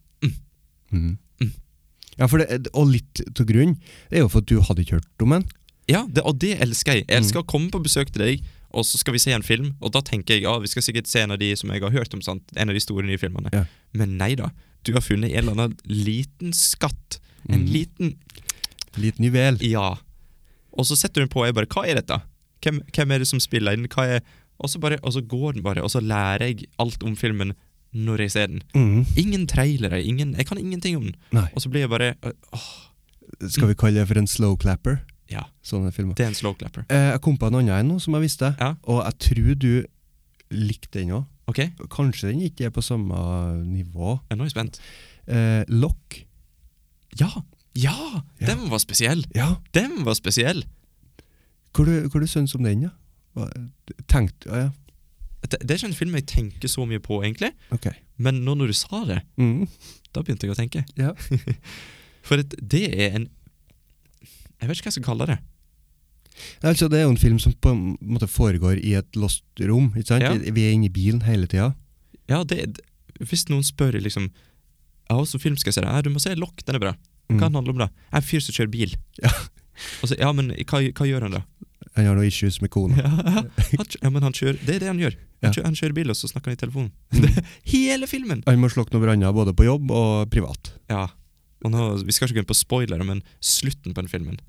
Speaker 12: Ja, for det, og litt til grunn, det er jo for at du hadde ikke hørt om den.
Speaker 11: Ja, det, og det elsker jeg. Jeg elsker å komme på besøk til deg, og så skal vi se en film. Og da tenker jeg ja, vi skal sikkert se en av de som jeg har hørt om, sant? en av de store nye filmene.
Speaker 12: Ja.
Speaker 11: Men nei da. Du har funnet en eller annen liten skatt. En liten
Speaker 12: Liten juvel.
Speaker 11: Ja. Og så setter hun på, og jeg bare Hva er dette? Hvem, hvem er det som spiller inn? Hva er og så, bare, og så går den bare, og så lærer jeg alt om filmen når jeg ser den.
Speaker 12: Mhm.
Speaker 11: Ingen trailere, ingen, jeg kan ingenting om den.
Speaker 12: Nei.
Speaker 11: Og så blir jeg bare øh, Åh,
Speaker 12: Skal vi kalle det for en slow clapper?
Speaker 11: ja.
Speaker 12: Sånne filmer.
Speaker 11: Det er en slow clapper.
Speaker 12: Eh, jeg kom på en annen en nå som jeg visste,
Speaker 11: Ja.
Speaker 12: og jeg tror du likte den òg.
Speaker 11: OK,
Speaker 12: Kanskje den ikke er på samme nivå.
Speaker 11: nå er jeg spent.
Speaker 12: Eh, Lock.
Speaker 11: Ja! Ja! Den var spesiell!
Speaker 12: Ja,
Speaker 11: Den var spesiell!
Speaker 12: hva du, hva du syns om den, da? Hva- Tenkt, ja, ja.
Speaker 11: Det, det er ikke en film jeg tenker så mye på, egentlig.
Speaker 12: Ok.
Speaker 11: Men nå når du sa det,
Speaker 12: Mhm.
Speaker 11: da begynte jeg å tenke.
Speaker 12: Ja.
Speaker 11: For at det er en Jeg vet ikke hva jeg skal kalle det.
Speaker 12: Altså, det er jo en film som på en måte foregår i et lost rom. ikke sant?
Speaker 11: Ja.
Speaker 12: I- Vi er inne i bilen hele tida.
Speaker 11: Ja, det, det- Hvis noen spør liksom Ja, hvilken film skal jeg se? Ja, du må se Lock, den er bra. Hva den handler om da? Ja, En fyr som kjører bil.
Speaker 12: Mm. Ja.
Speaker 11: Og så, ja, men hva, hva gjør han da?
Speaker 12: Han har noen issues med kona.
Speaker 11: Ja, han, kjø- ja, men han kjører Det er det han gjør. Han,
Speaker 12: Ja. Mm.
Speaker 11: kjører, han kjører bil, og så snakker han i telefonen. Det er Hele filmen!
Speaker 12: Han må slokke noen branner både på jobb og privat.
Speaker 11: Ja. Og nå, vi skal ikke gå inn på spoilere, men slutten på den filmen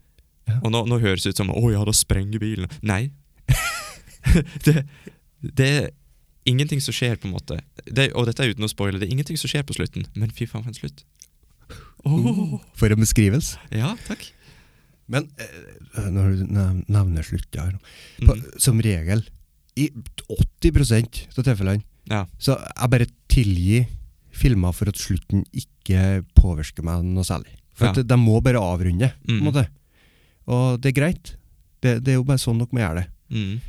Speaker 12: Ja.
Speaker 11: Og nå, nå høres det ut som 'Å ja, da sprenger bilen'. Nei. det, det er ingenting som skjer, på en måte. Det, og dette er uten å spoile. Det er ingenting som skjer på slutten, men fy faen, for en slutt. Åh.
Speaker 12: For en beskrivelse.
Speaker 11: Ja, takk.
Speaker 12: Men eh, når du nev- nevner slutt her nå
Speaker 11: Mm,
Speaker 12: på,
Speaker 11: Mhm.
Speaker 12: Som regel, i 80 av tilfellene,
Speaker 11: Ja.
Speaker 12: så jeg bare tilgir filmer for at slutten ikke påvirker meg noe særlig. For
Speaker 11: Ja.
Speaker 12: at de må bare avrunde, på en
Speaker 11: Mm.
Speaker 12: måte. Og det er greit. Det, det er jo bare sånn dere må gjøre det.
Speaker 11: Mm.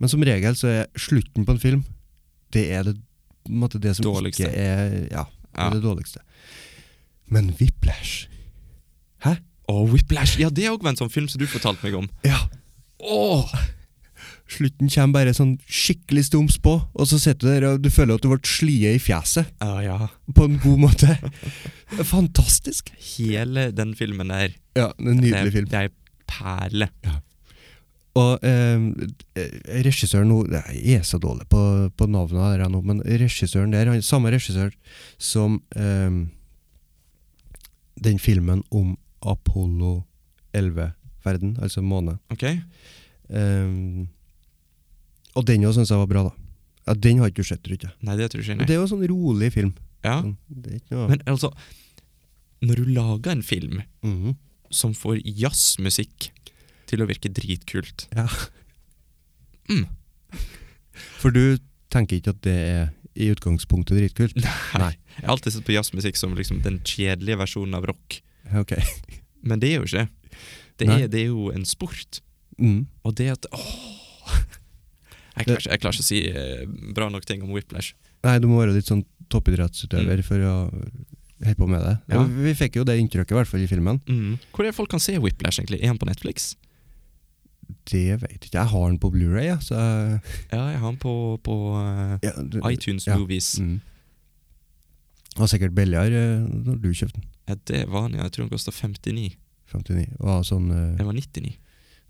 Speaker 12: Men som regel så er slutten på en film Det er det, på en måte, det som
Speaker 11: Dårligste.
Speaker 12: ikke er ja, det,
Speaker 11: Ja.
Speaker 12: er det dårligste. Men Whiplash Hæ?
Speaker 11: Og Whiplash. Ja, det er òg en sånn film som du fortalte meg om.
Speaker 12: Ja.
Speaker 11: Åh.
Speaker 12: Slutten kommer bare sånn skikkelig stums på, og så sitter du der og du føler at du ble sliet i fjeset.
Speaker 11: Ja, ja.
Speaker 12: På en god måte. Fantastisk!
Speaker 11: Hele den filmen der
Speaker 12: Ja, en nydelig
Speaker 11: det, er-
Speaker 12: film.
Speaker 11: Det er perle.
Speaker 12: Og eh, eh, regissøren nå Jeg er så dårlig på, på navnet her nå, men regissøren der han, Samme regissør som eh, den filmen om Apollo 11-verden, altså måne.
Speaker 11: Ok?
Speaker 12: Eh, og den òg syns jeg var bra, da. Ja, den har ikke du sett, tror jeg. ikke.
Speaker 11: Nei, det tror jeg ikke.
Speaker 12: Men
Speaker 11: Nei.
Speaker 12: Det er jo en sånn rolig film.
Speaker 11: ja.
Speaker 12: Sånn, Det er ikke noe
Speaker 11: Men altså, når du lager en film
Speaker 12: Mhm.
Speaker 11: som får jazzmusikk til å virke dritkult
Speaker 12: ja.
Speaker 11: Mm.
Speaker 12: For du tenker ikke at det er i utgangspunktet dritkult? Nei.
Speaker 11: Jeg har alltid sett på jazzmusikk som liksom den kjedelige versjonen av rock,
Speaker 12: Ok.
Speaker 11: men det er jo ikke det. Det
Speaker 12: Nei.
Speaker 11: er, det er jo en sport.
Speaker 12: Mm.
Speaker 11: Og det at åh, jeg, klarer, ikke- jeg klarer ikke å si eh, bra nok ting om Whiplash.
Speaker 12: Nei, du må være litt sånn toppidrettsutøver for å holde på med det.
Speaker 11: Mm. Ja.
Speaker 12: Og Vi fikk jo det inntrykket, i hvert fall i filmen.
Speaker 11: Mm. Hvor er det folk kan se Whiplash, egentlig? Er han på Netflix?
Speaker 12: Det vet ikke jeg. Jeg har den på Blu-ray, ja, så
Speaker 11: Ja, jeg har han på, på eh,
Speaker 12: ja, du,
Speaker 11: iTunes
Speaker 12: ja.
Speaker 11: Movies.
Speaker 12: Mm. Og sikkert billigere eh, når du kjøpte den.
Speaker 11: Ja, det var han, ja. Jeg tror han kosta 59.
Speaker 12: 59. Og har sånn eh,
Speaker 11: Jeg var 99.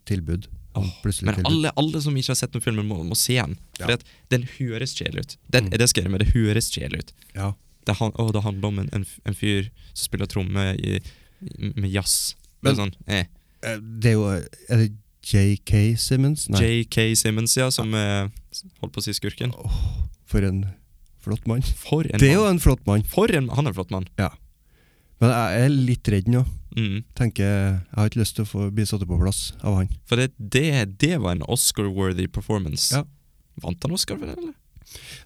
Speaker 12: tilbud. Sånn
Speaker 11: Åh,
Speaker 12: plutselig
Speaker 11: Men
Speaker 12: tilbud.
Speaker 11: alle, alle som ikke har sett den filmen, må, må se den. For
Speaker 12: Ja. Mm.
Speaker 11: at den høres kjedelig ut. Den, Det skal jeg gjøre med, det høres kjedelig ut.
Speaker 12: Ja.
Speaker 11: Det, han, å, det handler om en, en, f- en fyr som spiller tromme i, i- med jazz.
Speaker 12: Men-
Speaker 11: det er sånn, eh.
Speaker 12: Eh, Det er jo Er det JK Simmons? Nei,
Speaker 11: J.K. Simmons, ja, som eh, holdt på å si skurken.
Speaker 12: for en flott mann.
Speaker 11: For en
Speaker 12: Det er jo en
Speaker 11: mann.
Speaker 12: flott mann,
Speaker 11: For en, han er en flott mann.
Speaker 12: men jeg er litt redd nå.
Speaker 11: Mm.
Speaker 12: Tenker Jeg har ikke lyst til å få bli satt på plass av han.
Speaker 11: For det, det, det var en Oscar-worthy performance.
Speaker 12: Ja.
Speaker 11: Vant han Oscar for det, eller?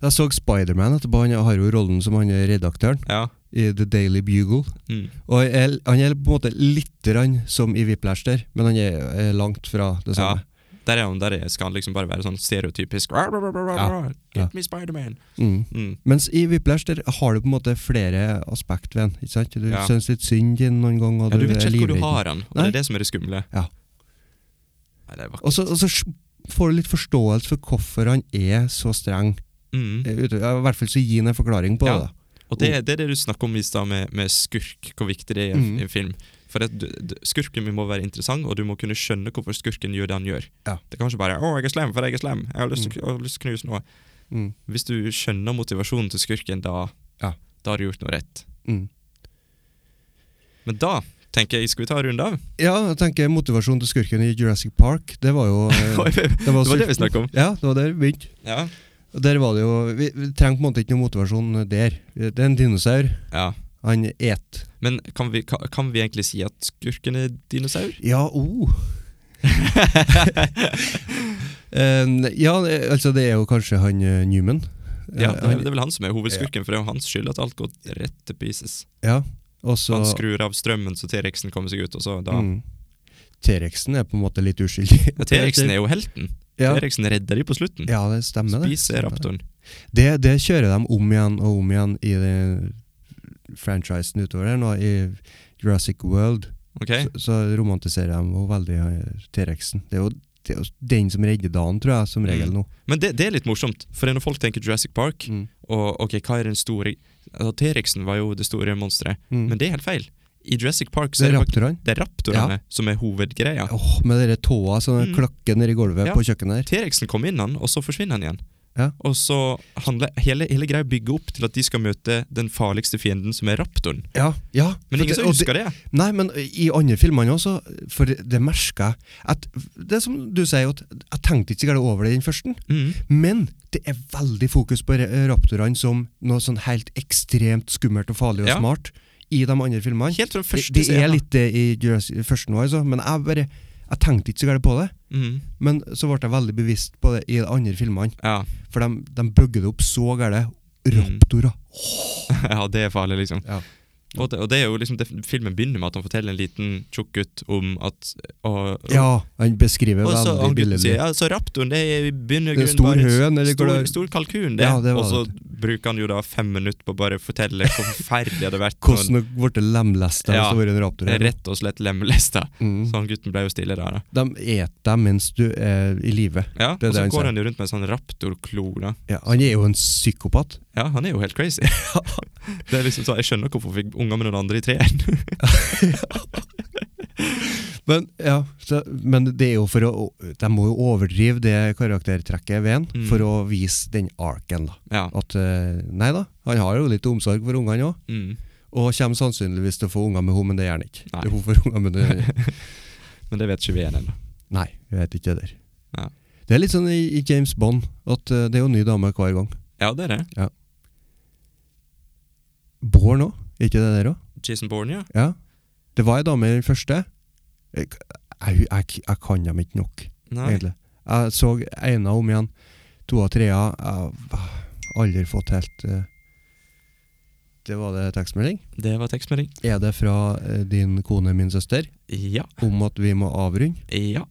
Speaker 12: Jeg så Spiderman etterpå. Han har jo rollen som han er redaktøren
Speaker 11: Ja.
Speaker 12: i The Daily Bugle.
Speaker 11: Mm.
Speaker 12: Og jeg er- han er på en måte litt rann som i Whiplash der, men han er, er langt fra det
Speaker 11: ja.
Speaker 12: samme.
Speaker 11: Sånn. Der, er han, der er- skal han liksom bare være sånn stereotypisk "Rar, rar, rar, rar, rar.
Speaker 12: Ja.
Speaker 11: Hit me, Spiderman.
Speaker 12: Mm.
Speaker 11: Mm.
Speaker 12: Mens i Whiplash der har du på en måte flere aspekt ved han. Ikke sant? Du
Speaker 11: Ja.
Speaker 12: syns litt synd i den noen ganger. og
Speaker 11: Ja, du vet
Speaker 12: er
Speaker 11: ikke helt hvor du
Speaker 12: livredd.
Speaker 11: har han, og det
Speaker 12: Nei.
Speaker 11: er det som er det skumle.
Speaker 12: Ja.
Speaker 11: Nei, det er vakkert.
Speaker 12: Og så, og så s- får du litt forståelse for hvorfor han er så streng.
Speaker 11: Mm.
Speaker 12: Eh, ut- ja, I hvert fall så gir han en forklaring på
Speaker 11: Ja.
Speaker 12: det. da.
Speaker 11: Og det, det er det du snakker om i stad med, med skurk, hvor viktig det er i en-
Speaker 12: Mm.
Speaker 11: i en film. For at du, du- skurken min må være interessant, og du må kunne skjønne hvorfor skurken gjør det han gjør.
Speaker 12: Ja.
Speaker 11: Det er kanskje bare 'Å, jeg er slem, for jeg er slem. Jeg har lyst til å- jeg har lyst til å knuse noe'.
Speaker 12: Mm.
Speaker 11: Hvis du skjønner motivasjonen til skurken, da,
Speaker 12: Ja.
Speaker 11: da har du gjort noe rett.
Speaker 12: Mm.
Speaker 11: Men da tenker jeg skal vi ta en runde av.
Speaker 12: Ja, jeg tenker motivasjonen til skurken i Jurassic Park, det var jo eh,
Speaker 11: det var det vi
Speaker 12: sulten.
Speaker 11: snakket om.
Speaker 12: Ja, det var der vi begynte.
Speaker 11: Ja.
Speaker 12: Og Der var det jo, vi, vi trenger på en måte ikke noe motivasjon der. Det er en dinosaur.
Speaker 11: ja.
Speaker 12: Han et.
Speaker 11: Men kan vi, kan, kan vi egentlig si at skurken er dinosaur?
Speaker 12: Ja, oh. Em, ja, eh, altså det er jo kanskje han eh, Newman. Eh,
Speaker 11: Ja, det, er-
Speaker 12: han-
Speaker 11: det er vel han som er hovedskurken, for det er jo hans skyld at alt går rett til pieces.
Speaker 12: ja. Og så
Speaker 11: Han skrur av strømmen så T-rexen kommer seg ut, og så da
Speaker 12: Mm. T-rexen er på en måte litt uskyldig.
Speaker 11: ja, T-rexen er jo helten.
Speaker 12: Ja.
Speaker 11: T-rexen redder de på slutten.
Speaker 12: Ja, det stemmer, det.
Speaker 11: Spiser raptoren.
Speaker 12: Det, det kjører de om igjen og om igjen i det- franchisen utover her nå, i Jurassic World.
Speaker 11: Ok?
Speaker 12: Så, så romantiserer de jo veldig eh, T-rexen. Det er jo det er jo den som redder dagen, tror jeg, som
Speaker 11: Mm.
Speaker 12: regel nå.
Speaker 11: Men det, det er litt morsomt, for når folk tenker Jurassic Park,
Speaker 12: Mm.
Speaker 11: og ok, hva er den store altså, T-rexen var jo det store monsteret,
Speaker 12: Mm.
Speaker 11: men det er helt feil. I Jurassic Park så
Speaker 12: Det
Speaker 11: er
Speaker 12: er
Speaker 11: det, faktisk,
Speaker 12: raptorene.
Speaker 11: det er raptorene som er hovedgreia.
Speaker 12: Åh, med dere tåa som
Speaker 11: Mm.
Speaker 12: klakker nedi gulvet
Speaker 11: Ja.
Speaker 12: på kjøkkenet her.
Speaker 11: T-rexen kommer inn, han, og så forsvinner han igjen.
Speaker 12: Ja.
Speaker 11: Og så handler hele, hele greia bygger opp til at de skal møte den farligste fienden, som er raptoren.
Speaker 12: Ja, ja.
Speaker 11: Men
Speaker 12: for
Speaker 11: ingen som
Speaker 12: og
Speaker 11: husker det.
Speaker 12: Nei, men i andre filmene også, for det, det merker jeg at Det er som du sier, at jeg tenkte ikke så gærent over det i den første,
Speaker 11: Mm.
Speaker 12: men det er veldig fokus på re- raptorene som noe sånn helt ekstremt skummelt og farlig og
Speaker 11: Ja.
Speaker 12: smart i de andre filmene.
Speaker 11: Helt fra den første
Speaker 12: det, det er
Speaker 11: scenen.
Speaker 12: litt det i Jurassic- første nå, altså, men jeg bare Jeg tenkte ikke så gærent på det.
Speaker 11: Mm.
Speaker 12: Men så ble jeg veldig bevisst på det i de andre filmene.
Speaker 11: Ja.
Speaker 12: For de, de bygger det opp så gærent.
Speaker 11: Mm.
Speaker 12: Raptorer.
Speaker 11: ja, det er farlig, liksom.
Speaker 12: Ja.
Speaker 11: Og, det, og det er jo liksom det, Filmen begynner med at han forteller en liten tjukk gutt om at og,
Speaker 12: Ja, han beskriver
Speaker 11: Og så
Speaker 12: veldig
Speaker 11: han gutten
Speaker 12: billedlig.
Speaker 11: sier ja, så raptoren det er i bunn og
Speaker 12: Det er
Speaker 11: grunn
Speaker 12: stor
Speaker 11: bare en
Speaker 12: høn, eller hva det
Speaker 11: stor,
Speaker 12: er.
Speaker 11: stor kalkun, det.
Speaker 12: Ja, det var
Speaker 11: og så
Speaker 12: det.
Speaker 11: bruker han jo da fem minutter på å bare fortelle hvor forferdelig det hadde vært. når-
Speaker 12: Hvordan det ble lemlesta
Speaker 11: Ja,
Speaker 12: hvis det var en raptor. her.
Speaker 11: Rett sånn. og slett lemlesta.
Speaker 12: Mm.
Speaker 11: Så han gutten ble jo stille der, da.
Speaker 12: De et deg mens du er i live.
Speaker 11: Ja,
Speaker 12: Det er
Speaker 11: og så
Speaker 12: det han
Speaker 11: går
Speaker 12: sier.
Speaker 11: han jo rundt med en sånn raptorklo, da.
Speaker 12: Ja, han er jo en psykopat.
Speaker 11: Ja, han er jo helt crazy. det er liksom så, Jeg skjønner hvorfor fikk unger med noen andre i treeren.
Speaker 12: Men, ja, så, men det er jo for å De må jo overdrive det karaktertrekket ved han
Speaker 11: Mm.
Speaker 12: for å vise den arken, da.
Speaker 11: ja.
Speaker 12: At eh, Nei da, han har jo litt omsorg for ungene òg.
Speaker 11: Mm.
Speaker 12: Og kommer sannsynligvis til å få unger med henne, men det gjør han ikke.
Speaker 11: Nei.
Speaker 12: Det er hun for unger med det.
Speaker 11: Men det vet ikke vi igjen ennå.
Speaker 12: Nei, jeg vet ikke det der.
Speaker 11: Ja.
Speaker 12: Det er litt sånn i, i James Bond at eh, det er jo ny dame hver gang.
Speaker 11: ja, det er det.
Speaker 12: Bård òg, er ikke det der òg?
Speaker 11: Jason Bourne, ja.
Speaker 12: Ja. Det var ei dame i den første. Jeg, jeg, jeg, jeg kan dem ikke nok,
Speaker 11: Nei.
Speaker 12: egentlig. Jeg så ena om igjen. To og trea. Jeg har aldri fått helt eh, Det var det tekstmelding.
Speaker 11: Det var tekstmelding.
Speaker 12: Er det fra eh, din kone, min søster,
Speaker 11: Ja.
Speaker 12: om at vi må avrunde?
Speaker 11: Ja.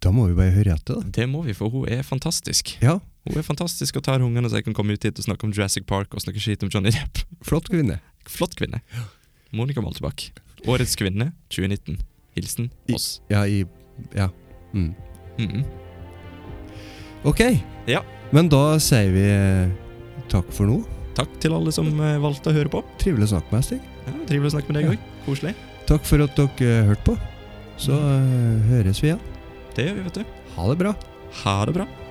Speaker 12: Da må vi bare høre etter, da.
Speaker 11: Det må vi, for hun er fantastisk.
Speaker 12: Ja,
Speaker 11: Hun er fantastisk og tar ungene så jeg kan komme ut hit og snakke om Jurassic Park og snakke skit om Johnny Depp.
Speaker 12: flott kvinne.
Speaker 11: Flott kvinne. Monica Moltebakk. Årets kvinne 2019. Hilsen
Speaker 12: I-
Speaker 11: oss.
Speaker 12: Ja, i Ja. Mm.
Speaker 11: Mm -mm.
Speaker 12: Ok.
Speaker 11: Ja.
Speaker 12: Men da sier vi eh, takk for nå.
Speaker 11: Takk til alle som eh, valgte å høre på.
Speaker 12: Trivelig å snakke med deg, Stig.
Speaker 11: Ja, trivelig å snakke med deg òg. Koselig.
Speaker 12: Takk for at dere hørte på. Så eh, høres vi igjen.
Speaker 11: Det gjør vi, vet du.
Speaker 12: Ha det bra.
Speaker 11: Ha det bra.